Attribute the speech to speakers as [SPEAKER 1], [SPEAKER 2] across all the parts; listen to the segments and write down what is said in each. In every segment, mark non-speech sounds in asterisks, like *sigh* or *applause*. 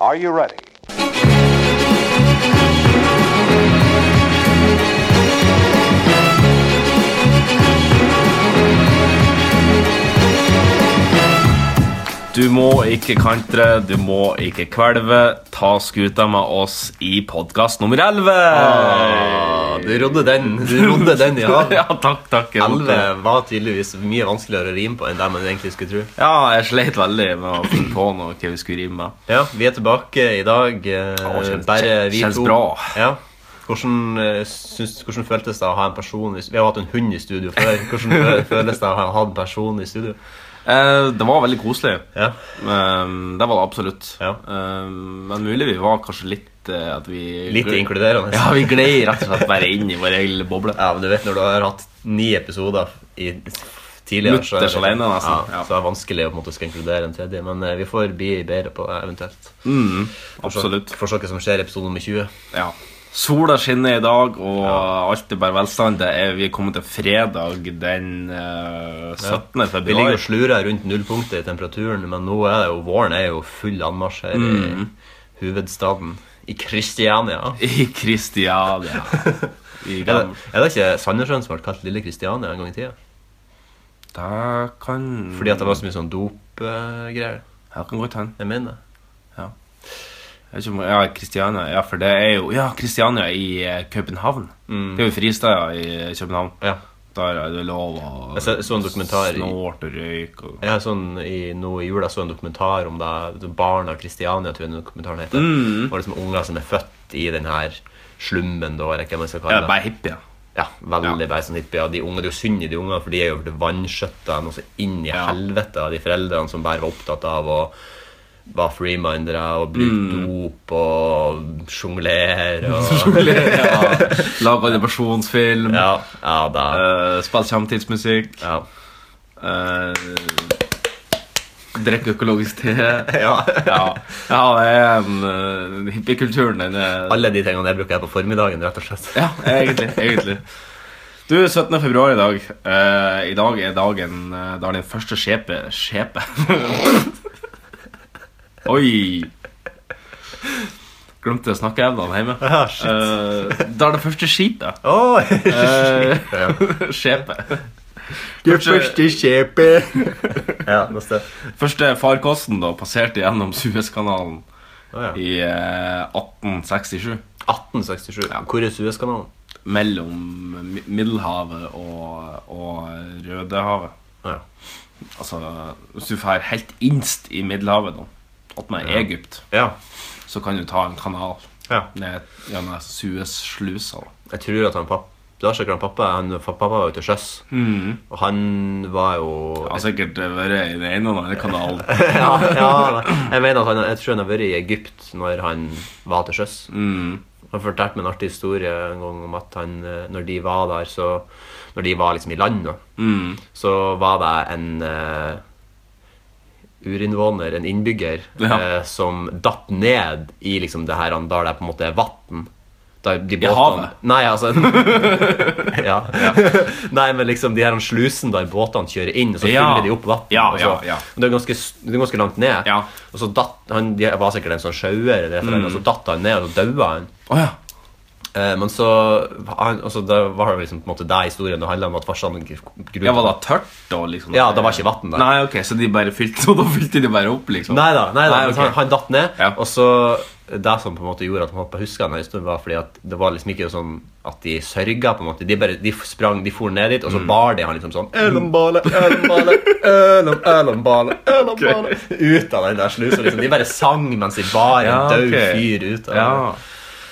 [SPEAKER 1] Are you ready?
[SPEAKER 2] Du må ikke kantre, du må ikke kvelve. Ta skuta med oss i podkast nummer 11.
[SPEAKER 3] Ah, du rodde den, du rodde den, *laughs* ja.
[SPEAKER 2] Ja, takk, takk. jeg måtte-
[SPEAKER 3] 11 var tydeligvis mye vanskeligere å rime på enn det man egentlig skulle tro.
[SPEAKER 2] Ja, jeg sleit veldig med å finne på noe hva vi skulle rime med.
[SPEAKER 3] Ja, Vi er tilbake i dag. eh,
[SPEAKER 2] kjennes-
[SPEAKER 3] bare vi
[SPEAKER 2] kjennes
[SPEAKER 3] to.
[SPEAKER 2] bra.
[SPEAKER 3] Ja. Hvordan, eh, syns, hvordan føltes det å ha en person i s- Vi har hatt en hund i studio før. Hvordan *laughs* fø- føles det å ha hatt en person i studio?
[SPEAKER 2] Eh, det var veldig koselig.
[SPEAKER 3] Ja.
[SPEAKER 2] Um, det var det absolutt.
[SPEAKER 3] Ja.
[SPEAKER 2] Um, men mulig vi var kanskje litt eh, at vi
[SPEAKER 3] Litt inkluderende.
[SPEAKER 2] Ja, vi gled rett og slett bare inn i vår egen lille boble.
[SPEAKER 3] Ja, men du vet Når du har hatt ni episoder i tidligere så er,
[SPEAKER 2] Mutters alene, nesten.
[SPEAKER 3] Ja,
[SPEAKER 2] Ja.
[SPEAKER 3] så er det vanskelig å på en måte skal inkludere en tredje. Men eh, vi får bli bedre på det eventuelt.
[SPEAKER 2] Mm,
[SPEAKER 3] Forsøk-
[SPEAKER 2] absolutt.
[SPEAKER 3] Forsøket som skjer i episode nummer 20.
[SPEAKER 2] Ja. Sola skinner i dag, og alt er bare velstand. Det er, vi er kommet til fredag den eh, 17.
[SPEAKER 3] Vi
[SPEAKER 2] februar.
[SPEAKER 3] ligger og slurer rundt nullpunktet i temperaturen, men nå er det jo våren er jo full anmarsj her i hovedstaden. I Kristiania.
[SPEAKER 2] *laughs* I
[SPEAKER 3] *laughs*
[SPEAKER 2] Kristiania. I
[SPEAKER 3] Er det,
[SPEAKER 2] Gam-
[SPEAKER 3] er det ikke Sandnessjøen som ble kalt Lille Kristiania en gang i tida?
[SPEAKER 2] Det kan
[SPEAKER 3] Fordi at det var så mye sånn dopgreier.
[SPEAKER 2] Ja, kan godt hende.
[SPEAKER 3] Jeg mener det.
[SPEAKER 2] Jeg vet ikke om- Ja, Kristiania. Ja, for det er jo Ja, Kristiania i eh, København.
[SPEAKER 3] Mm.
[SPEAKER 2] Det er jo fristeder i København.
[SPEAKER 3] Ja.
[SPEAKER 2] Der er det lov å
[SPEAKER 3] Jeg så- så en dokumentar i-
[SPEAKER 2] snorte og røyke og
[SPEAKER 3] Jeg har sånn, i, nå I jula så jeg en dokumentar om det, det barn av Kristiania, tror jeg den dokumentaren heter.
[SPEAKER 2] Mm.
[SPEAKER 3] Og liksom unger som er født i den her slummen, da, eller hva man skal kalle
[SPEAKER 2] Ja,
[SPEAKER 3] det.
[SPEAKER 2] bare
[SPEAKER 3] *laughs*
[SPEAKER 2] hippie.
[SPEAKER 3] Ja, veldig bare sånn hippie. Ja, de unge, det er jo synd i de ungene, for de er jo blitt vanskjøtta noe så inn i
[SPEAKER 2] Ja.
[SPEAKER 3] helvete av de foreldrene som bare var opptatt av å være freemindere og bruke
[SPEAKER 2] Mm.
[SPEAKER 3] dop og sjonglere og
[SPEAKER 2] *laughs* ja. Lage animasjonsfilm.
[SPEAKER 3] Ja, ja da.
[SPEAKER 2] eh, Spille samtidsmusikk.
[SPEAKER 3] Ja.
[SPEAKER 2] Uh, Drikke økologisk te.
[SPEAKER 3] ja.
[SPEAKER 2] *laughs* ja. ja, det er en eh, hippiekulturen, den er
[SPEAKER 3] Alle de tingene jeg bruker jeg på formiddagen, rett og slett. *laughs*
[SPEAKER 2] Ja, egentlig. egentlig. Du, 17. februar i dag. Eh, I dag er dagen eh, da din første skjepe Skjepe. *laughs* Oi! Glemte snakkeevnene hjemme.
[SPEAKER 3] Ah, shit.
[SPEAKER 2] Eh, da er det første skipet. *laughs*
[SPEAKER 3] *laughs* Oh,
[SPEAKER 2] Eh,
[SPEAKER 3] Ja.
[SPEAKER 2] skjepe.
[SPEAKER 3] Det
[SPEAKER 2] første
[SPEAKER 3] skjepet! *laughs* ja, neste.
[SPEAKER 2] Første farkosten da passerte gjennom Suezkanalen
[SPEAKER 3] Å, ja.
[SPEAKER 2] i eh, 1867.
[SPEAKER 3] 1867. Hvor er Suezkanalen?
[SPEAKER 2] Mellom Mi- Middelhavet og, og Rødehavet.
[SPEAKER 3] Å, ja.
[SPEAKER 2] Altså, hvis du drar helt innst i Middelhavet, da, attmed
[SPEAKER 3] Ja.
[SPEAKER 2] Egypt,
[SPEAKER 3] ja.
[SPEAKER 2] så kan du ta en kanal
[SPEAKER 3] ja.
[SPEAKER 2] ned gjennom Suez-slusa. da.
[SPEAKER 3] Jeg tror at han pappa Det var sikkert han pappa han, fa- Pappa var jo til sjøs Og han var jo
[SPEAKER 2] Jeg har sikkert vært i den ene og den andre kanalen.
[SPEAKER 3] *laughs* ja,
[SPEAKER 2] *laughs*
[SPEAKER 3] ja, Jeg mener at han Jeg tror han har vært i Egypt Når han var til sjøs
[SPEAKER 2] Mm.
[SPEAKER 3] Han fortalte meg en artig historie En gang om at han eh, Når de var der så Når de var liksom i land da
[SPEAKER 2] Mm.
[SPEAKER 3] Så var det en eh, Urinnvåner En innbygger
[SPEAKER 2] Ja.
[SPEAKER 3] eh, Som datt ned I liksom det her Der det på en måte er vatten Da de båtene
[SPEAKER 2] havet?
[SPEAKER 3] Nei, altså
[SPEAKER 2] *laughs*
[SPEAKER 3] ja. Nei, men liksom de her slusen der båtene kjører inn, og så
[SPEAKER 2] Ja.
[SPEAKER 3] fyller de opp vann.
[SPEAKER 2] Ja,
[SPEAKER 3] og så,
[SPEAKER 2] ja, ja.
[SPEAKER 3] Det, er ganske, s- det er ganske langt ned.
[SPEAKER 2] Ja.
[SPEAKER 3] Og så datt han De var sikkert en sånn sjauer, eller et eller annet, og så
[SPEAKER 2] Mm.
[SPEAKER 3] datt han ned, og så daua han.
[SPEAKER 2] Å ja.
[SPEAKER 3] Eh, men så han, og så Da var det liksom på en måte det historien det handla om, at farsan grudde
[SPEAKER 2] ja. Var det tørt og liksom
[SPEAKER 3] Ja, det var ikke vatten der.
[SPEAKER 2] Nei, ok, så de bare fylte, *laughs* så da fylte de bare opp, liksom?
[SPEAKER 3] Nei da, nei da
[SPEAKER 2] Nei,
[SPEAKER 3] men
[SPEAKER 2] ok.
[SPEAKER 3] han, han datt ned.
[SPEAKER 2] Ja.
[SPEAKER 3] Og så Det som på en måte gjorde at man huska denne historien, var fordi at det var liksom ikke sånn at de sørga. på en måte De bare, de sprang, de for ned dit,
[SPEAKER 2] Mm.
[SPEAKER 3] og så bar de han liksom sånn Ølombale, *laughs* ølombale, ølom, ølombale, ølombale Ut av den der slusa. Liksom. De bare sang mens de bar en
[SPEAKER 2] Ja,
[SPEAKER 3] død
[SPEAKER 2] ok.
[SPEAKER 3] fyr ut av
[SPEAKER 2] Ja.
[SPEAKER 3] den.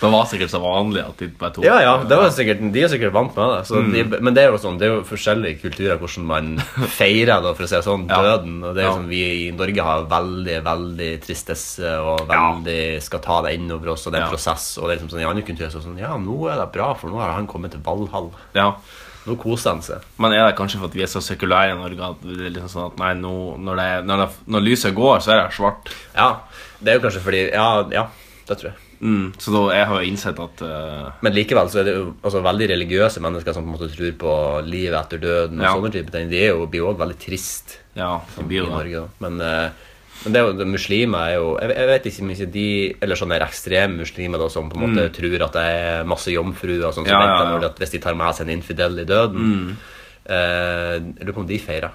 [SPEAKER 2] Det var sikkert så vanlig at de bare tok
[SPEAKER 3] Ja, ja, det var sikkert, De er sikkert vant med det. Så
[SPEAKER 2] Mm.
[SPEAKER 3] de, men det er jo sånn, det er jo forskjellige kulturer hvordan man
[SPEAKER 2] *laughs*
[SPEAKER 3] feirer da, for å si det sånn,
[SPEAKER 2] Ja.
[SPEAKER 3] døden. og det er jo
[SPEAKER 2] Ja.
[SPEAKER 3] sånn, Vi i Norge har veldig veldig tristesse og veldig skal ta det innover oss. og det er en
[SPEAKER 2] Ja. prosess,
[SPEAKER 3] prosess, og det er liksom sånn, I andre kulturer så er det sånn Ja, nå er det bra, for nå har han kommet til Valhall.
[SPEAKER 2] ja.
[SPEAKER 3] Nå koser han seg.
[SPEAKER 2] Men er det kanskje for at vi er så sekulære i Norge at det er liksom sånn at nei, nå, når, det, når, det, når lyset går, så er det svart?
[SPEAKER 3] Ja, Det er jo kanskje fordi Ja, ja det tror jeg.
[SPEAKER 2] Mm, så da jeg har jo innsett at eh,
[SPEAKER 3] Men likevel så er det jo altså, veldig religiøse mennesker som på en måte tror på livet etter døden. og
[SPEAKER 2] Ja.
[SPEAKER 3] sånne type ting, De er jo, blir jo også veldig trist
[SPEAKER 2] Ja, det
[SPEAKER 3] i
[SPEAKER 2] blir jo det.
[SPEAKER 3] Norge. da. Men eh, Men det er jo, det, muslimer er jo jeg, jeg vet ikke om ikke de Eller sånne der ekstreme muslimer da, som på en måte tror at det er masse jomfruer og sånn, som
[SPEAKER 2] Mm. Ja, ja,
[SPEAKER 3] venter
[SPEAKER 2] ja. Mm.
[SPEAKER 3] når at hvis de tar med seg en infidel i døden. Eh, jeg lurer på om de feirer.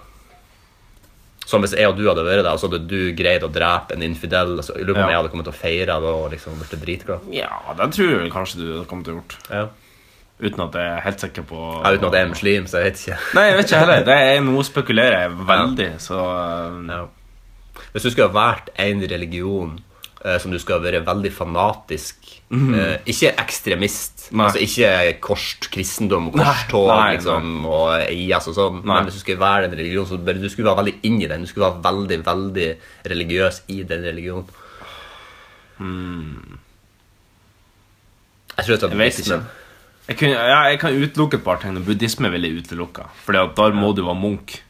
[SPEAKER 3] Som hvis jeg og du hadde vært der, og så hadde du greid å drepe en infidel. Altså, jeg lurer på om
[SPEAKER 2] Ja.
[SPEAKER 3] jeg hadde kommet til å feire da, og liksom blitt dritglad.
[SPEAKER 2] Ja, det tror jeg vel kanskje du kommer til å gjort.
[SPEAKER 3] Ja.
[SPEAKER 2] Uten at jeg er helt sikker på
[SPEAKER 3] Ja, uten at jeg er muslim, så jeg vet ikke.
[SPEAKER 2] Nei, jeg vet ikke heller. Det er Nå spekulerer jeg veldig, så eh,
[SPEAKER 3] Ja. Hvis du skulle ha valgt én religion eh, som du skulle ha vært veldig fanatisk eh, Ikke ekstremist,
[SPEAKER 2] Mhm. Nei.
[SPEAKER 3] altså ikke korst, kristendom, korstog
[SPEAKER 2] nei, nei.
[SPEAKER 3] liksom, og IS og sånn,
[SPEAKER 2] Nei.
[SPEAKER 3] men hvis du skulle være en religion, så bare, du skulle være veldig inn i den. Du skulle være veldig, veldig religiøs i den religionen. Jeg tror det er
[SPEAKER 2] Hmm. Jeg vet ikke.
[SPEAKER 3] buddhismen.
[SPEAKER 2] Jeg, kunne, ja, jeg kan utelukke et par ting. men Buddhisme vil jeg utelukke. For da må du være munk.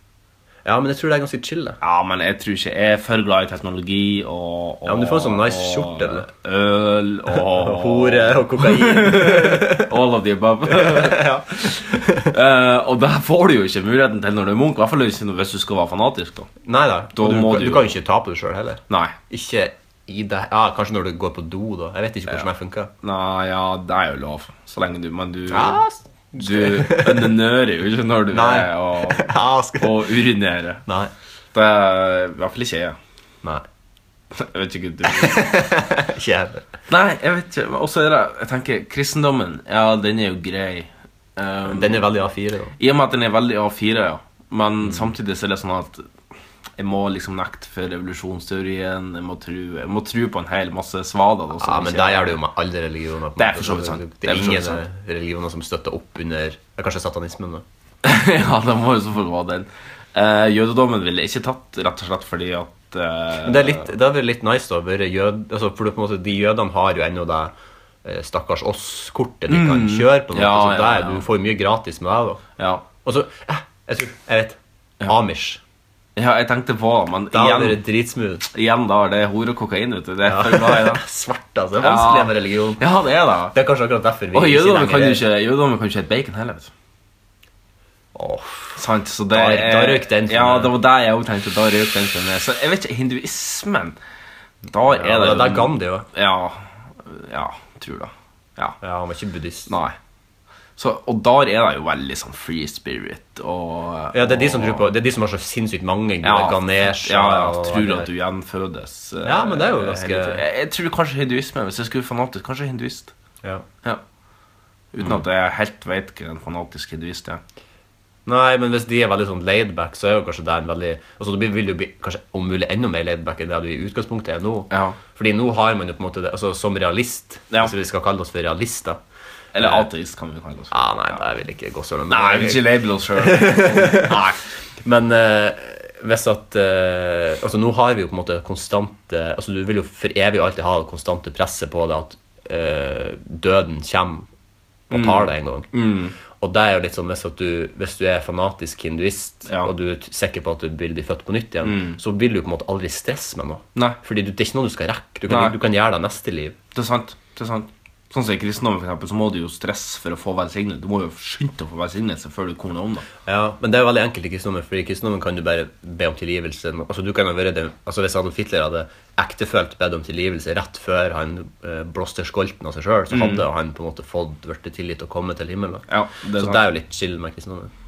[SPEAKER 3] Ja, men jeg tror det er ganske chill. det.
[SPEAKER 2] Ja, men jeg tror ikke Jeg er for glad i teknologi og, og
[SPEAKER 3] Ja, men du får en sånn nice
[SPEAKER 2] og
[SPEAKER 3] skjorte, eller?
[SPEAKER 2] Øl *laughs* og
[SPEAKER 3] Hore og kokain.
[SPEAKER 2] *laughs* All of the *laughs* above. Eh, og der får du jo ikke muligheten til når du er munk. I hvert fall ikke hvis du skal være fanatisk. da
[SPEAKER 3] Nei da.
[SPEAKER 2] Da
[SPEAKER 3] Du,
[SPEAKER 2] må
[SPEAKER 3] du
[SPEAKER 2] du-
[SPEAKER 3] kan jo ikke ta på deg sjøl heller.
[SPEAKER 2] Nei.
[SPEAKER 3] Ikke i det Ja, kanskje når du går på do, da. Jeg vet ikke hvordan det funker.
[SPEAKER 2] Nei, ja, det er jo lov. Så lenge du Men du
[SPEAKER 3] Ja, s-
[SPEAKER 2] Du undernører jo ikke når du
[SPEAKER 3] Nei.
[SPEAKER 2] er og,
[SPEAKER 3] *laughs* Ja, skal-
[SPEAKER 2] og urinerer.
[SPEAKER 3] Nei.
[SPEAKER 2] Det er i hvert fall ikke jeg.
[SPEAKER 3] Nei.
[SPEAKER 2] Jeg vet ikke du
[SPEAKER 3] Ikke jeg heller.
[SPEAKER 2] *laughs* Nei, jeg vet ikke. Og så er det Jeg tenker, kristendommen, ja, den er jo grei. Um,
[SPEAKER 3] Den er veldig A4, da.
[SPEAKER 2] I og med at den er veldig A4, ja. Men samtidig så er det sånn at jeg må liksom nekte for revolusjonsteorien. Jeg må tro, jeg må tro på en hel masse svader. da, som
[SPEAKER 3] Ja, men
[SPEAKER 2] ikke-
[SPEAKER 3] Det gjør du jo med alle religioner. på en
[SPEAKER 2] Det er
[SPEAKER 3] måte.
[SPEAKER 2] for så vidt sant.
[SPEAKER 3] Det er
[SPEAKER 2] Det er for så
[SPEAKER 3] ingen
[SPEAKER 2] vidt sant.
[SPEAKER 3] religioner som støtter opp under ja, Kanskje satanismen, da.
[SPEAKER 2] *laughs* ja, det må jo så få gå den. Eh, jødedommen ville jeg ikke tatt, rett og slett fordi at eh,
[SPEAKER 3] Men det er litt, det hadde vært litt nice, da. å Være jød, altså, for på en måte, de jødene har jo ennå det eh, stakkars oss-kortet de kan kjøre på. en måte,
[SPEAKER 2] Ja,
[SPEAKER 3] så
[SPEAKER 2] ja,
[SPEAKER 3] der,
[SPEAKER 2] ja.
[SPEAKER 3] Du får mye gratis med det. da.
[SPEAKER 2] ja.
[SPEAKER 3] Og så eh, Jeg tror Jeg vet. Amish.
[SPEAKER 2] ja, jeg tenkte på det, men
[SPEAKER 3] Da hadde
[SPEAKER 2] igjen,
[SPEAKER 3] det vært dritsmooth.
[SPEAKER 2] igjen da, det er hore og kokain, vet du. Det er for glad i det.
[SPEAKER 3] *laughs* Svart, altså. Det er vanskelig med religion.
[SPEAKER 2] Ja, det er det.
[SPEAKER 3] Det er kanskje akkurat derfor vi
[SPEAKER 2] Og jødedommen kan jo
[SPEAKER 3] lenger-
[SPEAKER 2] ikke jødedommen kan jo ikke hete bacon heller. vet du.
[SPEAKER 3] Åh,
[SPEAKER 2] Sant, så det
[SPEAKER 3] Da-
[SPEAKER 2] er-
[SPEAKER 3] da røk den for
[SPEAKER 2] Ja,
[SPEAKER 3] meg.
[SPEAKER 2] det var det jeg også tenkte. Da røk den for meg. Så jeg vet ikke, hinduismen Da er sånn-
[SPEAKER 3] ja,
[SPEAKER 2] det
[SPEAKER 3] det, det er Gandhi òg.
[SPEAKER 2] Ja, ja, tror det. Ja.
[SPEAKER 3] Ja, han var ikke buddhist.
[SPEAKER 2] Nei. Så, og der er det jo veldig sånn free spirit og
[SPEAKER 3] Ja, det er de som tror på Det er de som har så sinnssykt mange gode
[SPEAKER 2] ja,
[SPEAKER 3] ganesh
[SPEAKER 2] ja, ja,
[SPEAKER 3] og-
[SPEAKER 2] tror at du gjenfødes. eh,
[SPEAKER 3] Ja, men det er jo ganske-
[SPEAKER 2] hele tiden. Jeg, jeg tror kanskje hinduisme, hvis jeg skulle fanatisk, kanskje hinduist.
[SPEAKER 3] ja.
[SPEAKER 2] Ja. Uten at
[SPEAKER 3] Mm.
[SPEAKER 2] jeg helt vet hva en fanatisk hinduist er.
[SPEAKER 3] Nei, men hvis de er veldig sånn laidback, så er jo kanskje det en veldig Altså, Du vil jo bli kanskje om mulig enda mer laidback enn det du i utgangspunktet er nå.
[SPEAKER 2] Ja.
[SPEAKER 3] Fordi nå har man jo på en måte det Altså, som realist,
[SPEAKER 2] Ja.
[SPEAKER 3] hvis vi skal kalle oss for realister
[SPEAKER 2] Eller ateist, kan vi kalle oss.
[SPEAKER 3] Ja, nei, det vil ikke gå så langt.
[SPEAKER 2] Nei, vi vil ikke label oss sjøl.
[SPEAKER 3] *laughs* Men eh, hvis at eh, Altså, nå har vi jo på en måte konstante Altså, du vil jo for evig og alltid ha det konstante presset på det at eh, døden kommer
[SPEAKER 2] Mm.
[SPEAKER 3] og tar deg en gang. Og det er jo litt sånn hvis, at du, hvis du er fanatisk hinduist,
[SPEAKER 2] Ja. Mm.
[SPEAKER 3] og du er t- sikker på at du vil bli født på nytt igjen, så vil du på en måte aldri stresse med noe.
[SPEAKER 2] Nei.
[SPEAKER 3] Fordi du, det er ikke noe du skal rekke. Du
[SPEAKER 2] Nei.
[SPEAKER 3] kan, du kan gjøre det neste liv.
[SPEAKER 2] Det er sant. det er sant Sånn som I kristendommen for eksempel, så må du jo stresse for å få velsignelse. Du må jo skynde deg å få velsignelse før du kommer deg om. da
[SPEAKER 3] Ja, men det er jo veldig enkelt i kristendommen, for i kristendommen kan du bare be om tilgivelse. Altså, du kan jo være det, altså Hvis Adolf Hitler hadde ektefølt bedt om tilgivelse rett før han eh, blåste skolten av seg sjøl, så hadde han på en måte fått blitt tilgitt og kommet til himmelen.
[SPEAKER 2] Mm. Ja, det er
[SPEAKER 3] så
[SPEAKER 2] sant.
[SPEAKER 3] det er jo litt chill med kristendommen.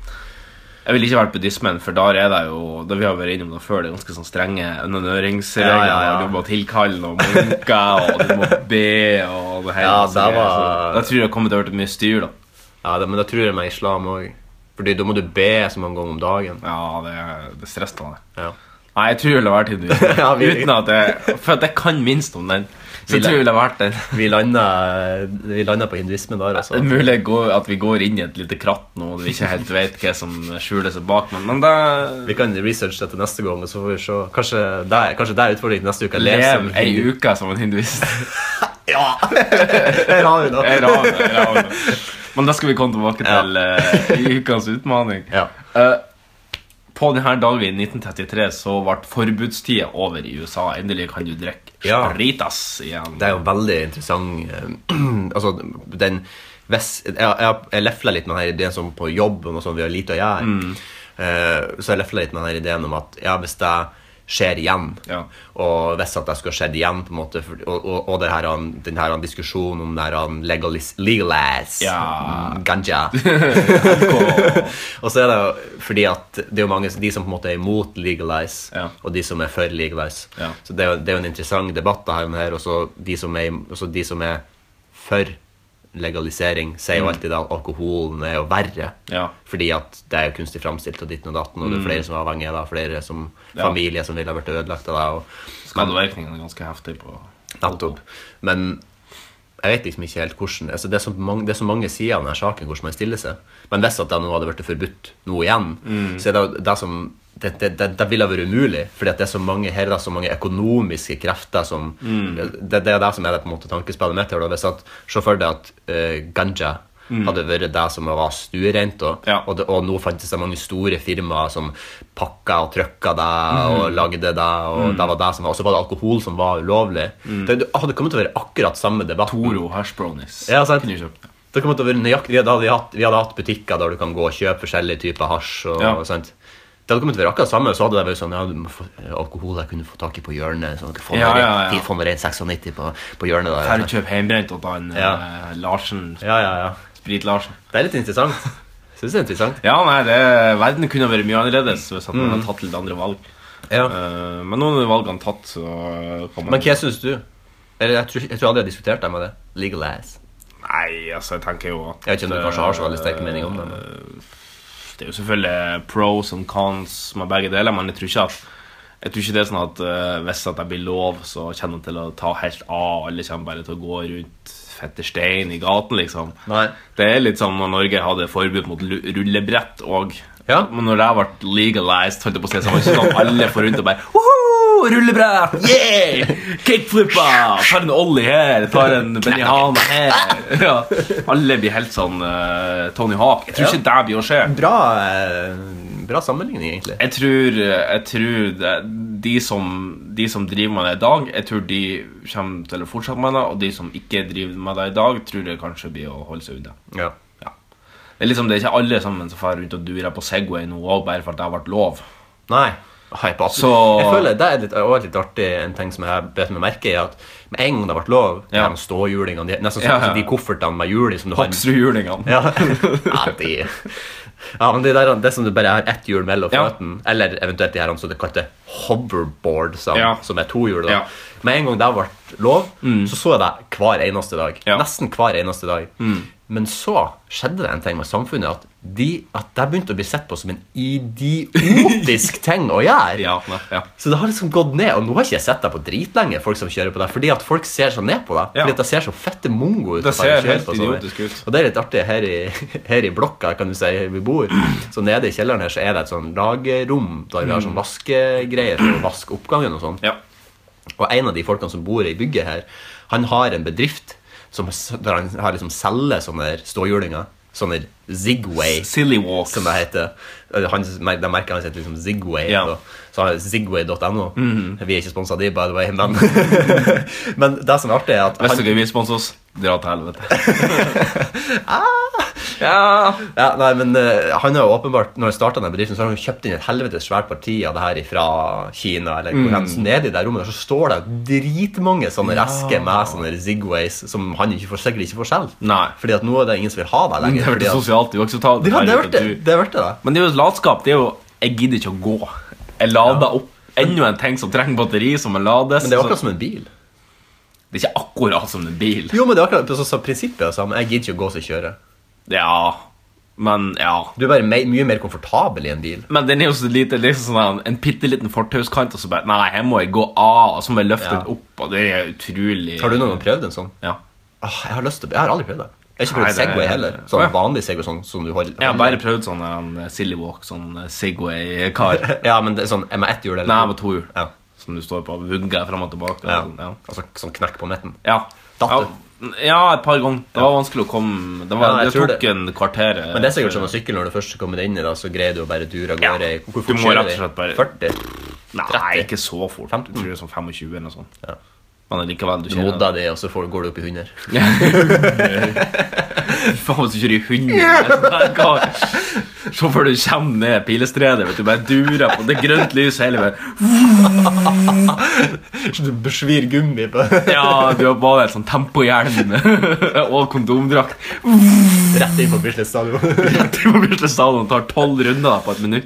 [SPEAKER 2] Jeg ville ikke vært buddhismen, for der er det jo da vi har vært innom det før, det er ganske sånn strenge undernøringsregler.
[SPEAKER 3] Ja, ja, ja.
[SPEAKER 2] og Du må tilkalle noen munker, og du
[SPEAKER 3] *laughs*
[SPEAKER 2] må be og det hele.
[SPEAKER 3] Ja,
[SPEAKER 2] så
[SPEAKER 3] det
[SPEAKER 2] greier.
[SPEAKER 3] var-
[SPEAKER 2] Så Da tror jeg det kommer til å bli mye styr, da.
[SPEAKER 3] Ja, det, Men da tror jeg meg islam òg. Fordi da må du be så mange ganger om dagen.
[SPEAKER 2] Ja, det, det stresser meg.
[SPEAKER 3] Ja.
[SPEAKER 2] Nei, jeg tror jeg ville vært hinduisme.
[SPEAKER 3] *laughs* Ja, vi-
[SPEAKER 2] Uten at jeg For at jeg kan minst om den. Så
[SPEAKER 3] Ville-
[SPEAKER 2] jeg tror jeg ville vært den.
[SPEAKER 3] Vi landa, vi landa på hinduismen der, altså.
[SPEAKER 2] Det er mulig går, at vi går inn i et lite kratt nå, og vi ikke helt vet hva som skjuler seg bak, men, men det
[SPEAKER 3] Vi kan researche dette neste gang, og så får vi se. Kanskje det, er- kanskje det er utfordringen neste uke. Lese om
[SPEAKER 2] Lev ei
[SPEAKER 3] hindu-
[SPEAKER 2] uke som en hinduist. *laughs*
[SPEAKER 3] Ja! *laughs* Her har vi det.
[SPEAKER 2] Jeg raver, jeg raver. Men da skal vi komme tilbake til eh, i ukas utfordring.
[SPEAKER 3] Ja.
[SPEAKER 2] Eh, på denne dagen i 1933 så ble forbudstida over i USA. Endelig kan du drikke
[SPEAKER 3] Ja.
[SPEAKER 2] spritas igjen.
[SPEAKER 3] Det er jo en veldig interessant eh, *clears throat* Altså, den hvis, Jeg, jeg, jeg lefla litt med denne ideen som på
[SPEAKER 2] Mm.
[SPEAKER 3] jobb og noe sånt, vi har lite å gjøre. Eh, så jeg lefla litt med denne ideen om at ja, hvis jeg skjer igjen.
[SPEAKER 2] Ja.
[SPEAKER 3] Og hvis at det skulle ha skjedd igjen, på en måte, for, og, og, og det her, han- den her han diskusjonen om det her han legalis, legalize
[SPEAKER 2] Ja.
[SPEAKER 3] mm,
[SPEAKER 2] *laughs*
[SPEAKER 3] ganja *laughs*
[SPEAKER 2] Alkohol.
[SPEAKER 3] Og så er det jo fordi at det er jo mange de som på en måte er imot legalize,
[SPEAKER 2] Ja.
[SPEAKER 3] og de som er for legalize.
[SPEAKER 2] Ja.
[SPEAKER 3] Så det er, jo, det er jo en interessant debatt, det her, om det her og så de, som er im- og så de som er for legalisering, sier jo alltid at alkoholen er jo verre.
[SPEAKER 2] Mm. Ja. Mm.
[SPEAKER 3] Fordi at det er jo kunstig framstilt og ditten og datten, og det er flere som er avhengige av det, flere som
[SPEAKER 2] Ja.
[SPEAKER 3] familie som ville ha blitt ødelagt av det. og
[SPEAKER 2] Skadevirkningene er ganske heftige på
[SPEAKER 3] Nettopp. Men jeg vet liksom ikke helt hvordan altså det, er så mange, det er så mange sider av denne saken hvordan man stiller seg. Men hvis at det nå hadde blitt forbudt nå igjen, så er det jo det som det, det, det, det ville ha vært umulig, fordi at det er så mange her er det så mange økonomiske krefter som det, det er det som er det på en måte tankespillet mitt. her, da. Hvis at, Se for deg at eh, ganja hadde vært det som var stuereint, da,
[SPEAKER 2] Ja.
[SPEAKER 3] og, det, og nå fantes det mange store firmaer som pakka og trykka det og
[SPEAKER 2] Mhm.
[SPEAKER 3] lagde det, og det var det som var, og så var det alkohol som var ulovlig.
[SPEAKER 2] Mhm.
[SPEAKER 3] Det, det hadde kommet til å være akkurat samme debatt.
[SPEAKER 2] Toro hash brownies.
[SPEAKER 3] Ja, sant.
[SPEAKER 2] Kunne du kjøpt det?
[SPEAKER 3] Det kommer til å være nøyaktig, vi hadde, vi hadde, hatt- vi hadde hatt butikker der du kan gå og kjøpe forskjellige typer hasj. og
[SPEAKER 2] Ja.
[SPEAKER 3] sant? Det hadde kommet til å være akkurat samme, så hadde det vært sånn ja, du må få, alkohol jeg kunne få tak i på hjørnet. sånn, få
[SPEAKER 2] Ja, ja,
[SPEAKER 3] meg
[SPEAKER 2] ja.
[SPEAKER 3] rein- Få meg rein 96 på, på hjørnet. der.
[SPEAKER 2] Her kjøp hjemmebrent åt han
[SPEAKER 3] Ja.
[SPEAKER 2] eh, Larsen.
[SPEAKER 3] Ja, ja, ja.
[SPEAKER 2] Sprit-Larsen.
[SPEAKER 3] Det er litt
[SPEAKER 2] *laughs*
[SPEAKER 3] interessant. Synes det er interessant.
[SPEAKER 2] Ja, nei, det, verden kunne ha vært mye annerledes hvis at man
[SPEAKER 3] Mm.
[SPEAKER 2] hadde tatt litt andre valg.
[SPEAKER 3] Ja.
[SPEAKER 2] Eh, men noen av valgene tatt, så kan man
[SPEAKER 3] Men hva syns du? Eller, jeg, tror, jeg tror aldri jeg har diskutert det med det. Legal ass.
[SPEAKER 2] Nei, altså, jeg tenker jo at
[SPEAKER 3] Jeg vet ikke om du kanskje har så veldig sterke meninger om det. Men.
[SPEAKER 2] Det er jo selvfølgelig pros and cons med begge deler, men jeg tror ikke at jeg tror ikke det er sånn at eh, hvis at jeg blir lov, så kommer jeg til å ta helt av. Alle kommer bare til å gå rundt fetter stein i gaten, liksom.
[SPEAKER 3] Nei.
[SPEAKER 2] Det er litt som når Norge hadde forbud mot lu- rullebrett og
[SPEAKER 3] Ja.
[SPEAKER 2] Men når det ble legalized, holdt jeg på å si, så var det ikke sånn at alle får rundt og bare Woho! Rullebrett! Yeah! Kickflipper! Tar en ollie her, tar en benihana her. Ja. Alle blir helt sånn eh, Tony Hawk. Jeg tror ikke det blir å skje.
[SPEAKER 3] Bra, eh, bra sammenligning, egentlig.
[SPEAKER 2] Jeg tror, jeg tror det- de, som, de som driver med det i dag, jeg tror de kommer til å fortsette med det. Og de som ikke driver med det i dag, tror det kanskje blir å holde seg unna.
[SPEAKER 3] Ja.
[SPEAKER 2] Ja. Det er liksom det er ikke alle sammen som drar rundt og durer på Segway nå òg, bare for at det har vært lov.
[SPEAKER 3] Nei. Hype up.
[SPEAKER 2] Så-
[SPEAKER 3] Jeg føler Det er litt, også litt artig en ting som jeg bet meg merke i. At med en gang det ble lov,
[SPEAKER 2] Ja.
[SPEAKER 3] de ståhjulingene de- Nesten som
[SPEAKER 2] Ja, ja.
[SPEAKER 3] de koffertene med hjul i som du har
[SPEAKER 2] Hoksrudhjulingene.
[SPEAKER 3] Ja, *laughs* ja, de. ja men det, der, det som du bare har ett hjul mellom
[SPEAKER 2] Ja.
[SPEAKER 3] føttene, eller eventuelt de her som det kalte hoverboard, som,
[SPEAKER 2] Ja.
[SPEAKER 3] som er to hjul, da.
[SPEAKER 2] Ja. Mm.
[SPEAKER 3] Med en gang det ble lov, så så jeg det hver eneste dag.
[SPEAKER 2] Ja. Mm.
[SPEAKER 3] Nesten hver eneste dag. Men så skjedde det en ting med samfunnet, at, de, at det begynte å bli sett på som en
[SPEAKER 2] *laughs*
[SPEAKER 3] idiotisk ting å gjøre.
[SPEAKER 2] Ja, ne, ja.
[SPEAKER 3] Så det har liksom gått ned, og nå har ikke jeg sett deg på dritlenge, folk som kjører på deg, fordi at folk ser så ned på deg.
[SPEAKER 2] Ja.
[SPEAKER 3] Fordi at det ser så fette mongo ut.
[SPEAKER 2] Det
[SPEAKER 3] at jeg
[SPEAKER 2] ser
[SPEAKER 3] kjører
[SPEAKER 2] helt
[SPEAKER 3] på sånne.
[SPEAKER 2] idiotisk ut.
[SPEAKER 3] Og det er litt artig, her i, *laughs* her i blokka, kan du si, vi bor, så nede i kjelleren her så er det et sånn lagerrom, der vi har sånn vaskegreier for å vaske oppgangen og sånn.
[SPEAKER 2] Ja.
[SPEAKER 3] Og en av de folkene som bor i bygget her, han har en bedrift som, der han har liksom selger sånne her ståhjulinger, sånne her Zigway
[SPEAKER 2] Silly walks.
[SPEAKER 3] som det heter. Eller Hans, mer- det merket hans heter liksom Zigway.
[SPEAKER 2] Ja. Mhm.
[SPEAKER 3] da. Så har jeg Zigway.no. Vi er ikke sponsa av de, by the way,
[SPEAKER 2] *laughs*
[SPEAKER 3] men, men det som er artig, er at
[SPEAKER 2] Hvis
[SPEAKER 3] han,
[SPEAKER 2] dere vil sponse oss, dra til helvete.
[SPEAKER 3] *laughs* Ah, ja, nei, men, eh, han har jo åpenbart Når han startet denne bedriften, så har han jo kjøpt inn et helvetes svært parti av det her fra Kina. Eller hvor
[SPEAKER 2] Mhm.
[SPEAKER 3] hen. Så Nede i det rommet der så står det dritmange sånne esker med sånne Zigways som han ikke får, sikkert ikke får solgt.
[SPEAKER 2] Nei.
[SPEAKER 3] Fordi at nå er det ingen som vil ha
[SPEAKER 2] Det
[SPEAKER 3] deg lenger.
[SPEAKER 2] har vært
[SPEAKER 3] fordi at-
[SPEAKER 2] sosialt uakseptabelt.
[SPEAKER 3] Det har- det har
[SPEAKER 2] her,
[SPEAKER 3] vært det.
[SPEAKER 2] at du-
[SPEAKER 3] Det har vært det, da.
[SPEAKER 2] Men det er jo et latskap. Det er jo Jeg gidder ikke å gå. Jeg lader opp enda en ting som trenger batteri, som må lades.
[SPEAKER 3] Men det er akkurat
[SPEAKER 2] så-
[SPEAKER 3] som en bil.
[SPEAKER 2] det er ikke akkurat som en bil.
[SPEAKER 3] Jo, men det er akkurat så, så prinsippet er det samme. Jeg gidder ikke å gå så jeg kjører.
[SPEAKER 2] Ja, men ja.
[SPEAKER 3] Du er bare me mye mer komfortabel i en bil.
[SPEAKER 2] Men den er jo så lite, liksom sånn en bitte liten fortauskant, og så bare Nei, her må jeg gå av, og så må jeg løfte
[SPEAKER 3] Ja.
[SPEAKER 2] den opp, og det er utrolig
[SPEAKER 3] Har du noen gang prøvd en sånn?
[SPEAKER 2] Ja.
[SPEAKER 3] Åh, jeg har lyst til å Jeg har aldri prøvd det. Jeg har ikke
[SPEAKER 2] Nei,
[SPEAKER 3] prøvd
[SPEAKER 2] det er-
[SPEAKER 3] Segway heller.
[SPEAKER 2] Å,
[SPEAKER 3] Sånn
[SPEAKER 2] ja.
[SPEAKER 3] vanlig Segway sånn som du holder.
[SPEAKER 2] Jeg har bare prøvd sånn en silly walk, sånn Segway-kar.
[SPEAKER 3] *laughs* *laughs* Ja, men det er sånn er med ett hjul eller
[SPEAKER 2] Nei, med to hjul.
[SPEAKER 3] Ja.
[SPEAKER 2] Som du står på og vugger frem og tilbake.
[SPEAKER 3] Ja.
[SPEAKER 2] og sånn,
[SPEAKER 3] Altså sånn knekk på midten.
[SPEAKER 2] Ja. Ja.
[SPEAKER 3] Datt
[SPEAKER 2] ja. ja, et par ganger. Det var vanskelig å komme Det, var,
[SPEAKER 3] Ja, jeg
[SPEAKER 2] det
[SPEAKER 3] tror
[SPEAKER 2] tok
[SPEAKER 3] det.
[SPEAKER 2] en kvarter. eh,
[SPEAKER 3] Men det er sikkert sånn å sykle når du først kommer deg inn i det, så greier du å bare dure av
[SPEAKER 2] Ja.
[SPEAKER 3] gårde. i-
[SPEAKER 2] Du
[SPEAKER 3] Hvor fort
[SPEAKER 2] må
[SPEAKER 3] kjører
[SPEAKER 2] rett og
[SPEAKER 3] de?
[SPEAKER 2] slett bare-
[SPEAKER 3] 40.
[SPEAKER 2] Nei,
[SPEAKER 3] 30.
[SPEAKER 2] ikke så fort. Jeg tror det er sånn 25 eller noe sånt.
[SPEAKER 3] Ja.
[SPEAKER 2] Men likevel, du
[SPEAKER 3] Du
[SPEAKER 2] kjenner *laughs*
[SPEAKER 3] modder det, og så får, går du opp i 100.
[SPEAKER 2] Faen, hvis du kjører i 100 hver gang. Så før du kommer ned pilestredet, vet du, bare durer på det er grønt lys hele veien.
[SPEAKER 3] Du besvir gummi på *laughs* Rett
[SPEAKER 2] Ja, du har bare en sånn tempohjelm *laughs* og kondomdrakt.
[SPEAKER 3] inn på Bislett
[SPEAKER 2] *laughs*
[SPEAKER 3] stadion.
[SPEAKER 2] Du må bli til stadion og tar tolv runder på et minutt.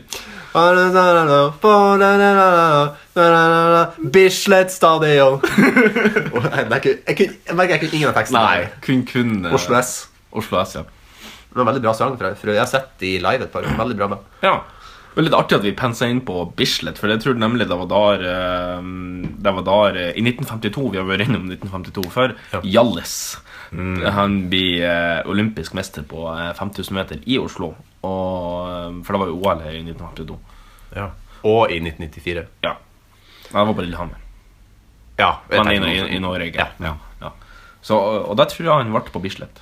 [SPEAKER 3] Bislett *laughs* stadion. Åh, nei, det er ikke- Jeg kunne- jeg merker jeg kunne ingen av tekstene.
[SPEAKER 2] Nei, kun kun eh,
[SPEAKER 3] Oslo S.
[SPEAKER 2] Oslo S, ja.
[SPEAKER 3] Det var en veldig bra sang fra fra- Jeg har sett de live et par ganger. Veldig bra band.
[SPEAKER 2] Ja. Det var litt artig at vi pensa inn på Bislett, for jeg tror nemlig det var der, eh, det var der eh, I 1952, vi har vært innom 1952 før,
[SPEAKER 3] Ja. Mm.
[SPEAKER 2] Hjalles. Han blir eh, olympisk mester på eh, 5000 meter i Oslo. Og, eh, for det var jo OL her i 1952.
[SPEAKER 3] Og i 1994.
[SPEAKER 2] Ja. Nei, det var på Lillehammer.
[SPEAKER 3] Ja. jeg
[SPEAKER 2] Men i,
[SPEAKER 3] tenker
[SPEAKER 2] i,
[SPEAKER 3] noe
[SPEAKER 2] i
[SPEAKER 3] sånt.
[SPEAKER 2] Norge.
[SPEAKER 3] Ja.
[SPEAKER 2] Ja. Ja. Så, og der tror jeg han ble på Bislett.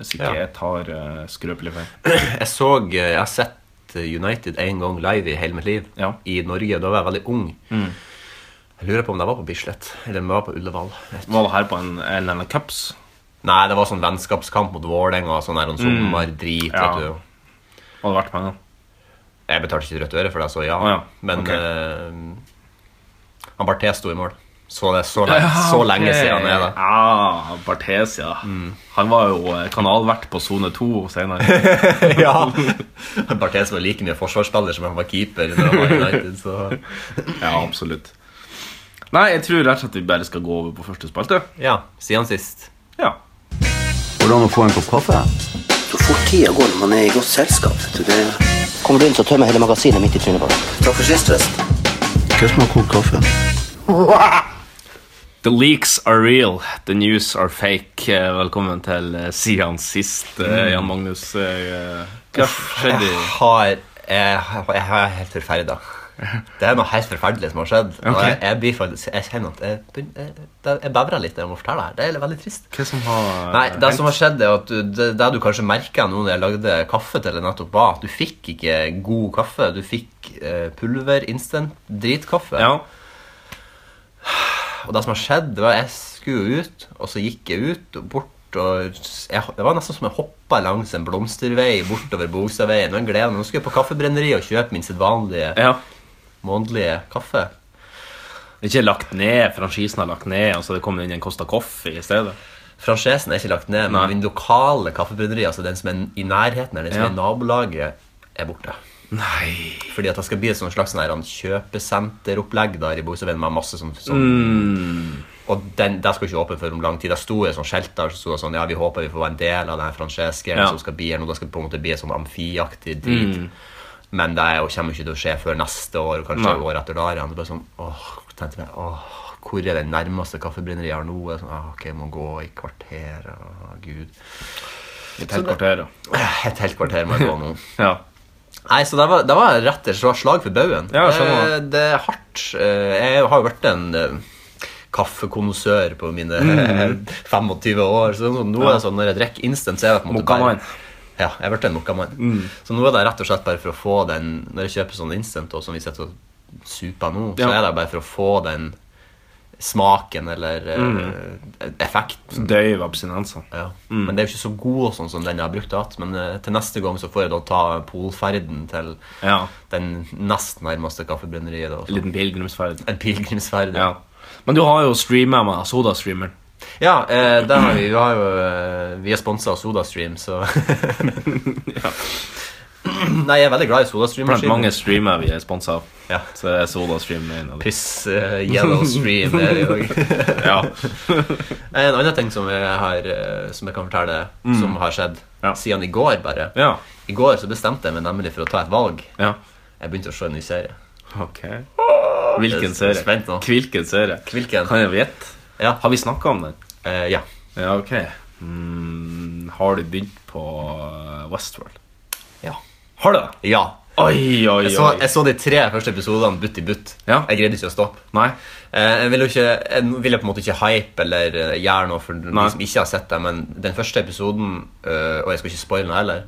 [SPEAKER 2] Hvis ikke
[SPEAKER 3] Ja.
[SPEAKER 2] jeg tar eh, skrøpelig feil.
[SPEAKER 3] *clears throat* Jeg så, eh, jeg har sett eh, United en gang live i hele mitt liv
[SPEAKER 2] Ja. Mm.
[SPEAKER 3] I Norge, da var jeg veldig ung Jeg lurer på om det var på Bislett Eller om det var på Ullevall
[SPEAKER 2] Var det her på en, en eller annen cups?
[SPEAKER 3] Nei, det var sånn vennskapskamp mot Vålerenga og Sånn der en sommerdrit
[SPEAKER 2] Mm. Ja.
[SPEAKER 3] vet du.
[SPEAKER 2] Var det verdt pengene?
[SPEAKER 3] Jeg betalte ikke rødt øre for det, så ja,
[SPEAKER 2] Å ja,
[SPEAKER 3] Men
[SPEAKER 2] ok.
[SPEAKER 3] eh, Han Barthes sto i mål Så det er
[SPEAKER 2] *laughs*
[SPEAKER 3] så, lenge, så lenge siden er det Mm.
[SPEAKER 2] Ja, Barthes, ja. Han var jo eh, kanalvert på Sone 2
[SPEAKER 3] *laughs*
[SPEAKER 2] senere.
[SPEAKER 3] ja. Barthes var like mye forsvarsspiller som han var keeper Når han var i United så.
[SPEAKER 2] ja, absolutt. Nei, jeg tror rett og slett vi bare skal gå over på første spalte.
[SPEAKER 3] Ja, siden sist
[SPEAKER 2] Ja.
[SPEAKER 1] Hvordan å få en kopp kaffe?
[SPEAKER 4] Så fort tida går når man er i godt selskap. vet du, Det
[SPEAKER 5] Kommer du inn, så tømmer jeg hele magasinet midt i trynet på deg.
[SPEAKER 4] Takk for sist, forresten.
[SPEAKER 1] Hva som har kokt kaffe?
[SPEAKER 2] The leaks are real, the news are fake. Eh, Velkommen til eh, siden sist,
[SPEAKER 3] Mm.
[SPEAKER 2] eh, Jan Magnus. eh, Hva skjedde?
[SPEAKER 3] Jeg har Jeg, jeg, jeg er helt forferda. Det er noe helt forferdelig som har skjedd. Og
[SPEAKER 2] Ok.
[SPEAKER 3] jeg, jeg blir faktisk Jeg kjenner at jeg, begynner- jeg, det- jeg bevrer litt når jeg må fortelle det her. Det er veldig trist.
[SPEAKER 2] Hva som har
[SPEAKER 3] Nei, Det som har skjedd, er at du, det, det du kanskje merka nå når jeg lagde kaffe til deg nettopp, var at du fikk ikke god kaffe. Du fikk eh, pulver, instant, dritkaffe.
[SPEAKER 2] Ja.
[SPEAKER 3] Og det som har skjedd, det var at jeg skulle jo ut, og så gikk jeg ut og bort. Og jeg, det var nesten som jeg hoppa langs en blomstervei bortover Bogstadveien. Og jeg gleder meg. Nå skulle jeg på Kaffebrenneriet og kjøpe min sedvanlige
[SPEAKER 2] ja.
[SPEAKER 3] månedlige kaffe.
[SPEAKER 2] Det er ikke lagt ned, franchisen har lagt ned, og så har det kommet inn en Costa Coffee i stedet.
[SPEAKER 3] Franchisen er ikke lagt ned,
[SPEAKER 2] Nei.
[SPEAKER 3] men min lokale kaffebrenneri, altså den som er i nærheten, eller den som
[SPEAKER 2] Ja.
[SPEAKER 3] er i nabolaget, er borte.
[SPEAKER 2] Nei.
[SPEAKER 3] Fordi at det skal bli et sånt slags sånn her, han kjøpesenteropplegg der i Bogstadveien med masse sånn, sånn
[SPEAKER 2] Mm.
[SPEAKER 3] Og den, det skal ikke åpne for om lang tid. Det sto et sånt skilt der som så sånn Ja, vi håper vi får være en del av den franchisen
[SPEAKER 2] Ja. Mm.
[SPEAKER 3] som skal bli her nå. Det skal på en måte bli en sånn amfiaktig drit. Men det er jo, kommer ikke til å skje før neste år, og kanskje
[SPEAKER 2] Nei.
[SPEAKER 3] året etter der igjen. Det er bare sånn Åh, tenkte jeg Åh, hvor er det nærmeste kaffebrenneriet jeg har nå? Jeg er Sånn, ah, ok, jeg må gå i kvarter. Åh, gud.
[SPEAKER 2] Et helt kvarter, ja.
[SPEAKER 3] Et helt kvarter må jeg gå nå.
[SPEAKER 2] ja.
[SPEAKER 3] Nei, så det var, det var rett og slett slag for baugen.
[SPEAKER 2] Ja, jeg skjønner.
[SPEAKER 3] Eh, det er hardt. Eh, Jeg har jo vært en eh, kaffekonnissør på mine eh,
[SPEAKER 2] Mm.
[SPEAKER 3] *laughs* 25 år. Så sånn, nå er det sånn, Når jeg drikker instant, så er det på en måte
[SPEAKER 2] Mokkamann.
[SPEAKER 3] Ja, jeg er blitt en mokkamann.
[SPEAKER 2] Mm.
[SPEAKER 3] Så nå er det rett og slett bare for å få den Når jeg kjøper sånn instant, og som vi sitter og super nå, så
[SPEAKER 2] Ja.
[SPEAKER 3] er det bare for å få den smaken eller eh,
[SPEAKER 2] Mm.
[SPEAKER 3] effekten.
[SPEAKER 2] Døyv abstinenser.
[SPEAKER 3] Ja.
[SPEAKER 2] Mm.
[SPEAKER 3] Men det er jo ikke så god sånn som den jeg har brukt hatt. Men eh, til neste gang så får jeg da ta polferden til
[SPEAKER 2] Ja.
[SPEAKER 3] den nest nærmeste kaffebrenneriet. Da,
[SPEAKER 2] En liten pilegrimsferd.
[SPEAKER 3] en pilegrimsferd.
[SPEAKER 2] Ja. Men du har jo streama med Soda-streameren.
[SPEAKER 3] ja eh, der har vi, vi har jo eh, Vi er sponsa av SodaStream, *laughs* så Nei, jeg er veldig glad i
[SPEAKER 2] Blant
[SPEAKER 3] SodaStream-maskinen.
[SPEAKER 2] mange streamer vi er sponsa av.
[SPEAKER 3] Ja.
[SPEAKER 2] Så er Soda-stream en av de.
[SPEAKER 3] Piss eh, Yellow Stream. er det jo.
[SPEAKER 2] Ja.
[SPEAKER 3] *laughs* en annen ting som jeg, har, eh, som jeg kan fortelle, som har skjedd
[SPEAKER 2] Ja.
[SPEAKER 3] siden i går, bare.
[SPEAKER 2] ja.
[SPEAKER 3] I går så bestemte jeg meg nemlig for å ta et valg.
[SPEAKER 2] Ja.
[SPEAKER 3] Jeg begynte å se en ny serie.
[SPEAKER 2] Ok. Hvilken
[SPEAKER 3] Jeg er
[SPEAKER 2] serie?
[SPEAKER 3] spent nå.
[SPEAKER 2] Hvilken serie?
[SPEAKER 3] Hvilken?
[SPEAKER 2] Kan jeg vite?
[SPEAKER 3] Ja.
[SPEAKER 2] Har vi snakka om den?
[SPEAKER 3] Eh, ja.
[SPEAKER 2] Ja, ok. Mm, har du begynt på uh, Westworld?
[SPEAKER 3] Ja.
[SPEAKER 2] Har du det?
[SPEAKER 3] ja.
[SPEAKER 2] Oi, oi,
[SPEAKER 3] Jeg så,
[SPEAKER 2] oi.
[SPEAKER 3] jeg så de tre første episodene butt i butt.
[SPEAKER 2] Ja.
[SPEAKER 3] Jeg greide ikke å stoppe.
[SPEAKER 2] Nei.
[SPEAKER 3] Eh, Jeg vil jo ikke, jeg vil jo på en måte ikke hype eller eh, gjøre noe for
[SPEAKER 2] Nei.
[SPEAKER 3] de som ikke har sett det, men den første episoden eh, Og jeg skal ikke spoile den heller,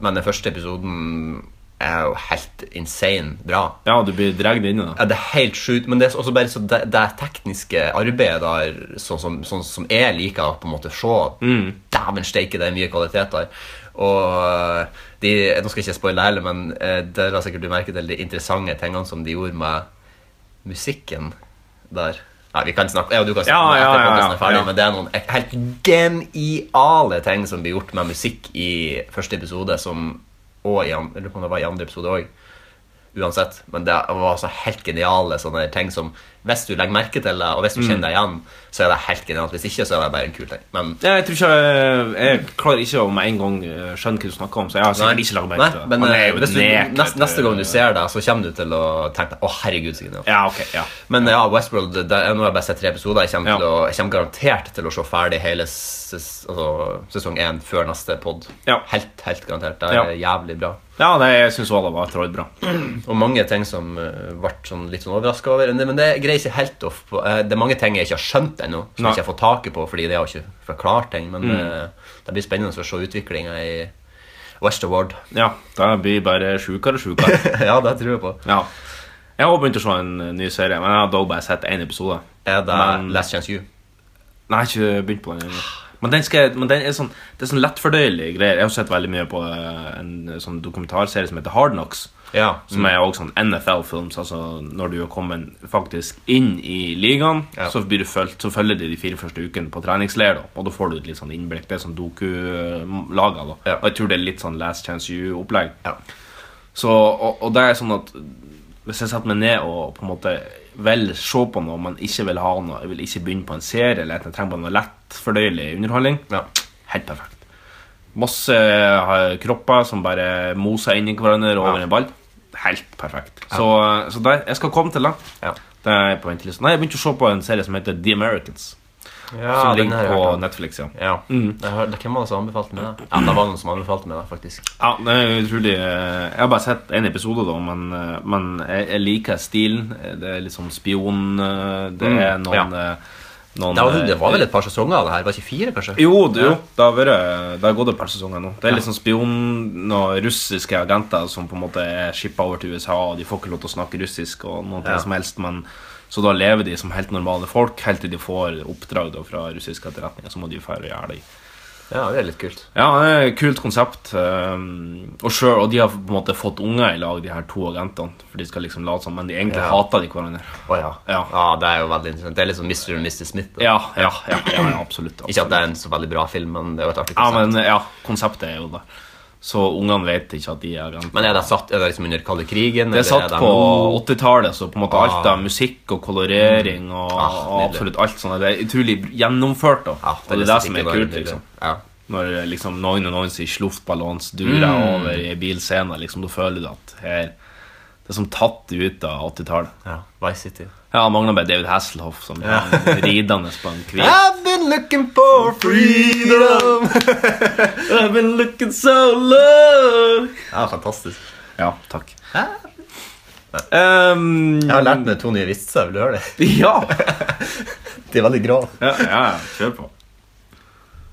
[SPEAKER 3] men den første episoden er jo helt insane bra.
[SPEAKER 2] Ja, du blir dratt inn i det.
[SPEAKER 3] Ja, det er helt sjukt, men det er også bare så det, det tekniske arbeidet der, sånn som, sånn som jeg liker å på en måte se, dæven steike, det er mye kvalitet der. Og eh, de, nå skal jeg ikke spoile heller, men eh, dere har sikkert du merke til de interessante tingene som de gjorde med musikken der. Nei, vi kan snakke, ja, du kan snakke
[SPEAKER 2] Ja,
[SPEAKER 3] om det
[SPEAKER 2] ja,
[SPEAKER 3] etter
[SPEAKER 2] ja,
[SPEAKER 3] podcasten er ferdig,
[SPEAKER 2] ja.
[SPEAKER 3] men det er noen helt geniale ting som blir gjort med musikk i første episode, som, og i, an- jeg lurer på om det var i andre episode òg uansett. Men det var så helt geniale sånne ting som Hvis du legger merke til det, og hvis du
[SPEAKER 2] Mm.
[SPEAKER 3] kjenner deg igjen, så er det helt genialt. Hvis ikke, så er det bare en kul ting. Men
[SPEAKER 2] Ja, jeg tror ikke jeg, jeg klarer ikke å med en gang eh, skjønne hva du snakker om. Så jeg har sikkert ikke laget merke
[SPEAKER 3] Nei,
[SPEAKER 2] til det.
[SPEAKER 3] men,
[SPEAKER 2] Man er
[SPEAKER 3] eh,
[SPEAKER 2] jo
[SPEAKER 3] hvis du,
[SPEAKER 2] nek, vet
[SPEAKER 3] neste, neste gang du ser det, så kommer du til å tenke Å, herregud, så genialt.
[SPEAKER 2] Ja, ok. ja
[SPEAKER 3] Men ja, Westworld det, er- Nå har jeg bare sett tre episoder. Jeg kommer,
[SPEAKER 2] Ja.
[SPEAKER 3] til å, jeg kommer garantert til å se ferdig hele ses, altså, sesong én før neste pod.
[SPEAKER 2] Ja.
[SPEAKER 3] Helt, helt garantert. Det er jævlig bra.
[SPEAKER 2] Ja, nei, jeg syns alle var trådbra.
[SPEAKER 3] Og mange ting som eh, ble sånn litt sånn overraska over. Men det- Men det greier jeg ikke helt off på. Eh, Det er mange ting jeg ikke har skjønt ennå, som
[SPEAKER 2] Nei. Mm.
[SPEAKER 3] jeg ikke har fått taket på, fordi det har ikke forklart ting. Men eh, det blir spennende å se utviklinga i Westerward.
[SPEAKER 2] Ja, det blir bare sjukere og sjukere.
[SPEAKER 3] *laughs* ja, det tror jeg på.
[SPEAKER 2] Ja. Jeg har også begynt å se en eh, ny serie, men jeg har dog bare sett én episode.
[SPEAKER 3] Er det
[SPEAKER 2] Men-
[SPEAKER 3] Last Chance You?
[SPEAKER 2] Nei, jeg har ikke begynt på den ennå. Men, den skal, jeg- men den er sånn, det er sånn lettfordøyelige greier. Jeg har sett veldig mye på eh, en sånn dokumentarserie som heter Hard Knocks.
[SPEAKER 3] Ja.
[SPEAKER 2] Som er også sånn NFL-films. Altså Når du er kommet faktisk inn i ligaen,
[SPEAKER 3] Ja.
[SPEAKER 2] så, blir du følt, så følger de de fire første ukene på treningsleir. Da, og da får du et litt sånn innblikk. Det er sånn doku-laga. da
[SPEAKER 3] Ja.
[SPEAKER 2] Og jeg tror det er litt sånn Last Chance You-opplegg.
[SPEAKER 3] Ja.
[SPEAKER 2] Så, og, og det er sånn at hvis jeg setter meg ned og på en måte vil se på noe, men ikke vil ha noe Jeg vil ikke begynne på en serie, eller at jeg trenger bare noe lett fordøyelig underholdning.
[SPEAKER 3] Ja.
[SPEAKER 2] Helt perfekt. Masse eh, kropper som bare moser inn i hverandre over
[SPEAKER 3] Ja.
[SPEAKER 2] en ball. Helt perfekt. Så, eh, så der, jeg skal komme til det.
[SPEAKER 3] Ja.
[SPEAKER 2] Det er på ventelisten. Nei, jeg begynte å se på en serie som heter The Americans. som
[SPEAKER 3] den har
[SPEAKER 2] ligger
[SPEAKER 3] jeg
[SPEAKER 2] på
[SPEAKER 3] hørt om.
[SPEAKER 2] Netflix. Ja.
[SPEAKER 3] Ja. Jeg har, det, hvem var det som anbefalte meg det? Ja, det var noen som anbefalte meg det, faktisk.
[SPEAKER 2] Ja, det er utrolig eh, Jeg har bare sett én episode, da, men, eh, men jeg, jeg liker stilen. Det er litt sånn spion eh, Det er
[SPEAKER 3] Mm,
[SPEAKER 2] noen, eh, noen
[SPEAKER 3] Det var, det var
[SPEAKER 2] eh,
[SPEAKER 3] vel et par sesonger av det her? Var det ikke fire, kanskje?
[SPEAKER 2] Jo, det, jo. Det, har vært, det har gått et par sesonger nå. Det er litt sånn spion og russiske agenter som på en måte er shippa over til USA, og de får ikke lov til å snakke russisk og noe
[SPEAKER 3] Ja.
[SPEAKER 2] som helst, men så da lever de som helt normale folk helt til de får oppdrag da, fra russisk etterretning, og så må de dra og gjøre det.
[SPEAKER 3] Ja, det er litt kult.
[SPEAKER 2] Ja, det er et kult konsept. ehm, og, selv, og de har på en måte fått unger i lag, de her to agentene, for de skal liksom late som, men de egentlig
[SPEAKER 3] Ja.
[SPEAKER 2] hater de hverandre.
[SPEAKER 3] Å ja.
[SPEAKER 2] Ja.
[SPEAKER 3] Det er jo veldig interessant. Det er litt sånn Mr. og Mr. Smith. da.
[SPEAKER 2] Ja, ja, ja, ja, ja absolutt. absolutt.
[SPEAKER 3] Ikke at det er en så veldig bra film, men eh, det er jo et artig
[SPEAKER 2] Ja,
[SPEAKER 3] konsept.
[SPEAKER 2] men ja, konseptet er jo det. Så ungene vet ikke at de er agenter.
[SPEAKER 3] Men er det satt er det liksom under kalde krigen?
[SPEAKER 2] Det er satt
[SPEAKER 3] eller det
[SPEAKER 2] på
[SPEAKER 3] nå?
[SPEAKER 2] 80-tallet, så på en måte
[SPEAKER 3] Ah.
[SPEAKER 2] alt av musikk og kolorering og,
[SPEAKER 3] Ah,
[SPEAKER 2] og
[SPEAKER 3] nydelig.
[SPEAKER 2] absolutt alt sånt. Det er utrolig gjennomført, da.
[SPEAKER 3] ja,
[SPEAKER 2] og det er det som er kult, liksom.
[SPEAKER 3] Ja.
[SPEAKER 2] Når liksom noen og noen sier sluftballons durer over i bilscenen, liksom, da føler du at her Det er som tatt ut av 80-tallet.
[SPEAKER 3] ja. Vice City.
[SPEAKER 2] Ja, han mangler bare David Hasselhoff som ja. ridende på en *laughs* hvit
[SPEAKER 3] I've been looking for *laughs* freedom!
[SPEAKER 2] I've been looking so low
[SPEAKER 3] Ja, fantastisk.
[SPEAKER 2] Ja, takk.
[SPEAKER 3] Hæ?
[SPEAKER 2] Um,
[SPEAKER 3] Jeg har lært meg to nye vitser. Vil du høre det?
[SPEAKER 2] Ja.
[SPEAKER 3] De er veldig grå.
[SPEAKER 2] ja, ja, kjør på.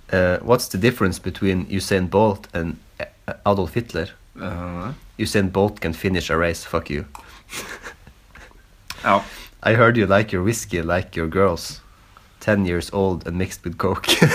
[SPEAKER 3] Eh, what's the difference between Usain Bolt and eh, Adolf Hitler?
[SPEAKER 2] Eh,
[SPEAKER 3] Usain Bolt can finish a race, fuck you.
[SPEAKER 2] Ja.
[SPEAKER 3] I heard you like your whiskey like your girls. Ten years old and mixed with coke. *laughs*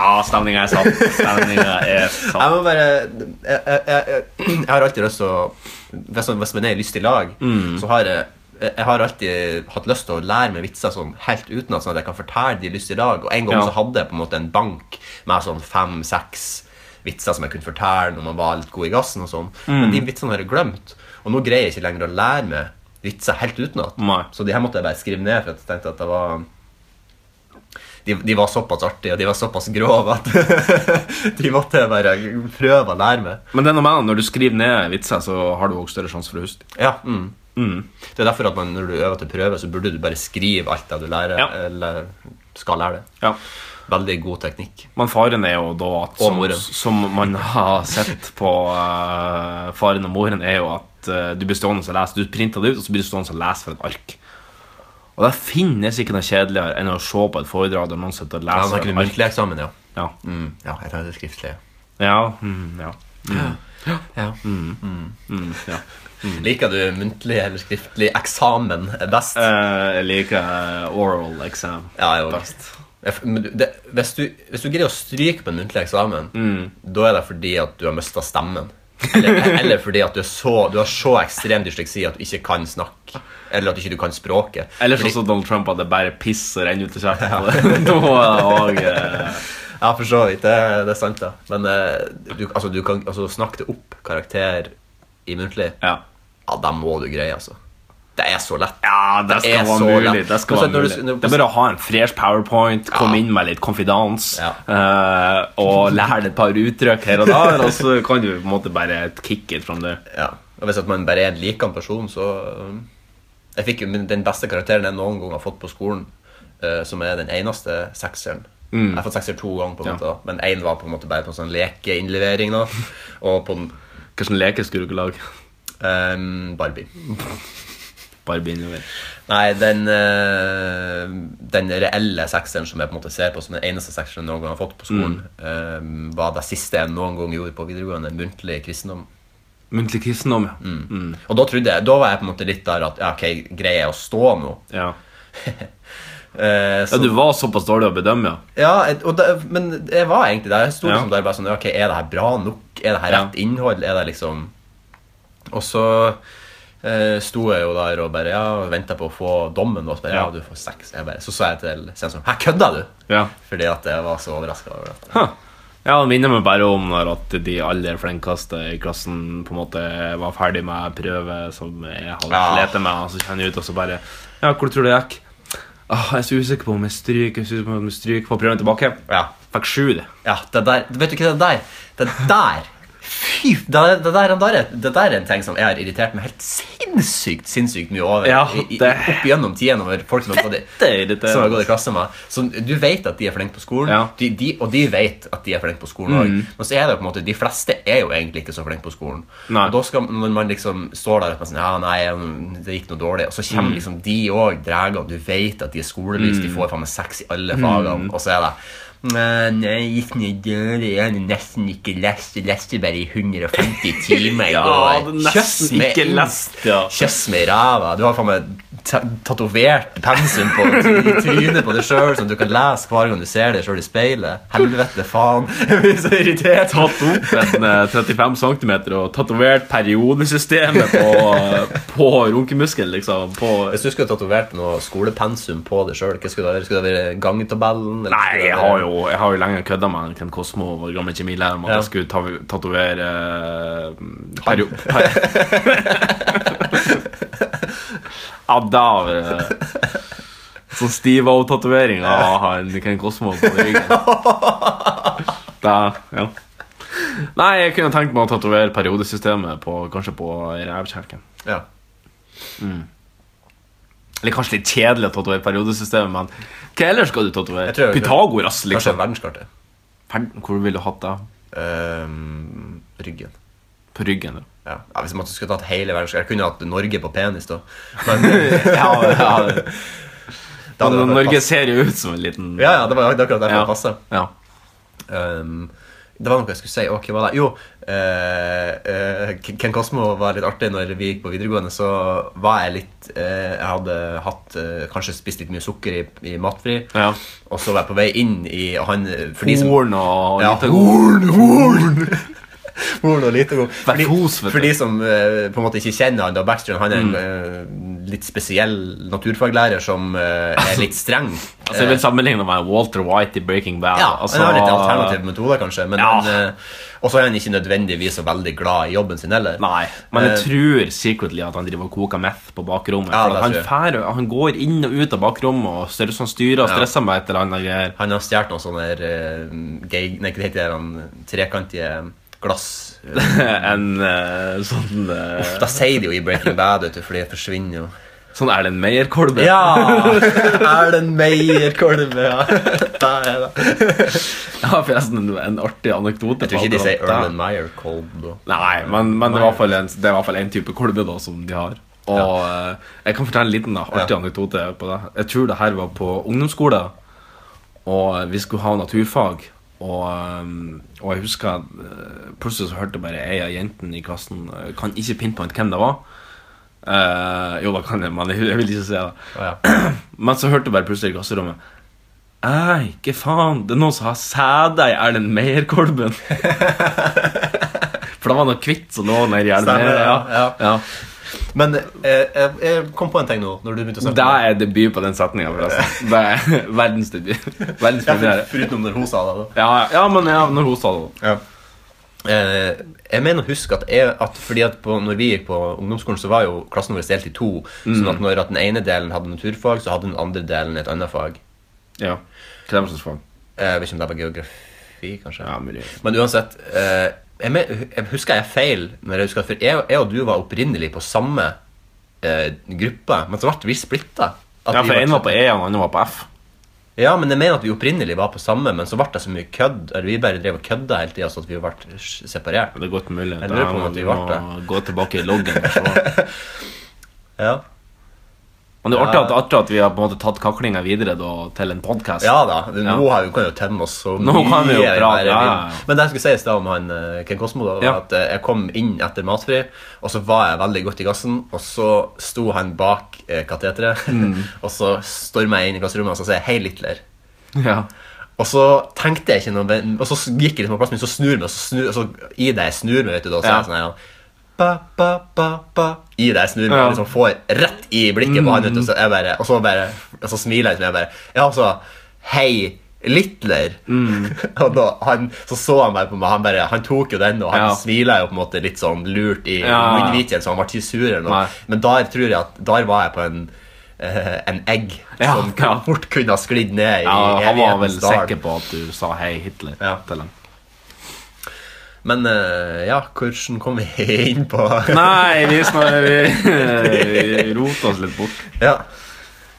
[SPEAKER 2] Ja, stemninga er satt. Stemninga er
[SPEAKER 3] Jeg
[SPEAKER 2] satt.
[SPEAKER 3] må bare jeg, jeg, jeg, jeg har alltid lyst til å Hvis man- hvis man er i lystig lag, så har jeg jeg har alltid hatt lyst til å lære meg vitser sånn helt utenat, sånn at jeg kan fortelle de i lystig lag. Og en gang
[SPEAKER 2] Ja.
[SPEAKER 3] så hadde jeg på en måte en bank med sånn fem-seks vitser som jeg kunne fortelle når man var litt god i gassen og sånn. Men de vitsene har jeg glemt, og nå greier jeg ikke lenger å lære meg vitser helt utenat.
[SPEAKER 2] Nei.
[SPEAKER 3] Så de her måtte jeg bare skrive ned, for at jeg tenkte at det var de, de var såpass artige og de var såpass grove at *laughs* de måtte jeg bare prøve å lære meg.
[SPEAKER 2] Men det er noe med det, når du skriver ned vitser, så har du også større sjanse for å huske.
[SPEAKER 3] Ja, mm. Det er derfor at man, når du øver til prøve, så burde du bare skrive alt det du lærer,
[SPEAKER 2] Ja.
[SPEAKER 3] eller skal lære det.
[SPEAKER 2] Ja.
[SPEAKER 3] Veldig god teknikk.
[SPEAKER 2] Men faren er jo da at
[SPEAKER 3] Og
[SPEAKER 2] som,
[SPEAKER 3] moren.
[SPEAKER 2] som man har sett på eh, faren og moren, er jo at eh, du blir stående og lese. Du printer det ut, og så blir du stående og lese fra et ark. Og det finnes ikke noe kjedeligere enn å se på et foredrag der noen sitter og
[SPEAKER 3] Ja,
[SPEAKER 2] leser.
[SPEAKER 3] man
[SPEAKER 2] fra
[SPEAKER 3] kunne
[SPEAKER 2] et ark.
[SPEAKER 3] muntlig eksamen, ja.
[SPEAKER 2] Ja.
[SPEAKER 3] Mm. Ja, jeg tar det skriftlig.
[SPEAKER 2] Ja, mm, ja.
[SPEAKER 3] Ja.
[SPEAKER 2] Mm, ja.
[SPEAKER 3] Liker du muntlig eller skriftlig eksamen best?
[SPEAKER 2] Eh, Jeg liker eh, oral exam.
[SPEAKER 3] Ja, jeg òg.
[SPEAKER 2] Best.
[SPEAKER 3] Jeg f- men du- det, hvis, du, hvis du greier å stryke på den muntlige eksamen,
[SPEAKER 2] Mm.
[SPEAKER 3] da er det fordi at du har mista stemmen. Eller, *laughs* eller fordi at du, er så, du har så ekstrem dysleksi at du ikke kan snakke. Eller at ikke du ikke kan språket.
[SPEAKER 2] Eller sånn som Donald Trump hadde bare piss og renner ut av kjeften på det. *laughs* Da var det også, eh,
[SPEAKER 3] Ja, for så vidt. Det, det er sant, da. Men eh, du, altså, du kan altså, snakke det opp karakter i muntlig.
[SPEAKER 2] ja.
[SPEAKER 3] Ja, det må du greie, altså. Det er så lett.
[SPEAKER 2] ja, det
[SPEAKER 3] er
[SPEAKER 2] skal
[SPEAKER 3] så
[SPEAKER 2] være mulig.
[SPEAKER 3] lett.
[SPEAKER 2] Det, skal
[SPEAKER 3] Men så
[SPEAKER 2] være
[SPEAKER 3] når du-
[SPEAKER 2] mulig.
[SPEAKER 3] når-
[SPEAKER 2] det er bare å ha en fresh powerpoint, komme inn med litt konfidans
[SPEAKER 3] Ja.
[SPEAKER 2] eh, og lære deg et par uttrykk her og der, og så kan du på en måte bare kick it from there.
[SPEAKER 3] Ja. Og hvis at man bare er en likende person, så um, Jeg fikk jo min- den beste karakteren jeg noen gang har fått på skolen, eh, som er den eneste sekseren. Jeg har fått sekser to ganger,
[SPEAKER 2] Mm.
[SPEAKER 3] på en
[SPEAKER 2] Ja.
[SPEAKER 3] måte, da. men én var på en måte bare på en sånn
[SPEAKER 2] *laughs*
[SPEAKER 3] lekeinnlevering. da Og på en
[SPEAKER 2] Hva slags leker skulle du ikke lage?
[SPEAKER 3] ehm, Barbie.
[SPEAKER 2] Bare begynne over.
[SPEAKER 3] Nei, den, eh, den reelle sekseren som jeg på en måte ser på som den eneste sekseren jeg noen gang har fått på skolen,
[SPEAKER 2] Mm.
[SPEAKER 3] eh, var det siste jeg noen gang gjorde på videregående, muntlig kristendom.
[SPEAKER 2] Muntlig kristendom, ja. Mm.
[SPEAKER 3] Og da trodde jeg, da var jeg på en måte litt der at ja, ok, greier jeg å stå nå?
[SPEAKER 2] ja.
[SPEAKER 3] Eh, så-
[SPEAKER 2] Ja, du var såpass dårlig å bedømme, ja.
[SPEAKER 3] Ja, et- og det, men jeg var egentlig der. Jeg sto
[SPEAKER 2] Ja.
[SPEAKER 3] liksom der bare sånn Ok, er det her bra nok? Er det her
[SPEAKER 2] Ja.
[SPEAKER 3] rett innhold? Er det liksom Og så eh, sto jeg jo der og bare Ja, venta på å få dommen. Og så bare Ja,
[SPEAKER 2] Ja.
[SPEAKER 3] du får seks. Jeg bare, så sa jeg til sensoren Hæ, kødda du?
[SPEAKER 2] Ja.
[SPEAKER 3] Fordi at jeg var så overraska over det.
[SPEAKER 2] Huh. Ja, Han minner meg bare om når at de aller flinkeste i klassen på en måte var ferdig med prøve som jeg hadde
[SPEAKER 3] Ja.
[SPEAKER 2] slitt med, og så kjenner jeg ut og så bare Ja, hvor tror du det gikk? Åh, jeg er så usikker på om jeg stryker. Jeg er så usikker på om jeg stryker Får prøven tilbake.
[SPEAKER 3] Ja.
[SPEAKER 2] Fikk sju, det.
[SPEAKER 3] ja, det der Vet du ikke det der? Det der Fy, det, der- det, der, det, der, er- det der er en ting som jeg har irritert meg helt sinnssykt sinnssykt mye over.
[SPEAKER 2] Ja,
[SPEAKER 3] I- i-
[SPEAKER 2] det-
[SPEAKER 3] Opp igjennom tidene over folk som har gått i
[SPEAKER 2] irriterende.
[SPEAKER 3] som har
[SPEAKER 2] *laughs*
[SPEAKER 3] gått i klasse med. Så du vet at de er flinke på skolen,
[SPEAKER 2] Ja. Mm.
[SPEAKER 3] de, de, og de vet at de er flinke på skolen òg. Men så er det jo på en måte, de fleste er jo egentlig ikke så flinke på skolen.
[SPEAKER 2] Nei.
[SPEAKER 3] Og da skal, Når man liksom står der og sånn, ja, nei, mm, det gikk noe dårlig, og så
[SPEAKER 2] Mm.
[SPEAKER 3] kommer liksom de òg, dregene. Du vet at de er skolelys, de får faen meg seks i alle fagene,
[SPEAKER 2] Mm.
[SPEAKER 3] og så er det «Nei, Nei, jeg gikk ned døra, jeg hadde nesten ikke lest. Jeg leste bare i
[SPEAKER 2] *laughs*
[SPEAKER 3] 150 timer i
[SPEAKER 2] Ja,
[SPEAKER 3] går.
[SPEAKER 2] hadde nesten
[SPEAKER 3] Kjøss meg
[SPEAKER 2] ikke
[SPEAKER 3] inn.
[SPEAKER 2] lest, ja.
[SPEAKER 3] Kjøss meg i ræva. Du har faen meg ta- tatovert pensum på i trynet på deg sjøl, sånn at du kan lese hver gang du ser deg sjøl i speilet. Helvete, faen. *laughs* Jeg blir så irritert.
[SPEAKER 2] Tatt opp en eh, 35 cm og tatovert periodesystemet på, på runkemuskelen, liksom. På
[SPEAKER 3] Hvis du skulle tatovert noe skolepensum på deg sjøl, skulle det være? Skulle det være gangtabellen? eller
[SPEAKER 2] Nei,
[SPEAKER 3] skulle det
[SPEAKER 2] jeg
[SPEAKER 3] være-
[SPEAKER 2] har jo, jeg har jo lenge kødda med Ken Kosmo og gamle kjemilærer om at
[SPEAKER 3] Ja.
[SPEAKER 2] jeg skulle ta- tatovere eh, perio... *laughs* per- Adav. eh, Sånn Steve O-tatovering av han Ken Kosmo på
[SPEAKER 3] *laughs*
[SPEAKER 2] ryggen. Da, ja. Nei, jeg kunne tenkt meg å tatovere periodesystemet på, kanskje på rævkjelken.
[SPEAKER 3] Ja.
[SPEAKER 2] Eller kanskje litt kjedelig å tatovere periodesystemet, men hva ellers skal du
[SPEAKER 3] Jeg tror
[SPEAKER 2] tatovere?
[SPEAKER 3] jeg-
[SPEAKER 2] Pythagoras,
[SPEAKER 3] Kanskje
[SPEAKER 2] liksom.
[SPEAKER 3] verdenskartet.
[SPEAKER 2] Verden, Hvor ville du hatt det?
[SPEAKER 3] Ehm, ryggen.
[SPEAKER 2] På ryggen. da.
[SPEAKER 3] Ja. ja, Hvis man skulle tatt hele verdenskartet Jeg kunne hatt Norge på penis, da. Men, *laughs* *laughs* ja,
[SPEAKER 2] *laughs* Ja,
[SPEAKER 3] det hadde vært
[SPEAKER 2] Norge
[SPEAKER 3] pass-
[SPEAKER 2] ser jo ut som en liten
[SPEAKER 3] Ja, ja, det var det er akkurat derfor
[SPEAKER 2] Ja.
[SPEAKER 3] det passa.
[SPEAKER 2] Ja.
[SPEAKER 3] Ehm, det var noe jeg skulle si. Ok, hva da? Jo, eh, eh, Ken Kosmo var litt artig når vi gikk på videregående. Så var jeg litt eh, Jeg hadde hatt, eh, kanskje spist litt mye sukker i, i matfri.
[SPEAKER 2] Ja.
[SPEAKER 3] Og så var jeg på vei inn i han for de som-
[SPEAKER 2] Horn og
[SPEAKER 3] ja,
[SPEAKER 2] lite-
[SPEAKER 3] horn, horn! *laughs* horn og lite god. For,
[SPEAKER 2] Verfos,
[SPEAKER 3] de,
[SPEAKER 2] vet
[SPEAKER 3] for
[SPEAKER 2] du. Mm.
[SPEAKER 3] de som eh, på en måte ikke kjenner han, da Backstreet, han er en eh, litt spesiell naturfaglærer som eh, er
[SPEAKER 2] *laughs*
[SPEAKER 3] litt streng.
[SPEAKER 2] Altså, jeg vil sammenligne med Walter White i Breaking Bad.
[SPEAKER 3] Eh. Ja,
[SPEAKER 2] altså,
[SPEAKER 3] han har litt alternative metoder, kanskje. Men
[SPEAKER 2] Ja.
[SPEAKER 3] han, eh, og så er han ikke nødvendigvis så veldig glad i jobben sin heller.
[SPEAKER 2] Nei, men jeg
[SPEAKER 3] Eh,
[SPEAKER 2] tror secretly at han driver og koker meth på bakrommet.
[SPEAKER 3] Ja,
[SPEAKER 2] for
[SPEAKER 3] det
[SPEAKER 2] at han,
[SPEAKER 3] tror jeg.
[SPEAKER 2] fær, han går inn og ut av bakrommet og ser ut som han styrer og
[SPEAKER 3] Ja.
[SPEAKER 2] stresser med et eller annet. greier. *laughs*
[SPEAKER 3] Han har stjålet noen sånne der, eh, gay, nei, hva heter det, han, trekantige glass.
[SPEAKER 2] en eh, sånn eh,
[SPEAKER 3] Da sier de jo i Breaking Bad, vet du, for det forsvinner jo.
[SPEAKER 2] Sånn Erlend Meyer-kolbe. *laughs*
[SPEAKER 3] *laughs* Ja! Erlend Meyer-kolbe, ja. Der er det.
[SPEAKER 2] Jeg har forresten en, en artig anekdote.
[SPEAKER 3] Jeg tror ikke de
[SPEAKER 2] på
[SPEAKER 3] sier
[SPEAKER 2] akkurat det.
[SPEAKER 3] Erlend Meyer-kolbe.
[SPEAKER 2] Nei, men, men det er i hvert fall en- det er i hvert fall en type kolbe da, som de har. Og eh, jeg kan fortelle en liten da, artig
[SPEAKER 3] Ja.
[SPEAKER 2] anekdote på det. Jeg tror det her var på ungdomsskolen, og eh, vi skulle ha naturfag. Og, eh, og jeg husker eh, plutselig så hørte jeg bare ei av jentene i klassen eh, Kan ikke pinpoint hvem det var. Eh, jo, da kan jeg, men jeg, jeg vil ikke si det.
[SPEAKER 3] Ja.
[SPEAKER 2] *clears throat* Men så hørte jeg bare plutselig i klasserommet Ei, ikke faen, det er noen som har sæda i Erlend Meyer-kolben. *laughs* For da var han jo kvitt, så lå han der i Erlend
[SPEAKER 3] Stemmer,
[SPEAKER 2] Meyer.
[SPEAKER 3] ja,
[SPEAKER 2] Ja. Ja.
[SPEAKER 3] Men eh, jeg, jeg kom på en ting nå, når du begynte å
[SPEAKER 2] Det
[SPEAKER 3] snakke. om
[SPEAKER 2] er debut på den setninga,
[SPEAKER 3] *laughs*
[SPEAKER 2] forresten. Det er verdens debut. Verdens
[SPEAKER 3] det. Ja,
[SPEAKER 2] premiere.
[SPEAKER 3] for- Foruten når hun sa det, da.
[SPEAKER 2] Ja, ja, ja, men ja, når hun sa det
[SPEAKER 3] Ja. Eh, jeg mener å huske at, jeg, at fordi at på, når vi gikk på ungdomsskolen, så var jo klassen vår delt i to. Sånn
[SPEAKER 2] Mm.
[SPEAKER 3] at når at den ene delen hadde naturfag, så hadde den andre delen et annet fag.
[SPEAKER 2] Ja. Hva er det som faen?
[SPEAKER 3] Eh, Jeg vet ikke om det var geografi, kanskje.
[SPEAKER 2] Ja, mulig.
[SPEAKER 3] Men uansett eh, jeg, men, jeg husker jeg feil når jeg husker at For jeg, jeg og du var opprinnelig på samme eh, gruppe, men så ble vi splitta.
[SPEAKER 2] Ja, for en var på E, og den andre var på F.
[SPEAKER 3] Ja, men jeg mener at vi opprinnelig var på samme, men så ble det så mye kødd. Eller vi bare drev og kødda hele tida, så at vi ble separert.
[SPEAKER 2] Det er godt mulig.
[SPEAKER 3] Jeg lurer på om
[SPEAKER 2] Da
[SPEAKER 3] at vi
[SPEAKER 2] må
[SPEAKER 3] ble det.
[SPEAKER 2] Gå tilbake i loggen. og
[SPEAKER 3] *laughs*
[SPEAKER 2] se.
[SPEAKER 3] Ja
[SPEAKER 2] Men det er artig at, artig at vi har på en måte tatt kaklinga videre da, til en podkast.
[SPEAKER 3] Ja da. Nå
[SPEAKER 2] Ja.
[SPEAKER 3] har vi, kan vi jo tømme oss så
[SPEAKER 2] Nå kan vi jo
[SPEAKER 3] mye
[SPEAKER 2] prate, ja,
[SPEAKER 3] bare vil.
[SPEAKER 2] ja, ja.
[SPEAKER 3] Men det jeg skulle si i stad om han eh, Ken Kosmo, da, var
[SPEAKER 2] Ja.
[SPEAKER 3] at eh, jeg kom inn etter matfri, og så var jeg veldig godt i gassen, og så sto han bak eh, kateteret,
[SPEAKER 2] Mm.
[SPEAKER 3] *laughs* og så storma jeg inn i klasserommet og så sier jeg 'Hei, Litler'.
[SPEAKER 2] *laughs* Ja.
[SPEAKER 3] Og så tenkte jeg ikke noe men- Og så gikk jeg liksom på plassen min, så snur jeg meg, og så, snur, og så i det jeg snur meg, vet du, da, så er
[SPEAKER 2] Ja.
[SPEAKER 3] jeg sånn her ja, ba, ba, ba, ba. I det jeg snur meg,
[SPEAKER 2] Ja. Mm.
[SPEAKER 3] liksom får rett i blikket på han, vet du, så jeg bare, og så bare Og så smiler jeg liksom, jeg bare Ja, altså Hei, Litler.
[SPEAKER 2] Mm.
[SPEAKER 3] *laughs* og da, han, så så han bare på meg, han bare Han tok jo den, og han
[SPEAKER 2] Ja.
[SPEAKER 3] smilet jo på en måte litt sånn lurt i
[SPEAKER 2] Ja.
[SPEAKER 3] munnviken, så han ble ikke sur eller noe.
[SPEAKER 2] Nei.
[SPEAKER 3] Men der tror jeg at Der var jeg på en eh, en egg
[SPEAKER 2] Ja,
[SPEAKER 3] som
[SPEAKER 2] ja.
[SPEAKER 3] fort kunne ha sklidd ned i
[SPEAKER 2] Ja, han var vel
[SPEAKER 3] evighetens dal.
[SPEAKER 2] sikker på at du sa hei, Hitler.
[SPEAKER 3] Ja.
[SPEAKER 2] til han.
[SPEAKER 3] Men eh, ja, hvordan kom vi *laughs* inn på
[SPEAKER 2] *laughs* Nei, vi, snar, vi, vi rota oss litt bort.
[SPEAKER 3] Ja.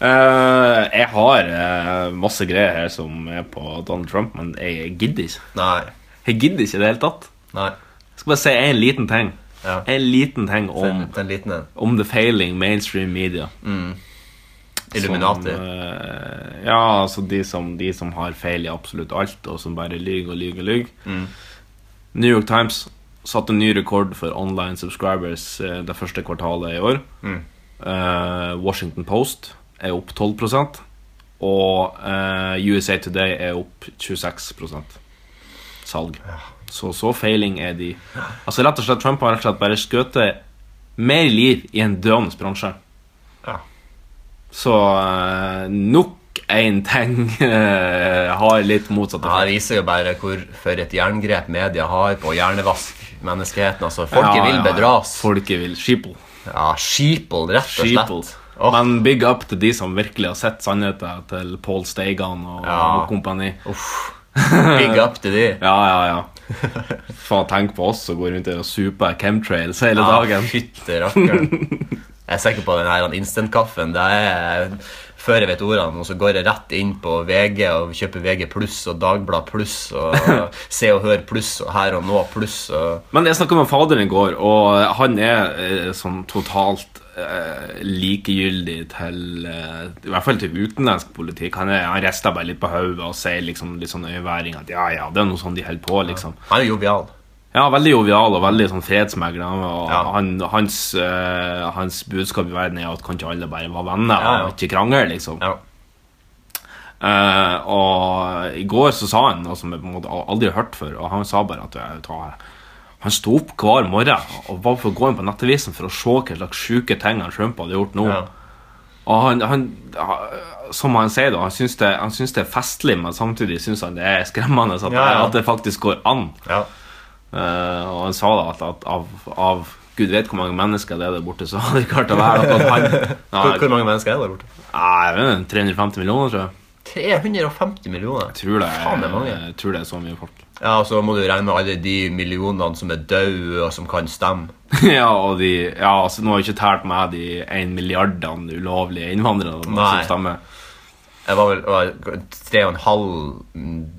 [SPEAKER 2] Eh, jeg har eh, masse greier her som er på Donald Trump, men jeg gidder ikke.
[SPEAKER 3] Nei.
[SPEAKER 2] Jeg gidder ikke i det hele tatt.
[SPEAKER 3] Nei.
[SPEAKER 2] Jeg skal bare si en liten ting.
[SPEAKER 3] Ja.
[SPEAKER 2] En liten ting om,
[SPEAKER 3] Den, den liten en.
[SPEAKER 2] om the failing mainstream media.
[SPEAKER 3] Illuminati.
[SPEAKER 2] Som, eh, ja, altså de som, de som har feil i absolutt alt, og som bare lyver og lyver og lyver. New York Times satte ny rekord for online subscribers eh, det første kvartalet i år. Eh, Washington Post er opp 12 og eh, USA Today er opp 26 salg. Så så feiling er de. Altså rett og slett Trump har rett og slett bare skutt mer liv i en døende bransje.
[SPEAKER 3] Ja.
[SPEAKER 2] Så eh, nok en ting eh, har litt motsatt
[SPEAKER 3] Ja,
[SPEAKER 2] effekt.
[SPEAKER 3] det viser jo bare hvor for et jerngrep media har på å hjernevask menneskeheten. Altså, folket
[SPEAKER 2] Ja,
[SPEAKER 3] vil
[SPEAKER 2] ja, ja.
[SPEAKER 3] bedras.
[SPEAKER 2] Folket vil sheeple.
[SPEAKER 3] Ja, sheeple, rett og
[SPEAKER 2] Sheeple.
[SPEAKER 3] slett. Åh,
[SPEAKER 2] Men big up til de som virkelig har sett sannheten til Paul Steigan og,
[SPEAKER 3] Ja.
[SPEAKER 2] og kompani.
[SPEAKER 3] Big up til de.
[SPEAKER 2] Ja, ja, ja. Faen, tenk på oss som går rundt der og super chemtrails hele
[SPEAKER 3] Ja,
[SPEAKER 2] dagen.
[SPEAKER 3] fytte Ah, rakkeren. Jeg er sikker på den her instant-kaffen. Det er før jeg vet ordene, og så går jeg rett inn på VG og kjøper VG pluss og Dagblad pluss *laughs* og Se og Hør pluss og Her og Nå pluss og
[SPEAKER 2] Men jeg snakka med faderen i går, og han er eh, sånn totalt eh, likegyldig til eh, I hvert fall til utenlandsk politikk. Han, er, han rister bare litt på hodet og sier liksom, litt sånn øyeværing at ja, ja, det er noe sånn de holder på, liksom.
[SPEAKER 3] Han er jovial.
[SPEAKER 2] Ja, veldig jovial og veldig sånn fredsmegler. Og
[SPEAKER 3] Ja.
[SPEAKER 2] han, hans, eh, hans budskap i verden er at kan ikke alle bare være venner
[SPEAKER 3] Ja, ja.
[SPEAKER 2] og ikke krangle, liksom.
[SPEAKER 3] Ja.
[SPEAKER 2] Eh, og i går så sa han noe som jeg på en måte al- aldri har hørt før, og han sa bare at eh, jeg, ta, han sto opp hver morgen og var for å gå inn på nettavisen for å se hva slags sjuke ting han Trump hadde gjort nå.
[SPEAKER 3] Ja.
[SPEAKER 2] Og han, han, ja, som han sier, da, han syns det, han syns det er festlig, men samtidig syns han det er skremmende at,
[SPEAKER 3] Ja, ja.
[SPEAKER 2] at det faktisk går an.
[SPEAKER 3] ja.
[SPEAKER 2] Eh, og han sa da at, at av, av Gud vet hvor mange mennesker det er der borte, så *laughs* hadde det klart å være noe han
[SPEAKER 3] *laughs* Hvor, hvor
[SPEAKER 2] Nei,
[SPEAKER 3] mange mennesker er det der borte?
[SPEAKER 2] jeg vet ikke, 350 millioner, tror jeg.
[SPEAKER 3] 350 millioner.
[SPEAKER 2] Tror det, er-
[SPEAKER 3] Faen, det er mange.
[SPEAKER 2] jeg tror det er så mye folk.
[SPEAKER 3] Ja, og så må du regne med alle de millionene som er døde, og som kan stemme.
[SPEAKER 2] *laughs* ja, og de, ja, altså Nå har jeg ikke tært med de en milliardene ulovlige innvandrere. som
[SPEAKER 3] Nei.
[SPEAKER 2] stemmer.
[SPEAKER 3] Jeg var vel var 3,5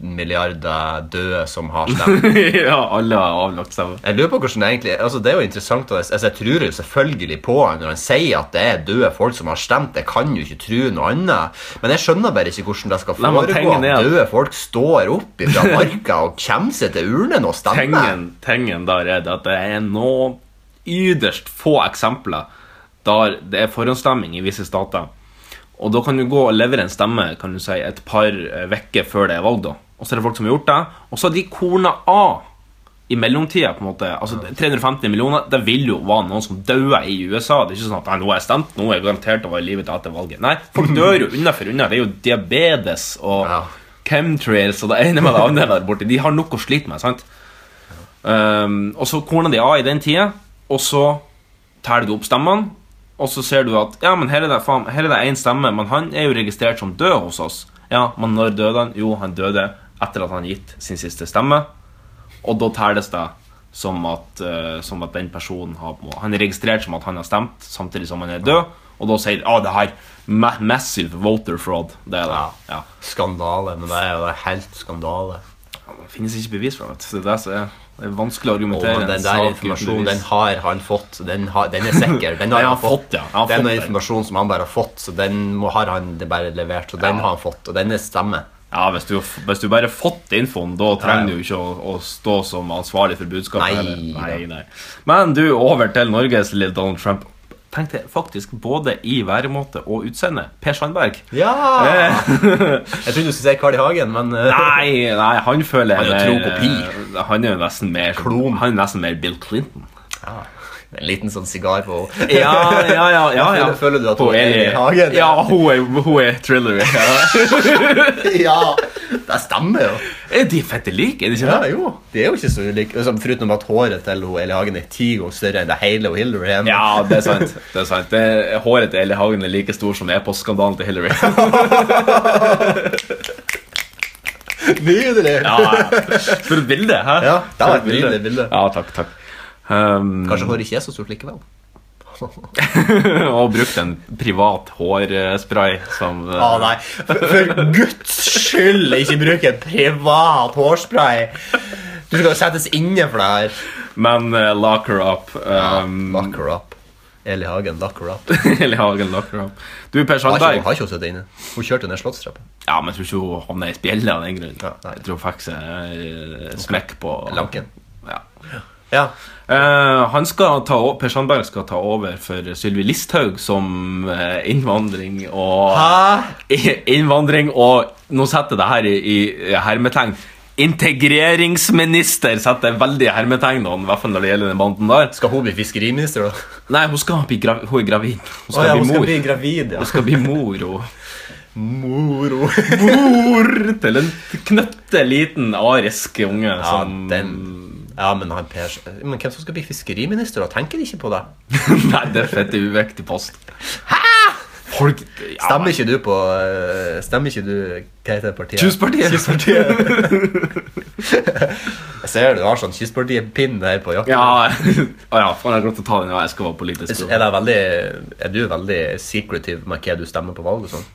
[SPEAKER 3] milliarder døde som har stemt.
[SPEAKER 2] *laughs* ja, alle har avlagt stemme.
[SPEAKER 3] Jeg lurer på hvordan det egentlig Altså, det er jo interessant. og jeg- Altså, jeg tror jo selvfølgelig på han når han sier at det er døde folk som har stemt. Jeg kan jo ikke tro noe annet. Men jeg skjønner bare ikke hvordan det skal
[SPEAKER 2] Nei, men
[SPEAKER 3] foregå.
[SPEAKER 2] tingen er
[SPEAKER 3] at
[SPEAKER 2] at-
[SPEAKER 3] Døde folk står opp fra marka og kommer seg til urnen og stemmer.
[SPEAKER 2] Tingen, tingen der er det at det er noen yderst få eksempler der det er forhåndsstemming i visse stater. Og da kan du gå og levere en stemme kan du si, et par uker før det er valg. da. Og så er det folk som har gjort det. Og så har de korna av i mellomtida. på en måte. Altså 350 millioner, det vil jo være noen som dauer i USA. Det er ikke sånn at «Nei, nå har jeg stemt, nå er jeg garantert å være i live til etter valget. Nei, folk dør jo unna for unna. Det er jo diabetes og
[SPEAKER 3] Ja.
[SPEAKER 2] chemtrails og det ene med det andre der borte. De har nok å slite med. sant? Um, og så korner de av i den tida, og så teller du opp stemmene. Og så ser du at ja, men her er det faen, her er det én stemme, men han er jo registrert som død hos oss. Ja, Men når døde han? Jo, han døde etter at han gitt sin siste stemme. Og da telles det som at, eh, som at den personen har på en måte- Han er registrert som at han har stemt, samtidig som han er død. Og da sier de ah, det her ma massive voter fraud. Det er det.
[SPEAKER 3] Ja.
[SPEAKER 2] Ja.
[SPEAKER 3] Skandale. Men det er jo helt skandale.
[SPEAKER 2] Det finnes ikke bevis for det. vet du. Det er det som er det er vanskelig å
[SPEAKER 3] Og
[SPEAKER 2] argumentere.
[SPEAKER 3] men
[SPEAKER 2] en
[SPEAKER 3] den
[SPEAKER 2] sak
[SPEAKER 3] der
[SPEAKER 2] uten
[SPEAKER 3] informasjonen,
[SPEAKER 2] bevis.
[SPEAKER 3] den har han fått. Den, har, den er sikker. Den
[SPEAKER 2] Den
[SPEAKER 3] har
[SPEAKER 2] har
[SPEAKER 3] han fått.
[SPEAKER 2] fått, ja. Han har
[SPEAKER 3] Den
[SPEAKER 2] fått
[SPEAKER 3] er
[SPEAKER 2] den.
[SPEAKER 3] informasjon som han bare har fått, så den må, har han det bare levert. Så den har han fått, og den er stemme.
[SPEAKER 2] Ja, hvis du, hvis du bare har fått infoen, da trenger
[SPEAKER 3] Ja, ja.
[SPEAKER 2] du ikke å, å stå som ansvarlig for budskapet.
[SPEAKER 3] Nei,
[SPEAKER 2] heller. nei, nei. Men du, over til Norges lille Donald Trump. Tenk det faktisk både i væremåte og utseende. Per Sandberg.
[SPEAKER 3] Ja!
[SPEAKER 2] Eh,
[SPEAKER 3] Jeg trodde du skulle si Carl I. Hagen, men eh,
[SPEAKER 2] nei, nei, han føler
[SPEAKER 3] Han er
[SPEAKER 2] mer-
[SPEAKER 3] jo tro kopi.
[SPEAKER 2] eh, Han er jo nesten mer
[SPEAKER 3] Klon.
[SPEAKER 2] Han er nesten mer Bill Clinton.
[SPEAKER 3] ja. En liten sånn sigar på
[SPEAKER 2] *laughs* Ja, ja, ja. ja, *laughs* ja.
[SPEAKER 3] Føler- føler du at hun er
[SPEAKER 2] i
[SPEAKER 3] i hagen?
[SPEAKER 2] Ja, hun er, hun er thriller. Ja.
[SPEAKER 3] *laughs* Ja, Det stemmer jo.
[SPEAKER 2] *laughs* Er de fette like, er de ikke
[SPEAKER 3] Ja,
[SPEAKER 2] det?
[SPEAKER 3] jo. Det er jo ikke så ulik. Liksom, Foruten at håret til hun Eli Hagen er ti ganger større enn det hele hun Hillary er. men-
[SPEAKER 2] Ja, det er sant. det er sant det, Håret til Ellie Hagen er like stor som e-postskandalen til Hillary.
[SPEAKER 3] *laughs* Nydelig!
[SPEAKER 2] Ja, ja. For et bilde, hæ?
[SPEAKER 3] Ja, det var et
[SPEAKER 2] For bilde.
[SPEAKER 3] nydelig bilde.
[SPEAKER 2] Ja, takk, takk.
[SPEAKER 3] *laughs*
[SPEAKER 2] Um,
[SPEAKER 3] Kanskje håret ikke er så stort *laughs* likevel.
[SPEAKER 2] og brukt en privat hårspray som eh,
[SPEAKER 3] Å nei, for, for guds skyld ikke bruk en privat hårspray! Du skal jo settes inne for det her.
[SPEAKER 2] Men eh, lock her up. Um,
[SPEAKER 3] Lock her up. Eli Hagen, lock her up.
[SPEAKER 2] *laughs* Ellie Hagen, lock her up. Du, Per
[SPEAKER 3] Har ikke,
[SPEAKER 2] Sandberg.
[SPEAKER 3] hun har ikke hun sittet inne? Hun kjørte ned Slottstrappa.
[SPEAKER 2] Ja, men jeg tror ikke hun havna i spjeldet av den grunn.
[SPEAKER 3] Ja, nei.
[SPEAKER 2] jeg tror hun fikk seg eh, smekk på
[SPEAKER 3] Lanken.
[SPEAKER 2] Ja.
[SPEAKER 3] Ja.
[SPEAKER 2] Eh, han skal ta o- Per Sandberg skal ta over for Sylvi Listhaug som eh, innvandring og
[SPEAKER 3] Hæ?
[SPEAKER 2] I- Innvandring og Nå setter jeg det her i, i hermetegn. Integreringsminister setter jeg veldig i hermetegn, nå, i hvert fall når det gjelder den banden der.
[SPEAKER 3] Skal hun bli fiskeriminister, da?
[SPEAKER 2] Nei, hun skal bli grav, hun er gravid. Hun skal
[SPEAKER 3] Å ja,
[SPEAKER 2] bli
[SPEAKER 3] hun skal
[SPEAKER 2] mor.
[SPEAKER 3] bli gravid, ja.
[SPEAKER 2] Hun skal bli mor og
[SPEAKER 3] Moro.
[SPEAKER 2] mor til en knøtte liten arisk unge
[SPEAKER 3] *laughs* Ja,
[SPEAKER 2] som *laughs*
[SPEAKER 3] den. Ja, men han Per Men hvem som skal bli fiskeriminister, da? Tenker de ikke på det?
[SPEAKER 2] Nei, det er fett uviktig post. Folk ja,
[SPEAKER 3] Stemmer ikke du på eh, Stemmer ikke du Hva heter det partiet?
[SPEAKER 2] Kystpartiet.
[SPEAKER 3] Jeg ser du har sånn Kystpartiet-pinn her på jakten.
[SPEAKER 2] *laughs* Ja, Å ja faen, jeg har glemt å ta den. Ja, jeg skal være politisk.
[SPEAKER 3] Er, det veldig, er du veldig secretive med hva du stemmer på valg og sånn?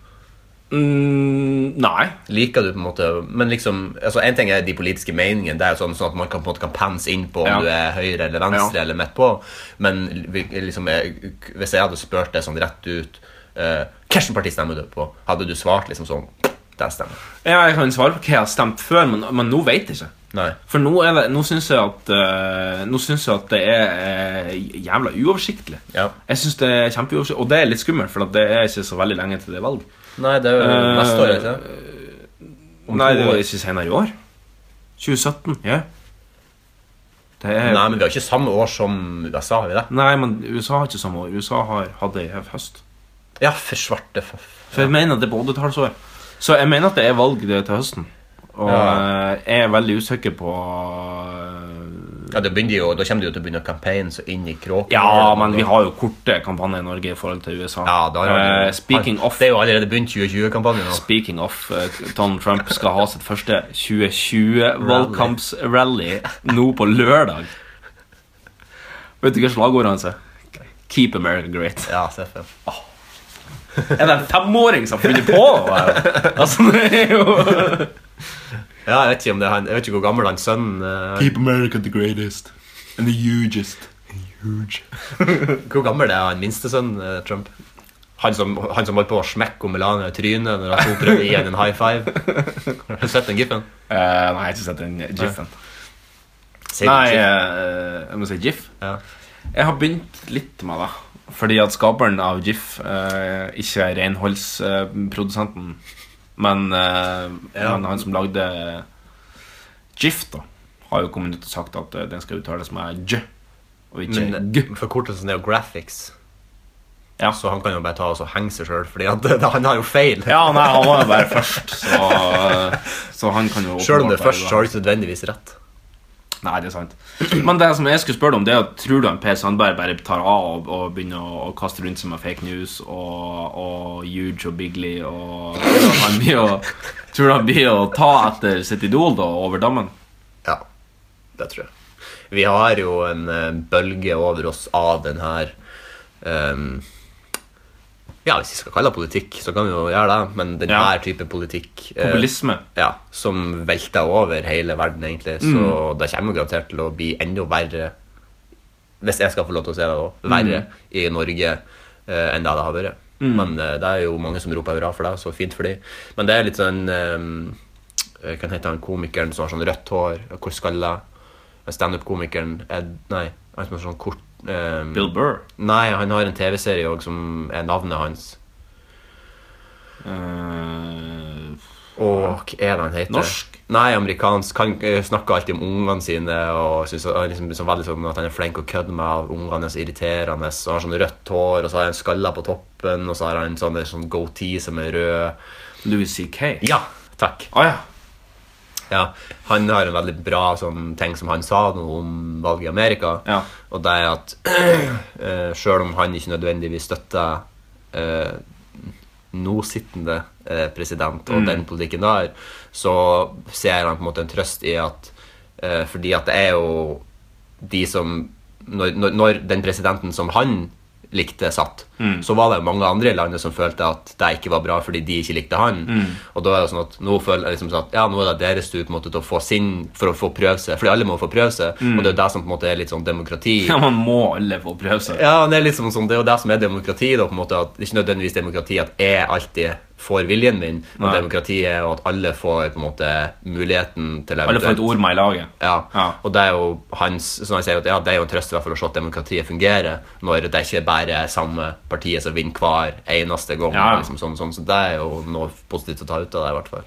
[SPEAKER 2] Mm, nei.
[SPEAKER 3] Liker du på en måte Men liksom altså En ting er de politiske meningene, det er jo sånn, sånn at man kan, på en måte kan pense inn på om
[SPEAKER 2] Ja.
[SPEAKER 3] du er høyre eller
[SPEAKER 2] Ja.
[SPEAKER 3] venstre eller midt på, men vi- liksom jeg, hvis jeg hadde spurt deg sånn rett ut uh, Hvilket parti stemmer du på? Hadde du svart liksom sånn Det stemmer.
[SPEAKER 2] Ja, jeg kan svare på hva jeg har stemt før, men, men nå vet jeg ikke.
[SPEAKER 3] Nei.
[SPEAKER 2] For nå, er det, nå syns jeg at eh, Nå synes jeg at det er eh, jævla uoversiktlig.
[SPEAKER 3] Ja.
[SPEAKER 2] Jeg synes det er kjempeuoversiktlig Og det er litt skummelt, for at det er ikke så veldig lenge til det er valg.
[SPEAKER 3] Nei, det er jo
[SPEAKER 2] Eh,
[SPEAKER 3] neste år, ikke Om
[SPEAKER 2] Nei,
[SPEAKER 3] to
[SPEAKER 2] det er
[SPEAKER 3] år.
[SPEAKER 2] jo ikke senere i år. 2017. Ja. Det er
[SPEAKER 3] Nei,
[SPEAKER 2] Nei.
[SPEAKER 3] men vi har ikke samme år som USA, har vi det?
[SPEAKER 2] men USA har ikke samme år. USA har hatt det i høst.
[SPEAKER 3] Ja, for svarte f...
[SPEAKER 2] For jeg mener at det er på 80-tallsår. Så jeg mener at det er valg det til høsten. Og
[SPEAKER 3] Ja.
[SPEAKER 2] eh, jeg er veldig usikker på eh,
[SPEAKER 3] Ja, da, begynner de jo, da kommer de jo til å begynne å campaign så inn i kråken.
[SPEAKER 2] Ja, men vi har jo korte kampanjer i Norge i forhold til USA.
[SPEAKER 3] Ja, da har
[SPEAKER 2] Eh,
[SPEAKER 3] han-
[SPEAKER 2] speaking
[SPEAKER 3] han-
[SPEAKER 2] of
[SPEAKER 3] Det er jo allerede begynt 2020-kampanjen nå.
[SPEAKER 2] Speaking of eh, Donald Trump skal ha sitt første 2020-valgkampsrally nå på lørdag. Vet du hva slagordet hans er? Keep America great.
[SPEAKER 3] Ja, CFM.
[SPEAKER 2] Er det en femåring som har funnet på det? her? *laughs* Altså, det er jo
[SPEAKER 3] Ja, jeg vet ikke om det er han Jeg vet ikke hvor gammel han sønnen eh,
[SPEAKER 6] Keep America the greatest and the hugest. Huge.
[SPEAKER 3] Hvor gammel er han minste sønnen eh, Trump? Han som, han som holdt på å smekke Melania i trynet når han prøvde å gi henne en high five. *laughs* Har du sett den giffen?
[SPEAKER 2] Eh, Nei, jeg har ikke sett den giffen.
[SPEAKER 3] Sier du
[SPEAKER 2] Nei,
[SPEAKER 3] ikke?
[SPEAKER 2] eh, jeg må si gif.
[SPEAKER 3] Ja.
[SPEAKER 2] Jeg har begynt litt med det. Fordi at skaperen av GIF eh, ikke er renholdsprodusenten, men, eh,
[SPEAKER 3] Ja.
[SPEAKER 2] men han som lagde GIF, da, har jo kommet ut og sagt at eh, den skal uttales med J, og ikke G.
[SPEAKER 3] Men eh, forkortelsen er jo graphics.
[SPEAKER 2] Ja.
[SPEAKER 3] Så han kan jo bare ta og så henge seg sjøl, Fordi at *laughs* han har jo feil.
[SPEAKER 2] Ja, nei, han var jo bare først, så, eh, så han kan jo
[SPEAKER 3] Sjøl om det er
[SPEAKER 2] åpenbart
[SPEAKER 3] først,
[SPEAKER 2] være-
[SPEAKER 3] så har du ikke nødvendigvis rett.
[SPEAKER 2] Nei, det er sant. Men det som jeg skulle spørre deg om, det er at tror du han Per Sandberg bare tar av og, og begynner å, å kaste rundt seg med fake news og, og huge og bigly og tror du han blir å, tror du han blir å ta etter sitt idol da, over dammen?
[SPEAKER 3] Ja, det tror jeg. Vi har jo en eh, bølge over oss av den her ehm, Ja, hvis vi skal kalle det politikk, så kan vi jo gjøre det, men den
[SPEAKER 2] Ja.
[SPEAKER 3] her type politikk eh,
[SPEAKER 2] Populisme.
[SPEAKER 3] ja, som velter over hele verden, egentlig. Så det kommer jo garantert til å bli enda verre, hvis jeg skal få lov til å si det òg, verre i Norge eh, enn det det har vært. Men eh, det er jo mange som roper hurra for det, så fint for de. Men det er litt sånn eh, Hva heter han komikeren som har sånn rødt hår, og hvor skalla? Standup-komikeren Ed Nei, han som har sånn kort eh,
[SPEAKER 2] Bill Burr.
[SPEAKER 3] Nei, han har en TV-serie òg som er navnet hans.
[SPEAKER 2] Eh,
[SPEAKER 3] Åh, hva er det han heter?
[SPEAKER 2] Norsk?
[SPEAKER 3] Nei, amerikansk. Han eh, snakker alltid om ungene sine og synes han er liksom, så veldig sånn at han er flink å kødde med. og Ungene er så irriterende. Og har sånn rødt hår, og så har han skaller på toppen, og så har han sånn, sånn goatee som er rød.
[SPEAKER 2] Louis C.K.
[SPEAKER 3] Ja, takk.
[SPEAKER 2] Å ja.
[SPEAKER 3] Ja, Han har en veldig bra sånn, ting som han sa noe om valget i Amerika.
[SPEAKER 2] Ja.
[SPEAKER 3] Og det er at *clears throat* eh, selv om han ikke nødvendigvis støtter eh, nåsittende eh, president og den politikken der, så ser han på en måte en trøst i at eh, Fordi at det er jo de som Når, når, når den presidenten som han likte, satt, så var det jo mange andre i landet som følte at det ikke var bra fordi de ikke likte han. Og da er det sånn at nå føler jeg liksom sånn at ja, nå er det deres tur på en måte til å få sin for å få prøve seg. Fordi alle må få prøve seg, og det er jo det som på en måte er litt sånn demokrati.
[SPEAKER 2] ja. Man må alle få prøve seg.
[SPEAKER 3] Ja, men det er liksom sånn, det er jo det som er demokrati, da, på en måte, at ikke nødvendigvis demokrati at jeg alltid får viljen min, men
[SPEAKER 2] Nei.
[SPEAKER 3] demokrati er jo at alle får på en måte muligheten til
[SPEAKER 2] Alle får et ord med i laget.
[SPEAKER 3] Ja.
[SPEAKER 2] Ja.
[SPEAKER 3] og det er jo hans, som han sier, at ja, det er jo en trøst i hvert fall å se at demokratiet fungerer, når det ikke bare er samme partiet som vinner hver eneste gang,
[SPEAKER 2] Ja, ja.
[SPEAKER 3] liksom sånn, sånn, så det er jo noe positivt å ta ut av det i hvert fall.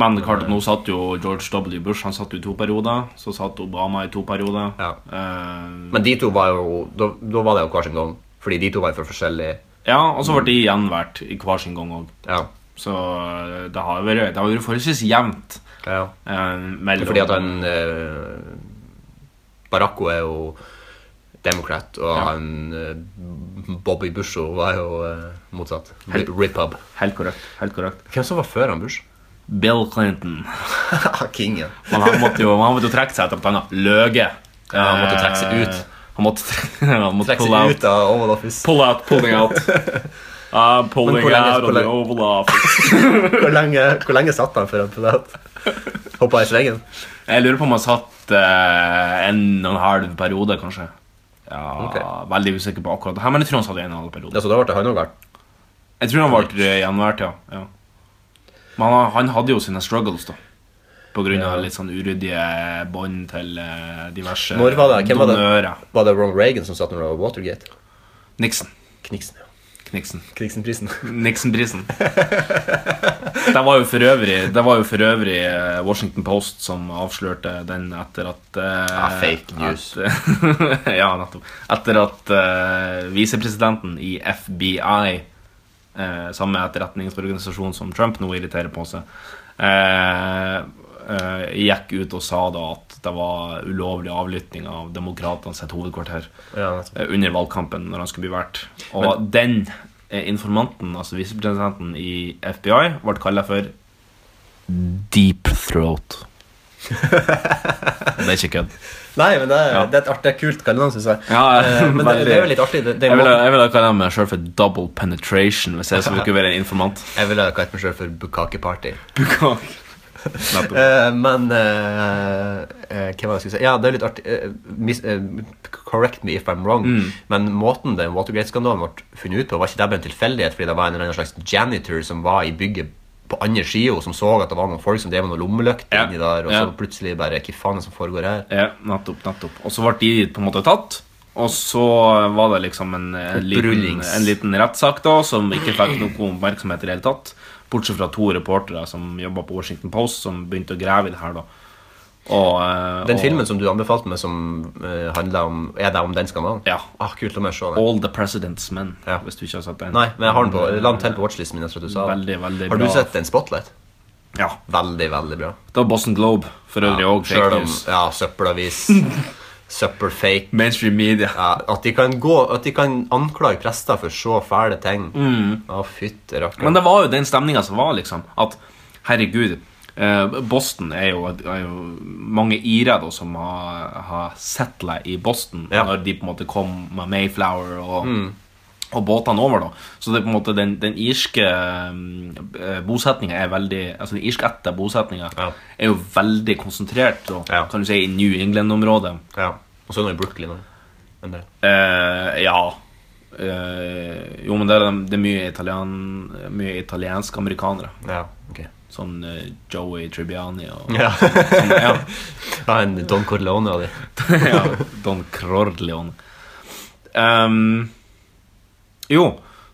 [SPEAKER 2] Men klart at nå satt jo George W. Bush han satt jo i to perioder. Så satt Obama i to perioder.
[SPEAKER 3] Ja.
[SPEAKER 2] Eh,
[SPEAKER 3] Men de to var jo, da, da var det jo hver sin gang, fordi de to var jo for forskjellige,
[SPEAKER 2] ja og så ble de gjenvalgt i hver sin gang òg.
[SPEAKER 3] ja,
[SPEAKER 2] Så eh, det har vært, det har vært forholdsvis jevnt.
[SPEAKER 3] ja.
[SPEAKER 2] Eh,
[SPEAKER 3] Det
[SPEAKER 2] mellom,
[SPEAKER 3] er Fordi at han eh, Baracco er jo Democrat, og han eh, Bobby Busho var jo eh, motsatt. Rip- Rip-hub.
[SPEAKER 2] Helt korrekt. helt korrekt
[SPEAKER 3] Hvem som var før han *laughs* Bush?
[SPEAKER 2] Bill Clinton.
[SPEAKER 3] Ah, Kingen.
[SPEAKER 2] Men han måtte jo, han måtte jo trekke seg etter at han har løyet.
[SPEAKER 3] Ja, han måtte trekke seg ut.
[SPEAKER 2] Eh, Han måtte, tre- *laughs* han måtte
[SPEAKER 3] Trekk
[SPEAKER 2] pull
[SPEAKER 3] seg
[SPEAKER 2] out.
[SPEAKER 3] ut av Oval Office.
[SPEAKER 2] Pull out, pulling *laughs* out. I'm
[SPEAKER 3] Men
[SPEAKER 2] pulling
[SPEAKER 3] hvor lenge-
[SPEAKER 2] out of
[SPEAKER 3] hvor
[SPEAKER 2] the
[SPEAKER 3] lenge-
[SPEAKER 2] Oval Office.
[SPEAKER 3] Hvor lenge, hvor lenge satt han før han pulla ut? Hoppa i slengen?
[SPEAKER 2] Jeg lurer på om han satt eh, en og en halv periode, kanskje. Ja,
[SPEAKER 3] Ok.
[SPEAKER 2] Veldig usikker på akkurat det her, men jeg tror han satt en og en halv periode.
[SPEAKER 3] Ja, så da ble det han òg vært.
[SPEAKER 2] Jeg tror han ble gjenvært, ja. ja. Men han, han hadde jo sine struggles, da. På grunn av litt sånn uryddige bånd til eh, diverse
[SPEAKER 3] Når var det? Hvem var det?
[SPEAKER 2] donører.
[SPEAKER 3] Var det Ronald Reagan som satt når det var Watergate?
[SPEAKER 2] Nixon.
[SPEAKER 3] Kniksen, ja.
[SPEAKER 2] Nixon.
[SPEAKER 3] Kniksenprisen.
[SPEAKER 2] Nixon-prisen. det var jo for øvrig, det var jo for øvrig eh, Washington Post som avslørte den etter at eh,
[SPEAKER 3] Ah, fake news.
[SPEAKER 2] At, *laughs* ja, nettopp. Etter at eh, visepresidenten i FBI, eh, samme etterretningsorganisasjon som Trump nå irriterer på seg, eh, eh, gikk ut og sa da at det var ulovlig avlytting av demokratenes hovedkvarter
[SPEAKER 3] *laughs* Ja, nettopp.
[SPEAKER 2] eh, under valgkampen når han skulle bli valgt. Og den eh, informanten, altså visepresidenten i FBI, ble kalla for Deep *laughs* Throat. det er ikke kødd.
[SPEAKER 3] Nei, men det, er-
[SPEAKER 2] Ja.
[SPEAKER 3] det er et artig, kult kallenavn, syns jeg.
[SPEAKER 2] Ja,
[SPEAKER 3] Eh, men det,
[SPEAKER 2] veldig.
[SPEAKER 3] det er jo litt artig. Det, det er
[SPEAKER 2] Jeg ville
[SPEAKER 3] måten-
[SPEAKER 2] jeg ville ha kalla meg sjøl for double penetration hvis jeg skulle være en informant.
[SPEAKER 3] Jeg ville ha kalt meg sjøl for Bukake-party.
[SPEAKER 2] *laughs* Nettopp.
[SPEAKER 3] Eh, men eh, eh, Hva var det jeg skulle si? Ja, det er litt artig eh, mis, eh, Correct me if I'm wrong,
[SPEAKER 2] Mm.
[SPEAKER 3] men måten den Watergate-skandalen ble funnet ut på, var ikke det bare en tilfeldighet, fordi det var en eller annen slags janitor som var i bygget på andre sida, som så at det var noen folk som drev med noen lommelykter
[SPEAKER 2] Ja.
[SPEAKER 3] inni der, og
[SPEAKER 2] Ja.
[SPEAKER 3] så plutselig bare Hva faen er det som foregår her?
[SPEAKER 2] Ja, nettopp, nettopp. Og så ble de på en måte tatt, Og så var det liksom en, en liten,
[SPEAKER 3] Opprullings.
[SPEAKER 2] en liten rettssak da, som ikke fikk noe oppmerksomhet i det hele tatt. Bortsett fra to reportere som jobba på Washington Post, som begynte å grave i det her. da. Og, eh,
[SPEAKER 3] Den
[SPEAKER 2] og
[SPEAKER 3] filmen som du anbefalte meg, som eh, handler om Er det om den skandalen?
[SPEAKER 2] Ja.
[SPEAKER 3] Ah, kult, la meg se den.
[SPEAKER 2] All the President's Men,
[SPEAKER 3] Ja.
[SPEAKER 2] hvis du ikke har sett den.
[SPEAKER 3] Nei, men jeg har den på La den til på watchlisten min. etter at du sa det.
[SPEAKER 2] Veldig, veldig
[SPEAKER 3] Har du
[SPEAKER 2] bra.
[SPEAKER 3] sett den Spotlight?
[SPEAKER 2] Ja,
[SPEAKER 3] Veldig, veldig bra.
[SPEAKER 2] Det var Boston Globe for øvrig òg.
[SPEAKER 3] selv
[SPEAKER 2] fake
[SPEAKER 3] om-
[SPEAKER 2] news.
[SPEAKER 3] Ja, søppelavis. Søppelfake.
[SPEAKER 2] Mainstream media.
[SPEAKER 3] Ja, at, de kan gå, at de kan anklage prester for så fæle ting. Å, fytti
[SPEAKER 2] Men
[SPEAKER 3] rakkeren.
[SPEAKER 2] det var jo den stemninga som var, liksom. At herregud eh, Boston er jo, er jo mange irer da, som har, har settlet i Boston
[SPEAKER 3] Ja. Mm.
[SPEAKER 2] når de på en måte kom med Mayflower og, og båtene over. da Så det er på en måte den, den irske eh, bosetninga er veldig Altså den irske etter bosetninga
[SPEAKER 3] Ja.
[SPEAKER 2] er jo veldig konsentrert da,
[SPEAKER 3] Ja.
[SPEAKER 2] kan du si, i New England-området.
[SPEAKER 3] Ja. Og så er det noe i Brooklyn òg. En del.
[SPEAKER 2] Eh, ja. Eh, jo, men det er, det er mye, italien, mye italienske amerikanere.
[SPEAKER 3] Ja, ok.
[SPEAKER 2] Sånn eh, Joey Tribbiani og
[SPEAKER 3] Ja.
[SPEAKER 2] sånn, ja.
[SPEAKER 3] ja, en Don Corleone av de.
[SPEAKER 2] ja. *laughs* Don Corleone. Ehm, jo,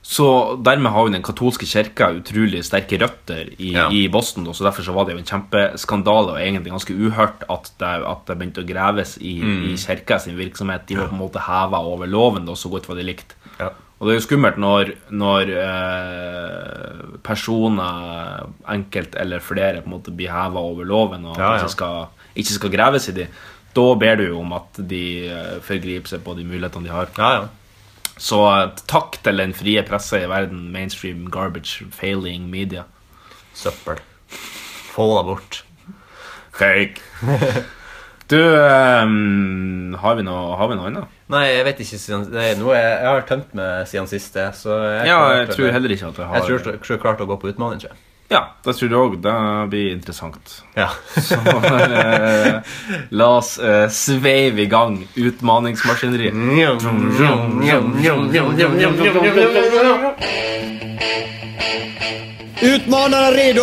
[SPEAKER 2] så dermed har jo den katolske kirka utrolig sterke røtter i,
[SPEAKER 3] Ja.
[SPEAKER 2] i Boston. da, Så Derfor så var det jo en kjempeskandale og egentlig ganske uhørt at det, at det begynte å graves i,
[SPEAKER 3] Mm.
[SPEAKER 2] i kirka sin virksomhet. De var på en måte heva over loven, da, så godt var de likt.
[SPEAKER 3] Ja.
[SPEAKER 2] Og det er jo skummelt når, når eh, personer, enkelt eller flere, på en måte blir heva over loven og
[SPEAKER 3] Ja, ja.
[SPEAKER 2] kanskje skal, ikke skal graves i de. Da ber du jo om at de eh, forgriper seg på de mulighetene de har.
[SPEAKER 3] Ja, ja.
[SPEAKER 2] Så eh, takk til den frie pressa i verden, mainstream garbage, failing media.
[SPEAKER 3] Søppel. Få deg bort. *laughs*
[SPEAKER 2] Fake. Du, eh, har vi noe, har vi noe annet?
[SPEAKER 3] Nei, jeg vet ikke siden Nei, nå er, Jeg har tømt meg siden sist, jeg, så jeg
[SPEAKER 2] Ja,
[SPEAKER 3] klarte
[SPEAKER 2] jeg
[SPEAKER 3] det.
[SPEAKER 2] tror heller ikke at vi har
[SPEAKER 3] Jeg tror jeg tror jeg klarte å gå på utmaning, tror jeg.
[SPEAKER 2] Ja, det tror jeg òg. Det blir interessant.
[SPEAKER 3] Ja.
[SPEAKER 2] Så eh, la oss eh, sveive i gang utmaningsmaskineriet.
[SPEAKER 7] Mm.
[SPEAKER 8] Utmanarna redo?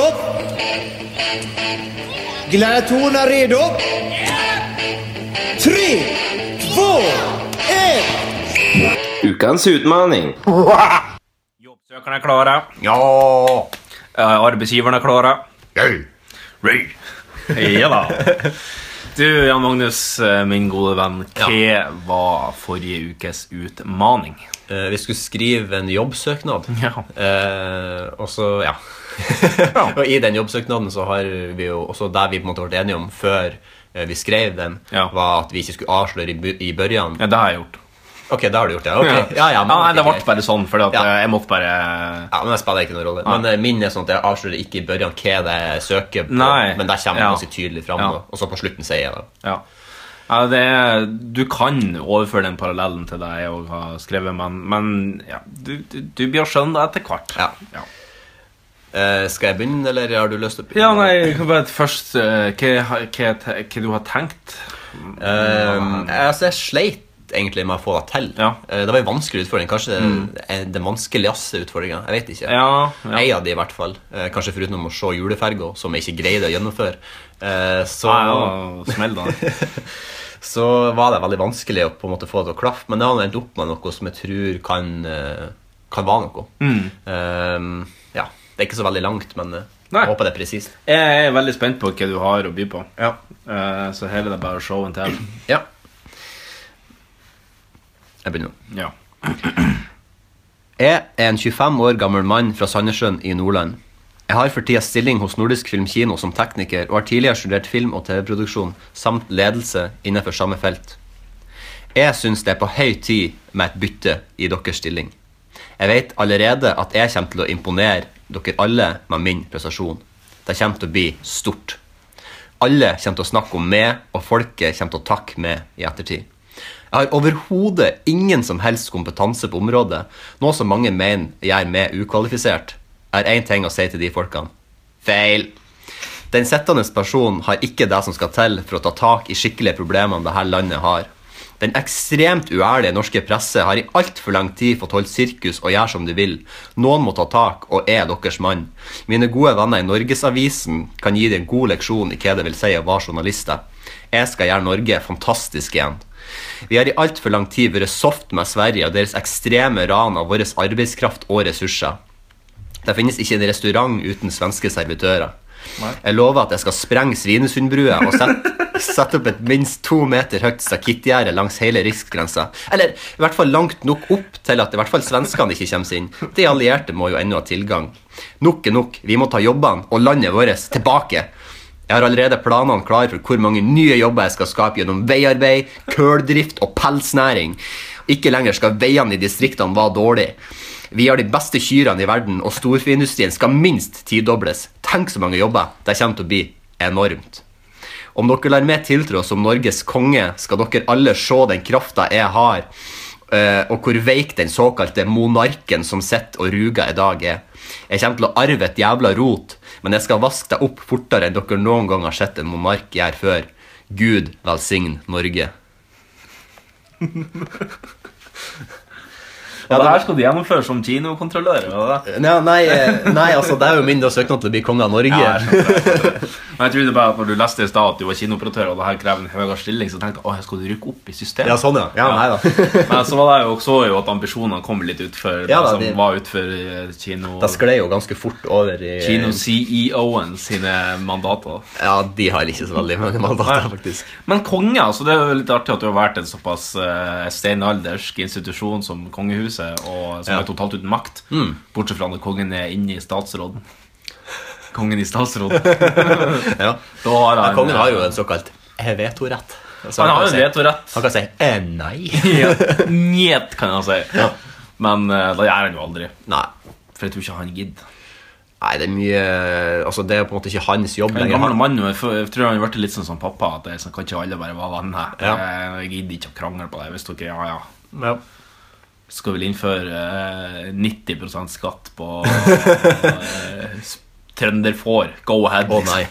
[SPEAKER 8] Gladiatorerna redo? Tre, två, ett!
[SPEAKER 7] Ukens utmaning.
[SPEAKER 2] Jobbsøkerne er klare.
[SPEAKER 3] ja.
[SPEAKER 2] Eh, arbeidsgiverne er klare.
[SPEAKER 3] Gøy.
[SPEAKER 2] Ja da.
[SPEAKER 3] *laughs*
[SPEAKER 2] Du, Jan Magnus, eh, min gode venn. Hva var forrige ukes utmaning?
[SPEAKER 3] Eh, vi skulle skrive en jobbsøknad.
[SPEAKER 2] Ja.
[SPEAKER 3] Eh, og så, ja. *laughs* og i den jobbsøknaden så har vi jo også det vi på en måte ble enige om før eh, vi skrev den,
[SPEAKER 2] Ja.
[SPEAKER 3] var at vi ikke skulle avsløre i, bu- i børjan.
[SPEAKER 2] Ja, det har jeg gjort.
[SPEAKER 3] Ok, da har du gjort det. Ok, Ja, ja, men,
[SPEAKER 2] nei, det
[SPEAKER 3] ok,
[SPEAKER 2] ble bare sånn, fordi at
[SPEAKER 3] Ja.
[SPEAKER 2] eh, jeg måtte bare
[SPEAKER 3] ja, men det spiller ikke noen rolle. Men eh, min er sånn at jeg avslører ikke i børjan hva det er jeg søker på,
[SPEAKER 2] Nei.
[SPEAKER 3] men det kommer
[SPEAKER 2] Ja.
[SPEAKER 3] ganske tydelig fram.
[SPEAKER 2] Ja.
[SPEAKER 3] da. Og så på slutten sier jeg det.
[SPEAKER 2] Ja. ja det er, du kan overføre den parallellen til det jeg òg har skrevet, men, men ja, du, du, du blir å skjønne det etter hvert.
[SPEAKER 3] Ja.
[SPEAKER 2] ja.
[SPEAKER 3] Eh, skal jeg begynne, eller har du lyst til å begynne?
[SPEAKER 2] Ja, nei, kan bare først eh, hva, hva, hva, hva du har tenkt?
[SPEAKER 3] Ehm, altså, jeg sleit egentlig med å få det til.
[SPEAKER 2] Ja. Mm.
[SPEAKER 3] Eh, det var en vanskelig utfordring. Kanskje den, den vanskeligste utfordringa. Jeg vet ikke.
[SPEAKER 2] Ja, ja.
[SPEAKER 3] En av de, i hvert fall. Eh, kanskje foruten om å se juleferga, som jeg ikke greide å gjennomføre. Eh, så,
[SPEAKER 2] Nei, Ah, ja, smell
[SPEAKER 3] *laughs*
[SPEAKER 2] da.
[SPEAKER 3] så var det veldig vanskelig å på en måte få det til å klaffe. Men det har nå endt opp med noe som jeg tror kan, eh, kan være noe.
[SPEAKER 2] Mm.
[SPEAKER 3] Ehm, ja. Det er ikke så veldig langt, men eh,
[SPEAKER 2] Nei.
[SPEAKER 3] jeg håper det er presist.
[SPEAKER 2] Jeg er veldig spent på hva du har å by på.
[SPEAKER 3] Ja.
[SPEAKER 2] Eh, så her er det bare showen til.
[SPEAKER 3] Ja. Jeg begynner nå.
[SPEAKER 2] Ja.
[SPEAKER 3] Jeg er en 25 år gammel mann fra Sandnessjøen i Nordland. Jeg har for tida stilling hos Nordisk Filmkino som tekniker, og har tidligere studert film- og TV-produksjon samt ledelse innenfor samme felt. Jeg syns det er på høy tid med et bytte i deres stilling. Jeg vet allerede at jeg kommer til å imponere dere alle med min prestasjon. Det kommer til å bli stort. Alle kommer til å snakke om meg, og folket kommer til å takke meg i ettertid. Jeg har overhodet ingen som helst kompetanse på området, noe som mange mener gjør meg ukvalifisert. Jeg har én ting å si til de folkene. Feil! Den sittende personen har ikke det som skal til for å ta tak i skikkelige problemene dette landet har. Den ekstremt uærlige norske presse har i altfor lang tid fått holdt sirkus og gjøre som de vil. Noen må ta tak, og jeg er deres mann. Mine gode venner i Norgesavisen kan gi deg en god leksjon i hva det vil si å være journalister. Jeg skal gjøre Norge fantastisk igjen. Vi har i altfor lang tid vært soft med Sverige og deres ekstreme ran av vår arbeidskraft og ressurser. Det finnes ikke en restaurant uten svenske servitører. Jeg lover at jeg skal sprenge Svinesundbrua og sette, *laughs* sette opp et minst to meter høyt sakittgjerde langs hele riksgrensa. Eller i hvert fall langt nok opp til at i hvert fall svenskene ikke kommer seg inn. De allierte må jo ennå ha tilgang. Nok er nok. Vi må ta jobbene og landet vårt tilbake. Jeg har allerede planene klare for hvor mange nye jobber jeg skal skape gjennom veiarbeid, køldrift og pelsnæring. Ikke lenger skal veiene i distriktene være dårlige. Vi har de beste kyrene i verden, og storfeindustrien skal minst tidobles. Tenk så mange jobber. Det kommer til å bli enormt. Om dere lar meg tiltrå som Norges konge, skal dere alle se den krafta jeg har, eh, og hvor veik den såkalte monarken som sitter og ruger i dag, er. Jeg kommer til å arve et jævla rot, men jeg skal vaske deg opp fortere enn dere noen gang har sett en monark gjøre før. Gud velsigne Norge.
[SPEAKER 2] Og det her skal du gjennomføre som kinokontrollør. eller det?
[SPEAKER 3] Nei, nei, eh, nei, altså, det er jo min da søknad til å bli konge av Norge.
[SPEAKER 2] Ja, jeg
[SPEAKER 3] sånn
[SPEAKER 2] skjønner det. *laughs* Men jeg trodde bare at når du leste i stad at du var kinooperatør, og det her krever en høyere stilling, så tenkte jeg å, jeg skal rykke opp i systemet.
[SPEAKER 3] Ja, sånn, ja. Ja, nei da.
[SPEAKER 2] *laughs* Men så var det jo, så jo at ambisjonene kom litt utfor
[SPEAKER 3] Ja,
[SPEAKER 2] det
[SPEAKER 3] da,
[SPEAKER 2] som
[SPEAKER 3] de-
[SPEAKER 2] var utfor eh, kino...
[SPEAKER 3] Det sklei jo ganske fort over i
[SPEAKER 2] Kino-CEO-en sine mandater.
[SPEAKER 3] Ja, de har ikke så veldig mange mandater, faktisk.
[SPEAKER 2] Men konge, altså, det er jo litt artig at du har vært en såpass eh, steinaldersk institusjon som kongehuset, og som
[SPEAKER 3] Ja. Mm.
[SPEAKER 2] er totalt uten makt, bortsett fra når kongen er inne i statsråden. Kongen i statsråden.
[SPEAKER 3] *laughs* Ja.
[SPEAKER 2] Da har han, eh,
[SPEAKER 3] Men kongen har jo en såkalt vetorett. Så
[SPEAKER 2] Han har jo
[SPEAKER 3] kan
[SPEAKER 2] en
[SPEAKER 3] si-
[SPEAKER 2] vetorett.
[SPEAKER 3] Han kan si eh,
[SPEAKER 2] *laughs*
[SPEAKER 3] nei.
[SPEAKER 2] Ja, Njet, kan jeg si. Men eh, det gjør han jo aldri.
[SPEAKER 3] nei.
[SPEAKER 2] For jeg tror ikke han gidder.
[SPEAKER 3] Nei, det er mye Altså, det er på en måte ikke hans jobb
[SPEAKER 2] En
[SPEAKER 3] lenger.
[SPEAKER 2] gammel
[SPEAKER 3] Han-
[SPEAKER 2] mann, og jeg f- jeg tror han har vært litt sånn som pappa. At det er sånn, Kan ikke alle bare være venner?
[SPEAKER 3] Ja.
[SPEAKER 2] Eh, Jeg gidder ikke å krangle på det. Hvis dere, ja, ja.
[SPEAKER 3] Ja.
[SPEAKER 2] Skal vel innføre eh, 90 skatt på eh, s- trønderfår. Go ahead.
[SPEAKER 3] Å nei.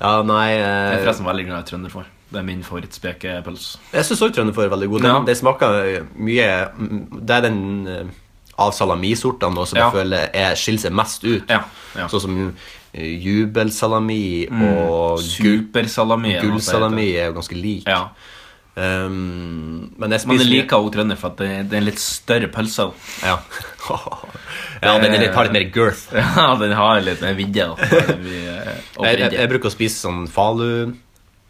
[SPEAKER 3] Ja, nei eh,
[SPEAKER 2] Jeg er forresten veldig glad i trønderfår. Det er min favorittspekepølse.
[SPEAKER 3] Jeg syns òg trønderfår er veldig god. Den,
[SPEAKER 2] Ja.
[SPEAKER 3] den smaker eh, mye mm, Det er den eh, av salamisortene da, som
[SPEAKER 2] Ja.
[SPEAKER 3] jeg føler er, skiller seg mest ut.
[SPEAKER 2] Ja, ja.
[SPEAKER 3] Sånn som eh, jubelsalami og gull-
[SPEAKER 2] Supersalami. eller noe sånt
[SPEAKER 3] gullsalami
[SPEAKER 2] heter det.
[SPEAKER 3] er jo ganske lik.
[SPEAKER 2] Ja.
[SPEAKER 3] Um, men jeg
[SPEAKER 2] Men
[SPEAKER 3] spiser
[SPEAKER 2] jeg liker også trønder, for at det, det er en litt større pølse.
[SPEAKER 3] *laughs* Ja, ja den er litt, har litt mer girth.
[SPEAKER 2] Ja, den har litt den *laughs* vidde. da. Den vi, eh,
[SPEAKER 3] Jeg, jeg, jeg
[SPEAKER 2] oppridder.
[SPEAKER 3] bruker å spise sånn falu.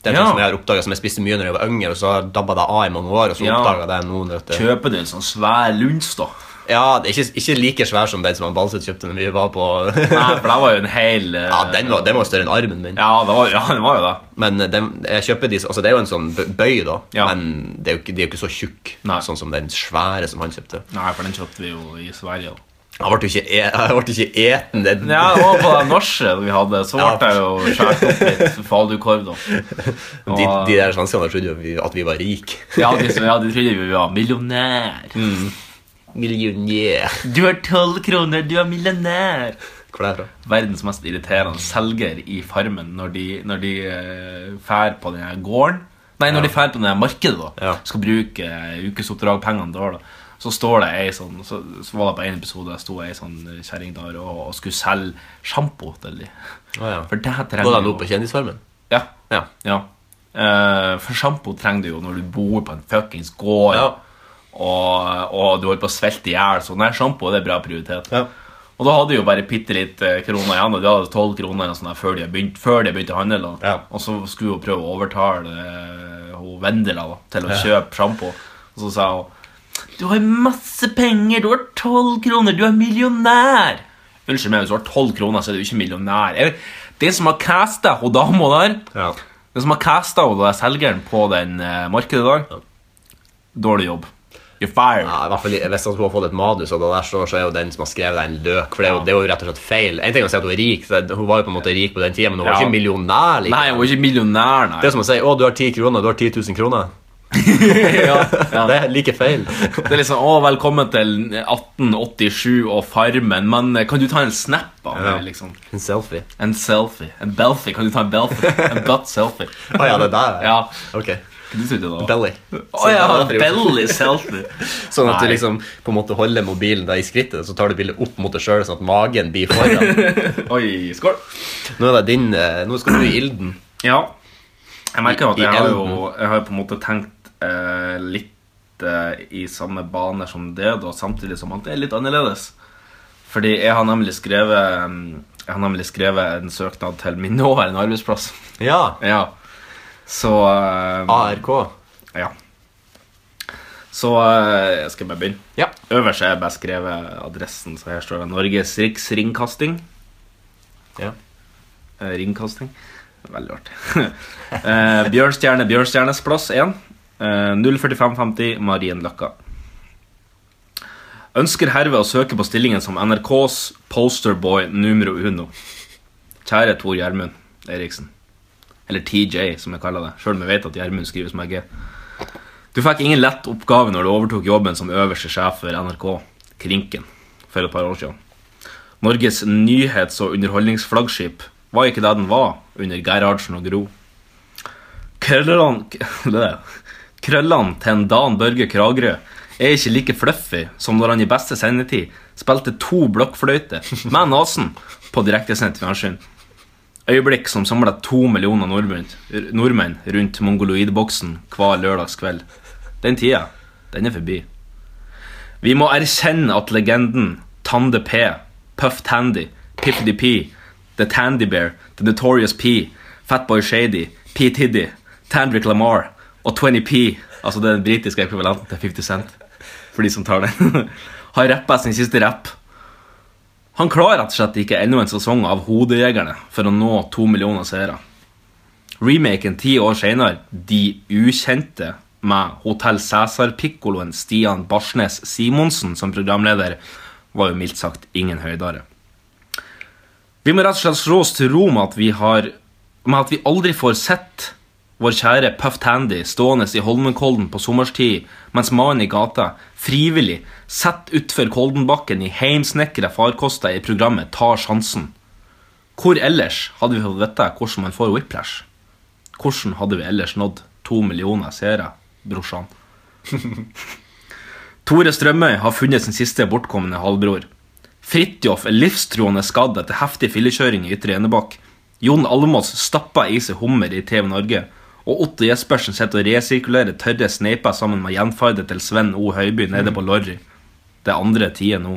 [SPEAKER 3] Det er
[SPEAKER 2] Ja.
[SPEAKER 3] noe som jeg har oppdaget som jeg spiste mye når jeg var yngre, og så har dabba det av i mange år. Og så
[SPEAKER 2] Ja.
[SPEAKER 3] oppdaget jeg nå vet du.
[SPEAKER 2] Kjøper du en sånn svær lunsj, da?
[SPEAKER 3] Ja, det er ikke, ikke like svær som den som han Balset kjøpte når vi var på
[SPEAKER 2] Nei, for det var jo en hel eh,
[SPEAKER 3] *laughs* Ja, den var, den var større enn armen min.
[SPEAKER 2] Ja, det var, ja, den var jo det.
[SPEAKER 3] Men eh, den, jeg kjøper de, altså det er jo en sånn bø- bøy, da.
[SPEAKER 2] Ja.
[SPEAKER 3] Men det er jo ikke, de er jo ikke så tjukk
[SPEAKER 2] Nei.
[SPEAKER 3] sånn som den svære som han kjøpte.
[SPEAKER 2] Nei, for den kjøpte vi jo i Sverige. da.
[SPEAKER 3] Han ble jo ikke, e *laughs* han ble ikke eten. Den.
[SPEAKER 2] Ja, og på det nachet vi hadde, så ble
[SPEAKER 3] Ja.
[SPEAKER 2] det jo skåret opp litt *laughs* falukorv, da. Og,
[SPEAKER 3] De, de der svenskene trodde jo vi- at vi var rike.
[SPEAKER 2] ja, de, som- ja, de trodde vi var millionær.
[SPEAKER 3] Millionær.
[SPEAKER 2] Du har tolv kroner, du er millionær.
[SPEAKER 3] Hvor er det fra?
[SPEAKER 2] Verdens mest irriterende selger i Farmen når de, når de eh, fær på denne gården Nei, når de fær på denne markedet, da.
[SPEAKER 3] Ja.
[SPEAKER 2] Skal bruke eh, ukesoppdragpengene til år, da. Så står det ei sånn Så, så var det på en episode der sto ei sånn kjerring der og, og skulle selge sjampo til de.
[SPEAKER 3] Å, ja.
[SPEAKER 2] For det trenger
[SPEAKER 3] Går det
[SPEAKER 2] du
[SPEAKER 3] nå
[SPEAKER 2] jo-
[SPEAKER 3] på Kjendisfarmen?
[SPEAKER 2] Ja.
[SPEAKER 3] Ja.
[SPEAKER 2] ja. Eh, for sjampo trenger du jo når du bor på en fuckings gård,
[SPEAKER 3] Ja.
[SPEAKER 2] og, og du holder på å svelte i hjel. Så nei, sjampo det er bra prioritet.
[SPEAKER 3] Ja.
[SPEAKER 2] Og da hadde de jo bare bitte litt eh, kroner igjen, og de hadde tolv kroner eller sånn der, før de begynte, før de begynte å handle. Da.
[SPEAKER 3] Ja.
[SPEAKER 2] Og så skulle hun prøve å overtale eh, hun Vendela da, til å kjøpe sjampo. Og så sa hun Du har masse penger, du har tolv kroner, du er millionær! Unnskyld meg, hvis du har tolv kroner, så er du ikke millionær. Er det- Det som har casta hun dama der
[SPEAKER 3] Ja.
[SPEAKER 2] Den som har casta hun der selgeren på den eh, markedet i dag, dårlig jobb. You're fired.
[SPEAKER 3] i hvert fall Hvis hun har fått et manus, og det der står, så er jo den som har skrevet det, en løk. For det er, jo, det er jo rett og slett feil. En ting er å si at hun er rik, så hun var jo på en måte rik på den tida, men hun var
[SPEAKER 2] Ja.
[SPEAKER 3] ikke millionær. Like.
[SPEAKER 2] Nei, hun er ikke millionær, nei.
[SPEAKER 3] Det er som å si 'Å, du har 10 kroner, du har 10 000 kroner'.
[SPEAKER 2] *laughs* ja, sånn- ja.
[SPEAKER 3] Det er like feil.
[SPEAKER 2] Det er liksom 'Å, velkommen til 1887 og Farmen', men eh, kan du ta en snap av meg?
[SPEAKER 3] Ja.
[SPEAKER 2] Liksom?
[SPEAKER 3] *laughs* En selfie.
[SPEAKER 2] En selfie. En belfie. Kan du ta en belfie? En butt *laughs* selfie.
[SPEAKER 3] Å ja, det der?
[SPEAKER 2] Ja.
[SPEAKER 3] Ok.
[SPEAKER 2] Hva du trodde du det var?
[SPEAKER 3] Belly.
[SPEAKER 2] Å ja, belly selfie.
[SPEAKER 3] Sånn at du
[SPEAKER 2] Nei.
[SPEAKER 3] liksom på en måte holder mobilen da i skrittet, så tar du bildet opp mot deg sjøl, sånn at magen blir *laughs* foran.
[SPEAKER 2] Oi, skål.
[SPEAKER 3] Nå er det din eh, Nå skal du i ilden.
[SPEAKER 2] Ja. Jeg merker jo at
[SPEAKER 3] I- i
[SPEAKER 2] jeg har
[SPEAKER 3] elden.
[SPEAKER 2] jo, jeg har jo på en måte tenkt eh, litt eh, i samme bane som det, da, samtidig som at det er litt annerledes. Fordi jeg har nemlig skrevet mm, Jeg har nemlig skrevet en søknad til min nåværende arbeidsplass.
[SPEAKER 3] Ja. Ah,
[SPEAKER 2] Ja. Så eh,
[SPEAKER 3] ARK.
[SPEAKER 2] Ja. Så eh, jeg skal bare begynne.
[SPEAKER 3] Ja.
[SPEAKER 2] Øverst er jeg bare skrevet adressen, så her står det Norges Riksringkasting.
[SPEAKER 3] Ja.
[SPEAKER 2] Eh, Ringkasting. Veldig artig. *laughs* eh, Bjørnstjerne, Bjørnstjernes plass 1. Eh, 04550 Marienløkka. Ønsker herved å søke på stillingen som NRKs posterboy numero uno. Kjære Tor Gjermund Eriksen. Eller TJ, som jeg kaller det, sjøl om jeg vet at Gjermund skrives med G. Du fikk ingen lett oppgave når du overtok jobben som øverste sjef for NRK, Krinken, for et par år siden. Norges nyhets- og underholdningsflaggskip var ikke det den var under Gerhardsen og Gro. Krøllene k- *laughs* Krøllene til en Dan Børge Kragerø er ikke like fluffy som når han i beste sendetid spilte to blokkfløyter med nesen på direktesendt fjernsyn. Øyeblikk som samla to millioner nordmenn, nordmenn rundt mongoloidboksen hver lørdagskveld. Den tida, den er forbi. Vi må erkjenne at legenden Tande P, Puff Tandy, Piffedy P, The Tandy Bear, The Notorious P, Fatboy Shady, P. Tiddy, Tandrick Lamar og 20P, altså det er den britiske ekvivalenten til 50 Cent, for de som tar den, *laughs* har rappa sin siste rapp. Han klarer rett og slett ikke enda en sesong av Hodejegerne for å nå to millioner seere. Remaken ti år senere, De ukjente, med Hotell Cæsar-pikkoloen Stian Barsnes Simonsen som programleder, var jo mildt sagt ingen høydere. Vi må rett og slett slå oss til ro med at vi, har, med at vi aldri får sett vår kjære Puff Tandy stående i Holmenkollen på sommerstid, mens mannen i gata frivillig setter utfor Koldenbakken i heimsnekra farkoster i programmet Tar sjansen. Hvor ellers hadde vi fått vite hvordan man får whiplash? Hvordan hadde vi ellers nådd to millioner seere, brorsan? Tore Strømøy har funnet sin siste bortkomne halvbror. Fridtjof er livstruende skadd etter heftig fillekjøring i Ytre Enebakk. Jon Almås stapper i seg hummer i TV Norge. Og Otto Jespersen sitter og resirkulerer tørre sneiper sammen med gjenferdet til Sven O. Høiby nede på Lorry. Det er andre tider nå.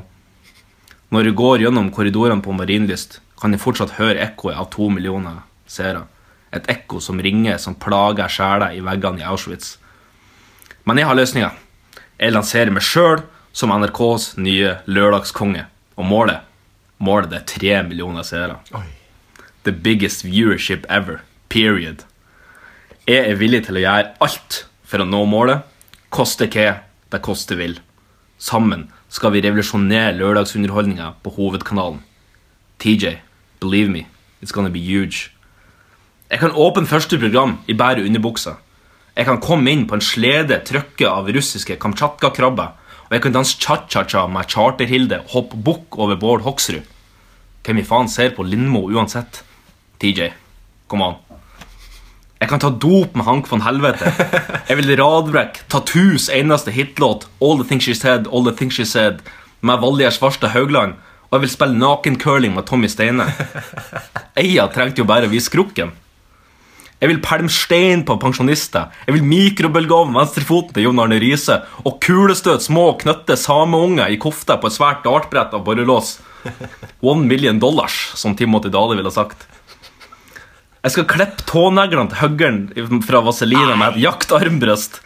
[SPEAKER 2] Når jeg går gjennom korridorene på Marienlyst, kan jeg fortsatt høre ekkoet av to millioner seere. Et ekko som ringer som plager sjela i veggene i Auschwitz. Men jeg har løsninga. Jeg lanserer meg sjøl som NRKs nye lørdagskonge. Og målet Målet det er tre millioner seere. The biggest viewership ever. Period. Jeg er villig til å gjøre alt for å nå målet. Koste hva det koste vil. Sammen skal vi revolusjonere lørdagsunderholdninga på hovedkanalen. TJ, believe me, it's gonna be huge. Jeg kan åpne første program i bare underbuksa. Jeg kan komme inn på en slede trøkket av russiske Kamtsjatka-krabber, og jeg kan danse cha-cha-cha med Charter-Hilde og hoppe bukk over Bård Hoksrud. Hvem i faen ser på Lindmo uansett? TJ, kom an. Jeg kan ta dop med Hank von Helvete. Jeg vil radbrekke Tattoos eneste hitlåt, All the things she said, all the things she said, med Valgerd Svarstad Haugland. Og jeg vil spille nakencurling med Tommy Steine. Eia trengte jo bare å vise krukken. Jeg vil pælme stein på pensjonister. Jeg vil mikrobølgeovn venstrefoten til Jon Arne Riise. Og kulestøt små, knøtte sameunger i kofta på et svært dartbrett av borrelås. One million dollars, som Timothy Dale ville sagt. Jeg skal klippe tåneglene til høggeren fra Vaselina med et jaktarmbrøst.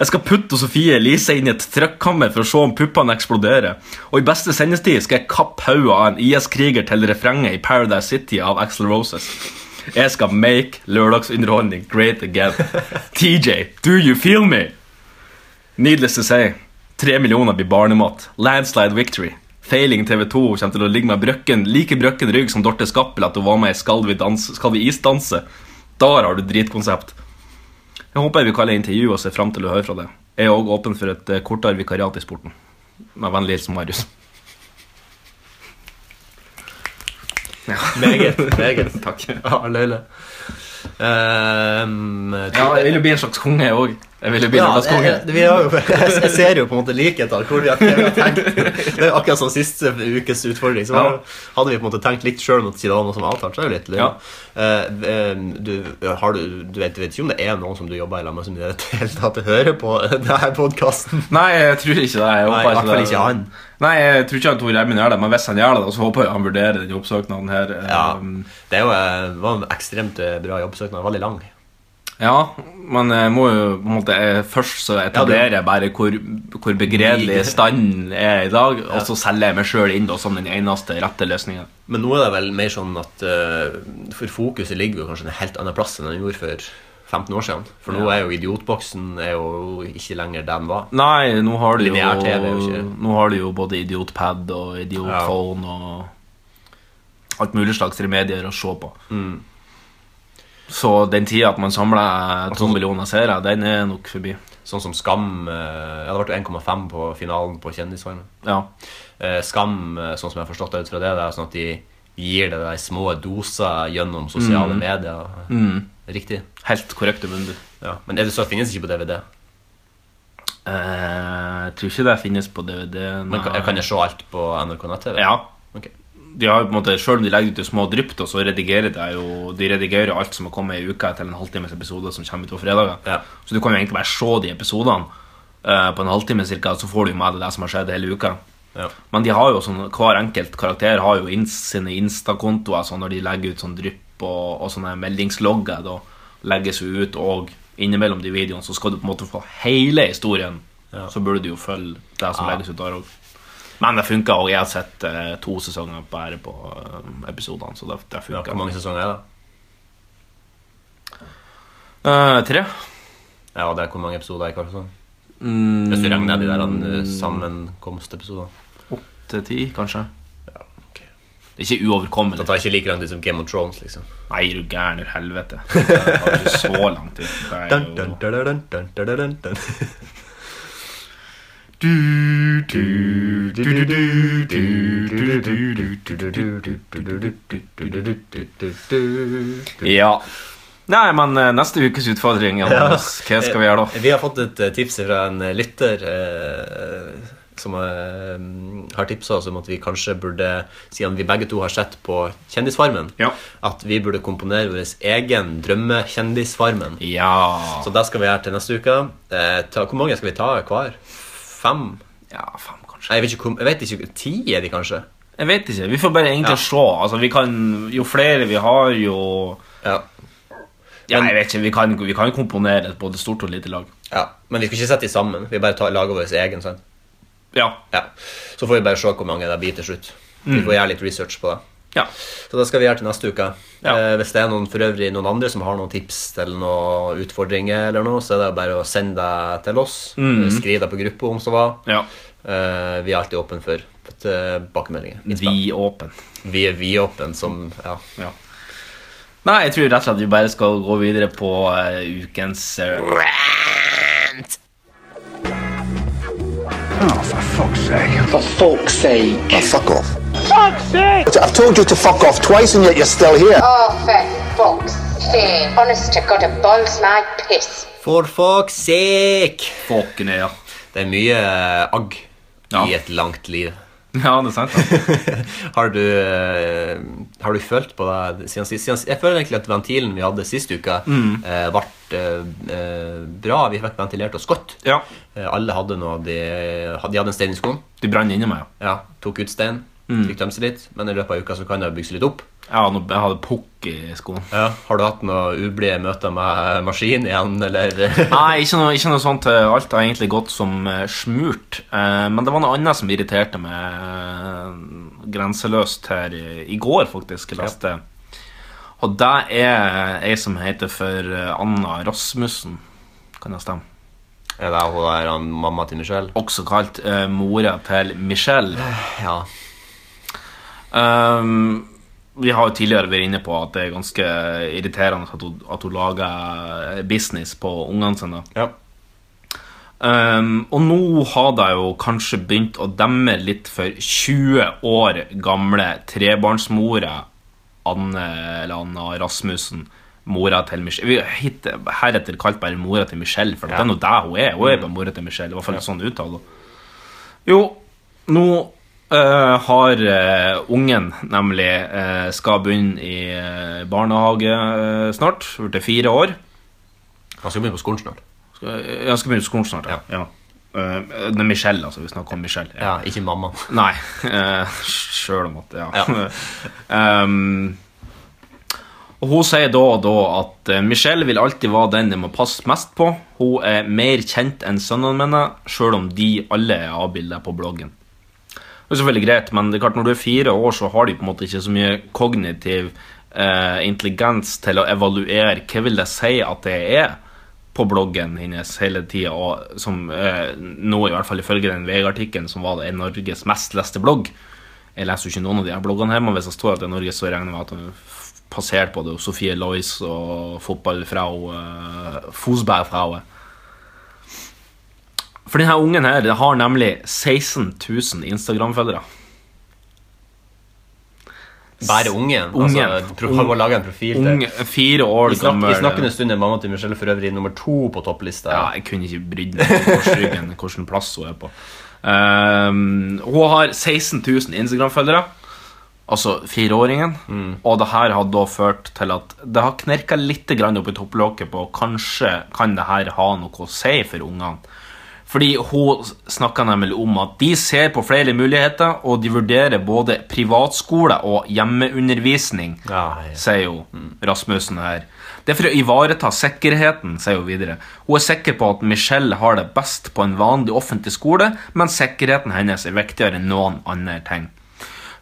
[SPEAKER 2] Jeg skal putte Sofie Elise inn i et trøkkammer for å se om puppene eksploderer. Og i beste sendestid skal jeg kappe hodet av en IS-kriger til refrenget i Paradise City av Axl Roses. Jeg skal make lørdagsunderholdning great again. *laughs* TJ, do you feel me? Needless to say, tre millioner blir barnemat. Landslide victory. Failing TV2 kommer til å ligge med brøkken, like brøkken rygg som Dorte Skappel at hun var med i Skal vi, danse, skal vi isdanse. Der har du dritkonsept. Jeg håper jeg vil kalle intervju og ser fram til å høre fra deg. Jeg er òg åpen for et eh, kortere vikariat i sporten. Med vennlig hilsen Marius. *laughs*
[SPEAKER 3] Meget.
[SPEAKER 2] *laughs*
[SPEAKER 3] Meget.
[SPEAKER 2] Takk.
[SPEAKER 3] Ja, løyle. Ehm,
[SPEAKER 2] Ehm, Ja, jeg vil jo bli en slags konge, jeg òg. Jeg ville begynne med
[SPEAKER 3] jeg,
[SPEAKER 2] Kongen.
[SPEAKER 3] jeg, eh, vi har jo, *laughs* jeg, jeg ser jo på en måte likheter. Hvor vi har, det vi har tenkt. *laughs* Det er jo akkurat som siste ukes utfordring. Så var,
[SPEAKER 2] Ja.
[SPEAKER 3] hadde vi på en måte tenkt likt sjøl, siden det var noe som var avtalt. Så er det jo litt løgn.
[SPEAKER 2] Ja.
[SPEAKER 3] Eh, eh, du, har du, du, vet, du vet ikke om det er noen som du jobber i lag med, som i det hele tatt hører på *laughs* denne podkasten?
[SPEAKER 2] Nei, jeg tror ikke det. Jeg
[SPEAKER 3] Nei, i
[SPEAKER 2] håper
[SPEAKER 3] hvert fall
[SPEAKER 2] det.
[SPEAKER 3] ikke han.
[SPEAKER 2] Nei, jeg tror ikke han Tor Emmin gjør det, men hvis han gjør det, så håper jeg han vurderer den jobbsøknaden her.
[SPEAKER 3] Ja.
[SPEAKER 2] Um,
[SPEAKER 3] Det er jo, eh, var en ekstremt eh, bra jobbsøknad. Veldig lang.
[SPEAKER 2] ja, men jeg må jo på en måte eh, Først så etablerer jeg bare hvor, hvor begredelig standen er i dag, og så selger jeg meg sjøl inn da, som den eneste rette løsninga.
[SPEAKER 3] Men nå er det vel mer sånn at eh, For fokuset ligger jo kanskje en helt annen plass enn den gjorde for 15 år siden. For nå er jo idiotboksen er jo ikke lenger det den var.
[SPEAKER 2] Nei, nå har du jo,
[SPEAKER 3] Lineær TV er jo ikke-
[SPEAKER 2] nå har du jo både idiotpad og idiotphone og alt mulig slags remedier å se på. Så den tida at man samler to millioner seere, den er nok forbi.
[SPEAKER 3] Sånn som Skam eh, ja, Det ble jo 1,5 på finalen på Kjendisfarmen.
[SPEAKER 2] Ja.
[SPEAKER 3] Eh, Skam, eh, sånn som jeg har forstått det ut fra det, det er sånn at de gir det de små doser gjennom sosiale medier. Riktig.
[SPEAKER 2] Helt korrekt umulig.
[SPEAKER 3] Ja. Men er det så finnes ikke på DVD?
[SPEAKER 2] Eh, jeg tror ikke det finnes på DVD.
[SPEAKER 3] Men kan, kan jeg se alt på NRK nett-TV?
[SPEAKER 2] Ja.
[SPEAKER 3] Ok.
[SPEAKER 2] De har jo på en måte, Selv om de legger ut i små drypp, da, så redigerer de jo De redigerer alt som har kommet i uka, til en halvtimes episode som kommer ut på fredager.
[SPEAKER 3] Ja.
[SPEAKER 2] Så du kan jo egentlig bare se de episodene eh, på en halvtime cirka, så får du jo med deg det som har skjedd hele uka.
[SPEAKER 3] Ja.
[SPEAKER 2] Men de har jo sånn, hver enkelt karakter har jo ins, sine Insta-kontoer sånn, når de legger ut sånn drypp og, og sånne meldingslogger. Da legges jo ut, og innimellom de videoene så skal du på en måte få hele historien. Så burde du jo følge det som legges ut der òg. Men det funka, og jeg har sett eh, to sesonger bare på eh, episodene. Så det, det
[SPEAKER 3] Ja,
[SPEAKER 2] funka.
[SPEAKER 3] hvor mange sesonger er det?
[SPEAKER 2] Eh, tre.
[SPEAKER 3] Ja, det er hvor mange episoder er det, Karlsson? Hvis du regner de der eh, sammenkomstepisodene.
[SPEAKER 2] Til ti, kanskje. Det er ikke uoverkommelig.
[SPEAKER 3] Det tar ikke like lang tid som Game of Thrones, liksom.
[SPEAKER 2] Nei, er du gæren ur helvete. Det tar ikke så lang tid. Det er
[SPEAKER 3] Dun,
[SPEAKER 2] jo-
[SPEAKER 3] dun, dun, dun, dun, dun, dun, dun.
[SPEAKER 2] Ja. Nei, men eh, neste ukes utfordring, Johannes, hva skal vi gjøre *laughs* da?
[SPEAKER 3] Vi har fått et eh, tips fra en eh, lytter eh, som eh, har tipsa oss om at vi kanskje burde, siden vi begge to har sett på Kjendisfarmen,
[SPEAKER 2] Ja.
[SPEAKER 3] at vi burde komponere vår egen drømmekjendisfarmen.
[SPEAKER 2] Ja.
[SPEAKER 3] Så det skal vi gjøre til neste uke. Eh, ta, hvor mange skal vi ta hver? Fem?
[SPEAKER 2] ja, fem kanskje.
[SPEAKER 3] Nei, jeg vet ikke, hvor- jeg vet ikke Ti er de kanskje?
[SPEAKER 2] Jeg vet ikke. Vi får bare egentlig
[SPEAKER 3] Ja.
[SPEAKER 2] se. Altså, vi kan, jo flere vi har, jo
[SPEAKER 3] Ja.
[SPEAKER 2] Ja, jeg vet ikke. Vi kan, vi kan komponere et både stort og lite lag.
[SPEAKER 3] ja. Men vi skal ikke sette de sammen. Vi bare tar, lager vår egen. sant?
[SPEAKER 2] Ja.
[SPEAKER 3] Ja. Så får vi bare se hvor mange det blir til slutt.
[SPEAKER 2] Mm.
[SPEAKER 3] Vi får gjøre litt research på det.
[SPEAKER 2] ja.
[SPEAKER 3] Så det skal vi gjøre til neste uke.
[SPEAKER 2] Ja.
[SPEAKER 3] Eh, hvis det er noen for øvrig noen andre som har noen tips til noen utfordringer, eller noe, så er det bare å sende det til oss. Eh, Skriv det på gruppa om så var.
[SPEAKER 2] Mm. ja.
[SPEAKER 3] Eh, vi er alltid åpne for tilbakemeldinger. Innspill.
[SPEAKER 2] Vi åpen.
[SPEAKER 3] Vi er vidåpne som Ja.
[SPEAKER 2] Ja. Nei, jeg tror rett og slett vi bare skal gå videre på eh, ukens eh,
[SPEAKER 9] For fuck's sake.
[SPEAKER 4] Now fuck off. Fuck's sake! I've told you to fuck off twice and yet you're still here.
[SPEAKER 10] Oh, for fuck's sake. Honest to God, it boils my piss.
[SPEAKER 3] For fuck's sake!
[SPEAKER 2] Fåken, ja. *laughs*
[SPEAKER 3] Det er mye eh, agg
[SPEAKER 2] Ja.
[SPEAKER 3] i et langt liv.
[SPEAKER 2] Ja, det er sant. da.
[SPEAKER 3] Har du, eh, har du følt på det siden sist? Siden, jeg føler egentlig at ventilen vi hadde sist uke, eh, ble eh, eh, bra. Vi fikk ventilert oss godt.
[SPEAKER 2] Ja.
[SPEAKER 3] Eh, alle hadde noe De, de hadde en stein i skoen.
[SPEAKER 2] De brann inni meg. ja.
[SPEAKER 3] Ja, tok ut stein. Fikk tømt seg litt. Men i løpet av uka så kan det bygge seg litt opp.
[SPEAKER 2] Jeg hadde, jeg hadde pukk i skoen.
[SPEAKER 3] Har du hatt noen ublide møter med *laughs* maskin igjen, *laughs* eller?
[SPEAKER 2] Nei, ikke noe, ikke noe sånt. eh, Alt har egentlig gått som eh, smurt. Eh, Men det var noe annet som irriterte meg eh, grenseløst her i i går, faktisk. Jeg leste. Og det er ei som heter for eh, Anna Rasmussen. Kan det stemme?
[SPEAKER 3] Er det hun der han, mamma til Michelle?
[SPEAKER 2] Også kalt eh, mora til Michelle.
[SPEAKER 3] Ja.
[SPEAKER 2] Ehm, vi har jo tidligere vært inne på at det er ganske irriterende at hun, at hun lager business på ungene sine.
[SPEAKER 3] ja.
[SPEAKER 2] Ehm, og nå har de jo kanskje begynt å demme litt for 20 år gamle trebarnsmora Anne eller Anna Rasmussen mora til Michelle Vi har hit- heretter kalt bare mora til Michelle, for det er nå der hun er. Hun er bare mora til Michelle. I hvert fall sånn uttale. Jo, nå eh, har eh, ungen nemlig eh, skal begynne i eh, barnehage eh, snart. Blitt fire år.
[SPEAKER 3] Han skal begynne på skolen snart.
[SPEAKER 2] Skal, Eh, jeg skal begynne på skolen snart. Ja. ja. Eh, det er Michelle, altså. Vi snakker om Michelle. Ja.
[SPEAKER 3] Ja, ikke mamma.
[SPEAKER 2] Nei. Uh, Sjøl om at Ja.
[SPEAKER 3] Ja.
[SPEAKER 2] *laughs* Ehm, og hun sier da og da at eh, Michelle vil alltid være den jeg må passe mest på. Hun er mer kjent enn sønnene mine, sjøl om de alle er avbilda på bloggen. Det er selvfølgelig greit, men det er klart når du er fire år, så har de på en måte ikke så mye kognitiv eh, intelligens til å evaluere hva vil det si at det er på bloggen hennes hele tida, og som eh, nå i hvert fall ifølge den VG-artikkelen som var det er Norges mest leste blogg. Jeg leser jo ikke noen av de her bloggene her, men hvis det står at det er Norge, så regner jeg med at han f- passerte både Sofie Lois og fotball fra henne, eh, fotball fra henne. For denne ungen her den har nemlig 16 000 Instagram-følgere.
[SPEAKER 3] Bare ungen.
[SPEAKER 2] Ungen.
[SPEAKER 3] Altså, pro- har hun laget en profil til?
[SPEAKER 2] Ung, fire
[SPEAKER 3] I,
[SPEAKER 2] år
[SPEAKER 3] snak,
[SPEAKER 2] gammel
[SPEAKER 3] I snakkende stund er mamma til Michelle for øvrig nummer to på topplista.
[SPEAKER 2] Ja, jeg kunne ikke brydd meg om korsryggen, *laughs* hvilken plass hun er på. Ehm, hun har 16 000 Instagram-følgere, altså fireåringen.
[SPEAKER 3] Mm.
[SPEAKER 2] Og det her har da ført til at det har knerka litt grann opp i topplokket på kanskje kan det her ha noe å si for ungene. Fordi hun snakka nemlig om at de ser på flere muligheter, og de vurderer både privatskole og hjemmeundervisning
[SPEAKER 3] Ja, ja.
[SPEAKER 2] sier jo Rasmussen her. Det er for å ivareta sikkerheten, sier hun videre. Hun er sikker på at Michelle har det best på en vanlig offentlig skole, men sikkerheten hennes er viktigere enn noen andre ting.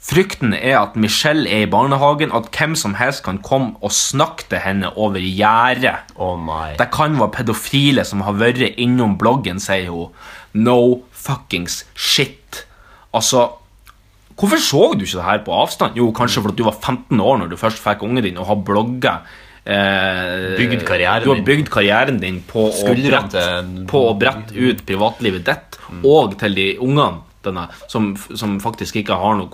[SPEAKER 2] Frykten er at Michelle er i barnehagen, at hvem som helst kan komme og snakke til henne over gjerdet.
[SPEAKER 3] Oh my.
[SPEAKER 2] Det kan være pedofile som har vært innom bloggen, sier hun. No fuckings shit. Altså, hvorfor så du ikke det her på avstand? Jo, kanskje fordi du var 15 år når du først fikk ungen din og har blogga. eh,
[SPEAKER 3] Bygd karrieren
[SPEAKER 2] du har
[SPEAKER 3] din.
[SPEAKER 2] bygd karrieren din på å
[SPEAKER 3] Skuldrene til
[SPEAKER 2] brette,
[SPEAKER 3] en-
[SPEAKER 2] på å brette ut privatlivet ditt
[SPEAKER 3] Mm.
[SPEAKER 2] og til de ungene denne, som, som faktisk ikke har noe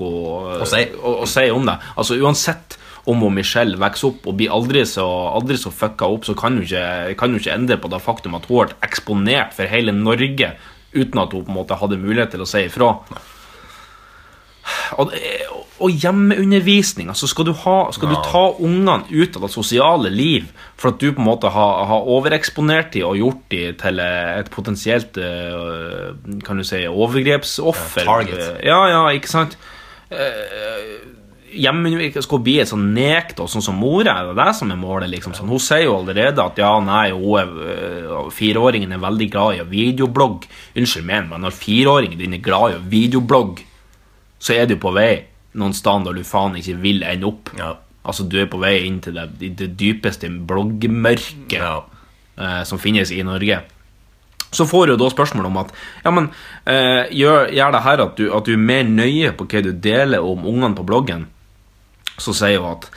[SPEAKER 2] eh,
[SPEAKER 3] Å si.
[SPEAKER 2] å, å si om det. Altså Uansett om hun Michelle vokser opp og blir aldri så, aldri så fucka opp, så kan hun, ikke, kan hun ikke endre på det faktum at hun ble eksponert for hele Norge uten at hun på en måte hadde mulighet til å si ifra. Og, og hjemmeundervisning. altså Skal du, ha, skal du ta ungene ut av det sosiale liv for at du på en måte har, har overeksponert dem og gjort dem til eh, et potensielt eh, kan du si, overgrepsoffer?
[SPEAKER 3] Ja, target.
[SPEAKER 2] Ja, ja, ikke sant? Eh, Hjemmeundervisning skal bli et sånn nekt og sånn som mora. Det er det som er målet. liksom. Sånn, hun sier jo allerede at ja, nei, hun er, eh, fireåringen er veldig glad i å videoblogg. Unnskyld meg, men når fireåringen din er glad i å videoblogg så er du på vei noen steder der du faen ikke vil ende opp.
[SPEAKER 3] Ja.
[SPEAKER 2] Altså, du er på vei inn til det, i det dypeste bloggmørket
[SPEAKER 3] Ja.
[SPEAKER 2] eh, som finnes i Norge. Så får du da spørsmål om at ja, men, eh, gjør, gjør det her at du, at du er mer nøye på hva du deler om ungene på bloggen. Så sier hun at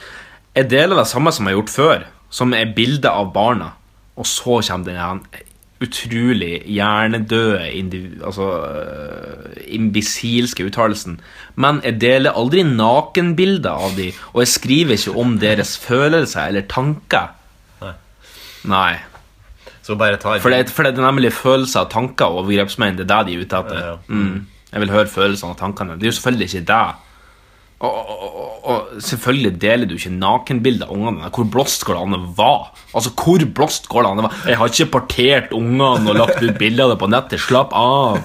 [SPEAKER 2] jeg deler det samme som jeg har gjort før, som er bilder av barna. Og så kommer den her utrolig hjernedøde, indiv- altså øh, imbisilske uttalelsen. Men jeg deler aldri nakenbilder av de, og jeg skriver ikke om deres følelser eller tanker. Nei.
[SPEAKER 3] Så bare ta en-
[SPEAKER 2] For det, for det er nemlig følelser og tanker og overgrepsmenn. Det er det de er ute etter.
[SPEAKER 3] Ja, ja.
[SPEAKER 2] Mm. Jeg vil høre følelsene og tankene. Det er jo selvfølgelig ikke deg. Og, og, og, og selvfølgelig deler du ikke nakenbilder av ungene. dine. Hvor blåst går det an å være? Altså, hvor blåst går det an å være? Jeg har ikke partert ungene og lagt ut bilder av det på nettet. Slapp av.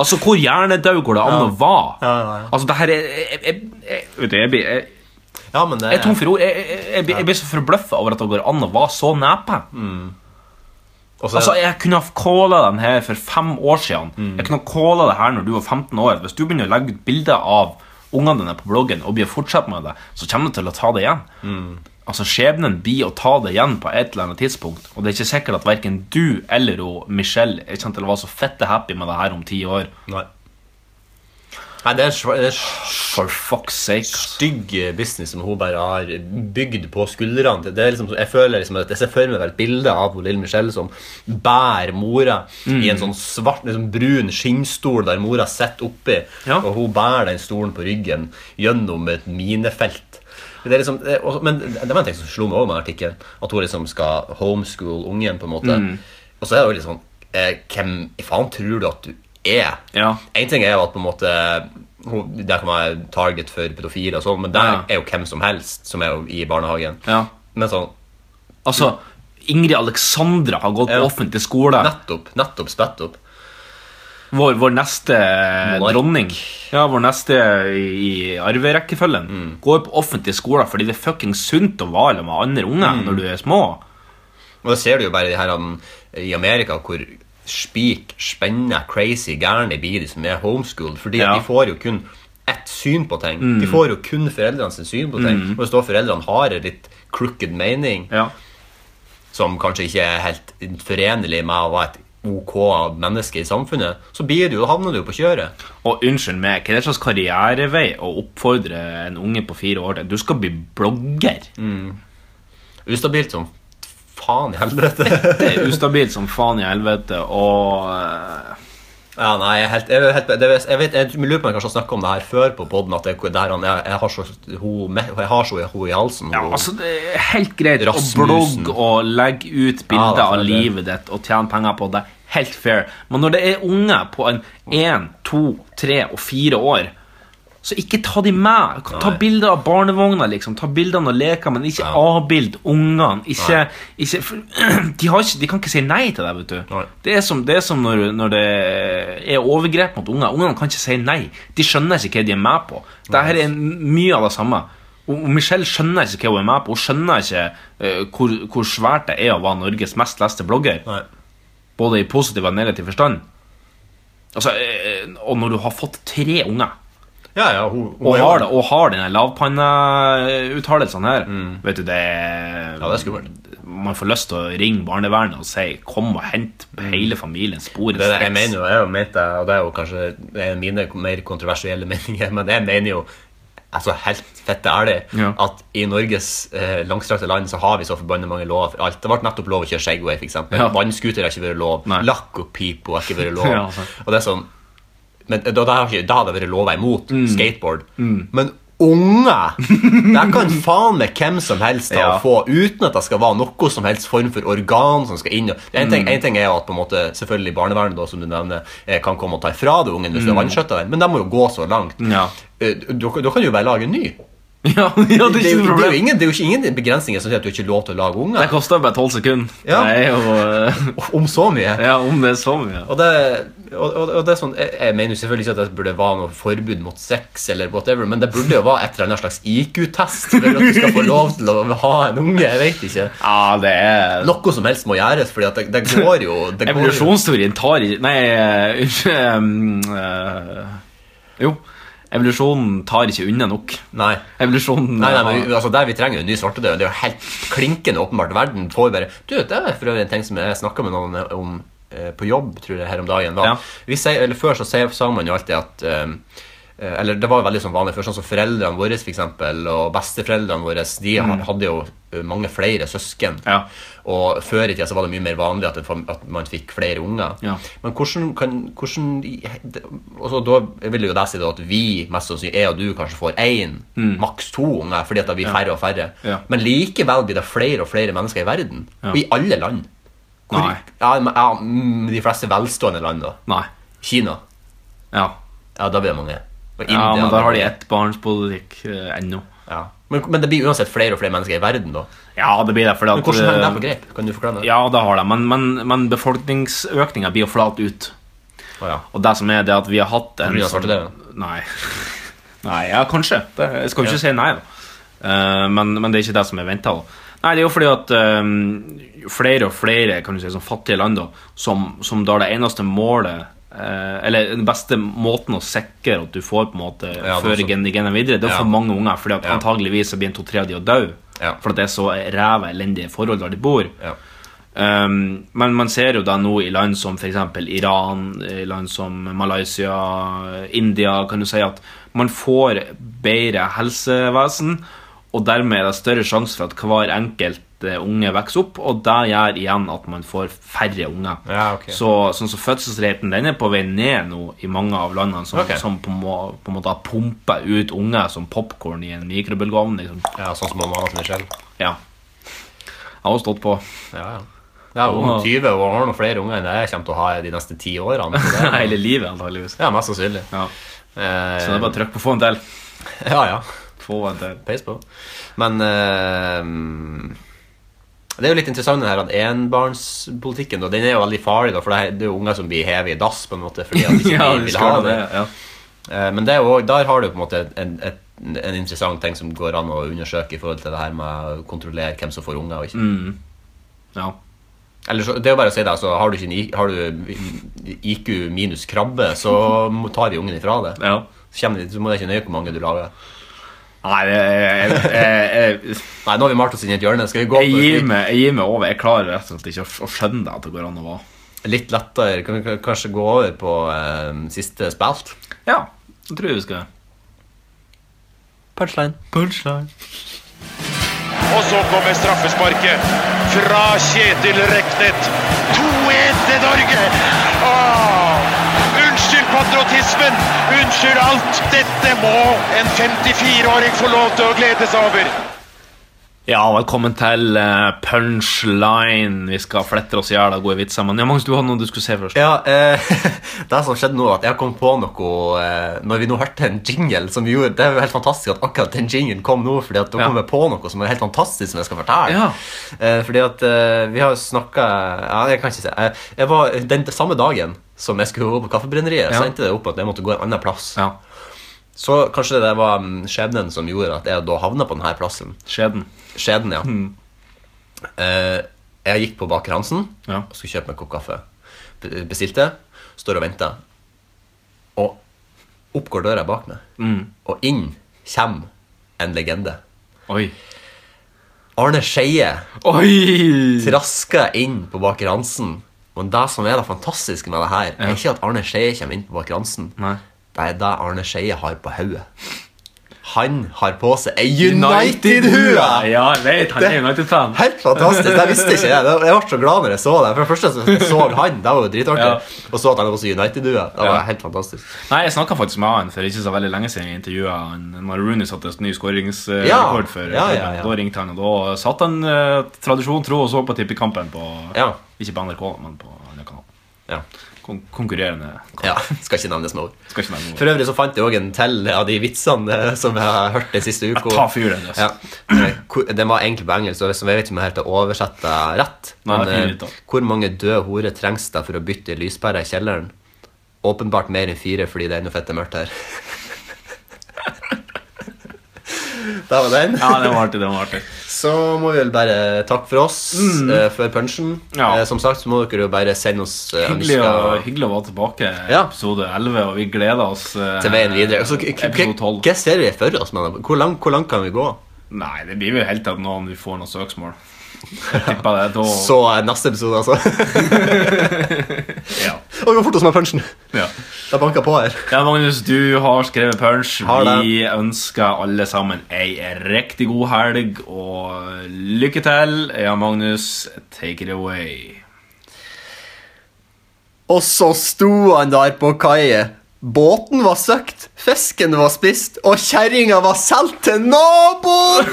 [SPEAKER 2] Altså, hvor hjernedau går det an å være?
[SPEAKER 3] Ja, ja, ja.
[SPEAKER 2] Altså, det her er jeg, jeg, jeg, vet du, jeg, blir- jeg,
[SPEAKER 3] Ja, men det
[SPEAKER 2] jeg er tom for ord. Jeg, jeg, jeg, blir- jeg blir så forbløffa over at det går an å være så nepe.
[SPEAKER 3] Og så-
[SPEAKER 2] Altså, Jeg kunne ha calla den her for fem år siden.
[SPEAKER 3] Mm.
[SPEAKER 2] Jeg kunne ha calla det her når du var 15 år. Hvis du begynner å legge ut bilder av ungene dine på bloggen og begynner å fortsette med det, så kommer du til å ta det igjen.
[SPEAKER 3] Mm.
[SPEAKER 2] Altså, Skjebnen blir å ta det igjen på et eller annet tidspunkt. Og det er ikke sikkert at verken du eller hun, Michelle jeg kommer til å være så fette happy med det her om ti år.
[SPEAKER 3] Nei. Nei, det er en sva- det er en
[SPEAKER 2] For fuck's sake. altså. ass.
[SPEAKER 3] stygg business som hun bare har bygd på skuldrene til. Det er liksom, jeg føler liksom at jeg ser for meg vel et bilde av hun lille Michelle som bærer mora i en
[SPEAKER 2] Mm.
[SPEAKER 3] sånn svart, liksom brun skinnstol der mora sitter oppi,
[SPEAKER 2] Ja.
[SPEAKER 3] og hun bærer den stolen på ryggen gjennom et minefelt. Det er liksom, det, er også- men det det var en ting som slo meg over med artikkelen. At hun liksom skal homeschool ungen, på en måte.
[SPEAKER 2] Mm.
[SPEAKER 3] Og så er det jo litt sånn eh, Hvem i faen tror du at du er?
[SPEAKER 2] Ja.
[SPEAKER 3] En ting er jo at på en måte hun- der kan være target for pedofile og sånn, men der
[SPEAKER 2] Ja.
[SPEAKER 3] er jo hvem som helst som er jo i barnehagen.
[SPEAKER 2] Ja.
[SPEAKER 3] Men sånn
[SPEAKER 2] Altså, Ingrid Alexandra har gått
[SPEAKER 3] Ja.
[SPEAKER 2] på offentlig skole.
[SPEAKER 3] nettopp, nettopp spett opp.
[SPEAKER 2] Vår, vår neste
[SPEAKER 3] Monark.
[SPEAKER 2] dronning. Ja, vår neste i, i arverekkefølgen. Går på offentlige skoler fordi det er fucking sunt å være sammen med andre unger når du er små.
[SPEAKER 3] Og det ser du jo bare i de her han, i Amerika hvor spik, spennende, crazy, gærne blir de som er homeschooled. Fordi at
[SPEAKER 2] Ja. Mm.
[SPEAKER 3] de får jo kun ett syn på ting. De får jo kun foreldrene sin syn på ting. Og hvis da foreldrene har en litt crooked mening
[SPEAKER 2] Ja.
[SPEAKER 3] som kanskje ikke er helt forenlig med å være et OK menneske i samfunnet, så blir du, da havner du jo på kjøret.
[SPEAKER 2] Og unnskyld meg, hva er det slags karrierevei å oppfordre en unge på fire år til? Du skal bli blogger.
[SPEAKER 3] Ustabilt som faen i helvete. *laughs*
[SPEAKER 2] Det er ustabilt som faen i helvete, og eh,
[SPEAKER 3] Ja, nei, jeg, er helt, jeg, er helt, det, jeg, vet, jeg lurer på om jeg kanskje har snakket om det her før på podden At det, der han, jeg, jeg har så hun, jeg har så hun i halsen.
[SPEAKER 2] Ja,
[SPEAKER 3] hun-
[SPEAKER 2] altså det er helt greit å
[SPEAKER 3] Rasmussen.
[SPEAKER 2] blogge og legge ut
[SPEAKER 3] Ja, det
[SPEAKER 2] bilder
[SPEAKER 3] er
[SPEAKER 2] av
[SPEAKER 3] det.
[SPEAKER 2] livet ditt og tjene penger på det. Helt fair. Men når det er unge på en én, to, tre og fire år så ikke ta de med. Ta
[SPEAKER 3] Nei.
[SPEAKER 2] bilder av barnevogna, liksom. Ta bilder av leker, men ikke
[SPEAKER 3] Ja.
[SPEAKER 2] avbild ungene. Ikke,
[SPEAKER 3] Nei.
[SPEAKER 2] ikke for, *clears throat* de, har ikke, de kan ikke si nei til deg, vet du.
[SPEAKER 3] Nei.
[SPEAKER 2] Det er som, det er som når, når det er overgrep mot unger. Ungene kan ikke si nei. De skjønner ikke hva de er med på. Dette er mye av det samme. Og og Michelle skjønner ikke hva hun er med på. Hun skjønner ikke eh, hvor, hvor svært det er å være Norges mest leste blogger.
[SPEAKER 3] Nei.
[SPEAKER 2] Både i positiv og negativ forstand. Altså, eh, og når du har fått tre unger
[SPEAKER 3] Ja, ja, hun, hun
[SPEAKER 2] og
[SPEAKER 3] er jo-
[SPEAKER 2] har, det, og har denne lavpanneuttalelsen her Vet du, det er,
[SPEAKER 3] Mm. Ja, det er skummelt.
[SPEAKER 2] Man får lyst til å ringe barnevernet og si 'kom og hent hele familien spor
[SPEAKER 3] Mm. Det, er det jeg mener jo, jeg har jo ment det, og det er jo kanskje det er mine mer kontroversielle *laughs* meninger, men jeg mener jo altså helt fette ærlig
[SPEAKER 2] Ja.
[SPEAKER 3] at i Norges eh, langstrakte land så har vi så forbanna mange lover for alt. Det ble nettopp lov å kjøre Segway, f.eks.
[SPEAKER 2] Ja.
[SPEAKER 3] eksempel Vannscooter har ikke vært lov.
[SPEAKER 2] Nei.
[SPEAKER 3] Lakkopipo har ikke vært
[SPEAKER 2] *laughs*
[SPEAKER 3] lov.
[SPEAKER 2] Ja, altså. sant.
[SPEAKER 3] og det er sånn men da, da, har ikke, da hadde det vært lov imot
[SPEAKER 2] Mm.
[SPEAKER 3] skateboard. Men unger! Der kan faen meg hvem som helst da
[SPEAKER 2] Ja.
[SPEAKER 3] få, uten at det skal være noe som helst form for organ som skal inn. og- En ting,
[SPEAKER 2] Mm.
[SPEAKER 3] en ting er jo at på en måte, selvfølgelig barnevernet da, som du nevner, eh, kan komme og ta ifra deg ungen hvis du har vanskjøtta den, men de må jo gå så langt.
[SPEAKER 2] Mm. Ja.
[SPEAKER 3] Eh, Da da kan du jo bare lage en ny.
[SPEAKER 2] *laughs* ja, ja, det
[SPEAKER 3] Det
[SPEAKER 2] er ikke
[SPEAKER 3] er, jo,
[SPEAKER 2] noe
[SPEAKER 3] det, er jo
[SPEAKER 2] problem.
[SPEAKER 3] ingen, det er jo ikke ingen begrensninger som sier at du ikke er lov til å lage unger.
[SPEAKER 2] Det koster bare tolv sekunder.
[SPEAKER 3] Ja.
[SPEAKER 2] Det er jo *laughs* eh,
[SPEAKER 3] Om så mye.
[SPEAKER 2] Ja, om det er så mye.
[SPEAKER 3] Og det, og, og, og det er sånn, jeg, jeg mener jo selvfølgelig ikke at det burde være noe forbud mot sex, eller whatever, men det burde jo være et eller annet slags IQ-test for at du skal få lov til å ha en unge. jeg vet ikke.
[SPEAKER 2] Ja, det er
[SPEAKER 3] Noe som helst må gjøres, fordi at det, det går jo det
[SPEAKER 2] *laughs*
[SPEAKER 3] går jo-
[SPEAKER 2] Evolusjonsteorien tar i- Nei, eh, *laughs* unnskyld em, eh, Jo. Evolusjonen tar ikke unna nok.
[SPEAKER 3] Nei.
[SPEAKER 2] Evolusjonen
[SPEAKER 3] Nei, nei,
[SPEAKER 2] har-
[SPEAKER 3] men altså der Vi trenger jo en ny svartedauden. Det er jo helt klinkende åpenbart. Verden får bare Du, Det er for øvrig en ting som jeg snakka med noen om eh, på jobb tror jeg, her om dagen. Var.
[SPEAKER 2] Ja.
[SPEAKER 3] Vi sier, eller Før så sier- sa man jo alltid at eh, eh, Eller det var jo veldig sånn vanlig før. Sånn som foreldrene våre for eksempel, og besteforeldrene våre de ha- hadde jo eh, mange flere søsken.
[SPEAKER 2] Ja.
[SPEAKER 3] Og før i tida så var det mye mer vanlig at, en fam- at man fikk flere unger.
[SPEAKER 2] Ja.
[SPEAKER 3] Men hvordan kan hvordan, i- det- og så Da vil jo jeg si da at vi, mest sannsynlig jeg og du, kanskje får én, maks to unger, fordi at det blir færre og færre.
[SPEAKER 2] Mm. Ja.
[SPEAKER 3] Men likevel blir det flere og flere mennesker i verden. Og i alle land.
[SPEAKER 2] Nei.
[SPEAKER 3] Ja, men- ja, mm, de fleste velstående land, da.
[SPEAKER 2] Nei.
[SPEAKER 3] Kina.
[SPEAKER 2] Ja.
[SPEAKER 3] Ja, da blir det mange. Og India.
[SPEAKER 2] Ja, men
[SPEAKER 3] da
[SPEAKER 2] der har de
[SPEAKER 3] blir-
[SPEAKER 2] ettbarnspolitikk eh, ennå.
[SPEAKER 3] Ja. Men, men det blir uansett flere og flere mennesker i verden, da.
[SPEAKER 2] Ja, det blir det. Fordi at, eh,
[SPEAKER 3] Men hvordan henger det på grep? Kan du forklare det?
[SPEAKER 2] Ja, det har det, men, men, men befolkningsøkninga blir jo flat ut.
[SPEAKER 3] Å, ja.
[SPEAKER 2] Og det som er det at vi har hatt en
[SPEAKER 3] På grunn av
[SPEAKER 2] sånn-
[SPEAKER 3] svartedauden?
[SPEAKER 2] Nei. *laughs* nei, ja, kanskje. Det, jeg skal jo ikke si nei, da. Eh, men, men det er ikke det som er venta. Nei, det er jo fordi at eh, flere og flere kan du si, sånn fattige land da, som, som da det eneste målet eh, Eller den beste måten å sikre at du får på en måte
[SPEAKER 3] Ja, det er
[SPEAKER 2] føre
[SPEAKER 3] så-
[SPEAKER 2] gen- genene videre, det er å
[SPEAKER 3] Ja.
[SPEAKER 2] få mange unger. Fordi at
[SPEAKER 3] Ja.
[SPEAKER 2] antageligvis så blir en to-tre av de å dø.
[SPEAKER 3] Ja.
[SPEAKER 2] For at det er så ræva elendige forhold der de bor.
[SPEAKER 3] Ja.
[SPEAKER 2] Um, men man ser jo da nå i land som f.eks. Iran, i land som Malaysia, India Kan du si at man får bedre helsevesen, og dermed er det større sjanse for at hver enkelt at eh, unge vokser opp, og det gjør igjen at man får færre unger.
[SPEAKER 3] Ja, ok.
[SPEAKER 2] Så sånn som fødselsraten den er på vei ned nå i mange av landene som,
[SPEAKER 3] Ok.
[SPEAKER 2] som på, må, på en måte har pumpet ut unger som popkorn i en mikrobølgeovn. Liksom.
[SPEAKER 3] Ja, sånn som mamma til Michelle.
[SPEAKER 2] Ja. Jeg har også stått
[SPEAKER 3] *laughs*
[SPEAKER 2] på.
[SPEAKER 3] Ja, ja. Ja, hun er 20 og har noen flere unger enn det jeg kommer til å ha de neste ti årene. så
[SPEAKER 2] *laughs*
[SPEAKER 3] det-
[SPEAKER 2] Hele livet, antageligvis.
[SPEAKER 3] Ja, mest sannsynlig.
[SPEAKER 2] Ja.
[SPEAKER 3] Eh,
[SPEAKER 2] Så det er bare å trykke på 'få en til'.
[SPEAKER 3] Ja, ja.
[SPEAKER 2] Få en til.
[SPEAKER 3] Peis på. Men eh, det er jo litt interessant den her at enbarnspolitikken. da, Den er jo veldig farlig, da, for det er- det er jo unger som blir hevet i dass på en måte fordi
[SPEAKER 2] *laughs*
[SPEAKER 3] at de
[SPEAKER 2] *laughs*
[SPEAKER 3] ikke
[SPEAKER 2] Ja,
[SPEAKER 3] vil-
[SPEAKER 2] du
[SPEAKER 3] vil
[SPEAKER 2] skal
[SPEAKER 3] ha
[SPEAKER 2] ha
[SPEAKER 3] det.
[SPEAKER 2] det. Ja.
[SPEAKER 3] Eh, Men det er jo, også- der har du på en måte en, et, en interessant ting som går an å undersøke i forhold til det her med å kontrollere hvem som får unger og ikke.
[SPEAKER 2] Mm. ja.
[SPEAKER 3] Eller så, det er jo bare å si det, så har du, ikke en, I- har du IQ minus krabbe, så må- tar vi ungen ifra det.
[SPEAKER 2] Ja.
[SPEAKER 3] Så, kommer, de- så må det ikke nøye hvor mange du lager.
[SPEAKER 2] Nei, jeg, jeg, jeg, jeg,
[SPEAKER 3] Nei, nå har vi malt oss inn i et hjørne. Skal vi gå
[SPEAKER 2] jeg, gir
[SPEAKER 3] på
[SPEAKER 2] meg, jeg gir meg over. Jeg klarer rett og slett ikke å, å skjønne at det går an å være.
[SPEAKER 3] litt lettere? Kan vi k- kanskje gå over på eh, siste spilt?
[SPEAKER 2] Ja, det tror jeg vi skal.
[SPEAKER 3] Punchline.
[SPEAKER 11] Og så kommer straffesparket fra Kjetil Reknet. 2-1 til Norge! Åh, unnskyld patriotismen! Unnskyld alt! Dette må en 54-åring få lov til å glede seg over.
[SPEAKER 2] Ja, velkommen til eh, punchline. Vi skal flette oss i hjel av gode vitser. Men ja, Magnus, du hadde noe du skulle se først.
[SPEAKER 3] Ja, eh, *laughs* det som skjedde nå er at jeg kom på noe eh, Når vi nå hørte en jingle som vi gjorde Det er jo helt fantastisk at akkurat den jinglen kom nå Fordi at da
[SPEAKER 2] Ja.
[SPEAKER 3] kom jeg på noe som er helt fantastisk Som jeg skal fortelle
[SPEAKER 2] Ja.
[SPEAKER 3] eh, Fordi at eh, vi har jo snakket ja, Jeg kan ikke si eh, Jeg var den samme dagen som jeg skulle gå på kaffebrenneriet
[SPEAKER 2] Ja.
[SPEAKER 3] Så endte det opp at jeg måtte gå en annen plass
[SPEAKER 2] Ja.
[SPEAKER 3] Så kanskje det var mm, skjebnen som gjorde at jeg da havnet på denne plassen
[SPEAKER 2] Skjeden.
[SPEAKER 3] Skjeden, ja.
[SPEAKER 2] Mm.
[SPEAKER 3] Eh, jeg gikk på Baker Hansen
[SPEAKER 2] Ja.
[SPEAKER 3] og skulle kjøpe meg en kopp kaffe. Be- Bestilte, står og venter. Og opp går døra bak meg,
[SPEAKER 2] Mm.
[SPEAKER 3] og inn kommer en legende.
[SPEAKER 2] Oi.
[SPEAKER 3] Arne Skeie
[SPEAKER 2] Oi!
[SPEAKER 3] trasker inn på Baker Hansen. Men det som er det fantastiske med det her, er ikke at Arne Skeie kommer inn på Baker Hansen.
[SPEAKER 2] Nei.
[SPEAKER 3] Det er det Arne Skeie har på hodet. Han har på seg ei United-hue!
[SPEAKER 2] Ja, jeg vet. Han er United-fan.
[SPEAKER 3] Helt fantastisk. Det visste ikke jeg. Det- Jeg ble så glad når jeg så det. For det første så jeg så han, det var jo dritartig.
[SPEAKER 2] Ja.
[SPEAKER 3] Og så at han var så United-due. Det var
[SPEAKER 2] Ja.
[SPEAKER 3] helt fantastisk.
[SPEAKER 2] Nei, jeg snakka faktisk med han for ikke så veldig lenge siden. Jeg intervjua han når Rooney satte ny skåringsrekord
[SPEAKER 3] Ja.
[SPEAKER 2] for
[SPEAKER 3] Ja, ja, ja.
[SPEAKER 2] Da ringte han, og da satt han eh, tradisjon tro og så på Tippekampen på
[SPEAKER 3] Ja.
[SPEAKER 2] Ikke på NRK, men på andre kanal.
[SPEAKER 3] Ja.
[SPEAKER 2] Kon konkurrerende kanal.
[SPEAKER 3] ja. Skal ikke nevnes med ord.
[SPEAKER 2] Skal ikke nevne
[SPEAKER 3] For
[SPEAKER 2] noe.
[SPEAKER 3] øvrig så fant jeg òg en til av de vitsene eh, som jeg har hørt den siste uka.
[SPEAKER 2] Ta fyr, den, altså.
[SPEAKER 3] Ja. Eh, hvor- Den var egentlig på engelsk, så jeg vet ikke om jeg helt har oversett det rett.
[SPEAKER 2] Nei, det er
[SPEAKER 3] eh,
[SPEAKER 2] fint litt, da.
[SPEAKER 3] hvor mange døde horer trengs det for å bytte lyspære i kjelleren? Åpenbart mer enn fire, fordi det er ennå fette mørkt her. *laughs* Der var den.
[SPEAKER 2] Ja, det var artig. det var artig
[SPEAKER 3] Så må vi vel bare takke for oss eh, før punchen.
[SPEAKER 2] Mm. Ja.
[SPEAKER 3] Eh, som sagt så må dere jo bare sende oss eh,
[SPEAKER 2] Hyggelig, å,
[SPEAKER 3] ønsker
[SPEAKER 2] hyggelig å være tilbake.
[SPEAKER 3] Ja.
[SPEAKER 2] Episode 11, og vi gleder oss eh,
[SPEAKER 3] til veien videre. Altså, k- k-
[SPEAKER 2] episode 12.
[SPEAKER 3] hva ser vi for oss? mann? Hvor langt hvor langt kan vi gå?
[SPEAKER 2] Nei, det blir vel helt til at noen vi får noe
[SPEAKER 3] *laughs*
[SPEAKER 2] søksmål. Jeg tipper det. Da
[SPEAKER 3] Så eh, neste episode, altså. *laughs*
[SPEAKER 2] ja.
[SPEAKER 3] Å, gå fort oss med punchen!
[SPEAKER 2] ja.
[SPEAKER 3] Det banker på her.
[SPEAKER 2] Ja, Magnus, du har skrevet punch.
[SPEAKER 3] Har det.
[SPEAKER 2] Vi ønsker alle sammen ei riktig god helg, og lykke til. Ja, Magnus, take it away.
[SPEAKER 3] Og så sto han der på kaie. Båten var søkt, fisken var spist, og kjerringa var solgt til naboen!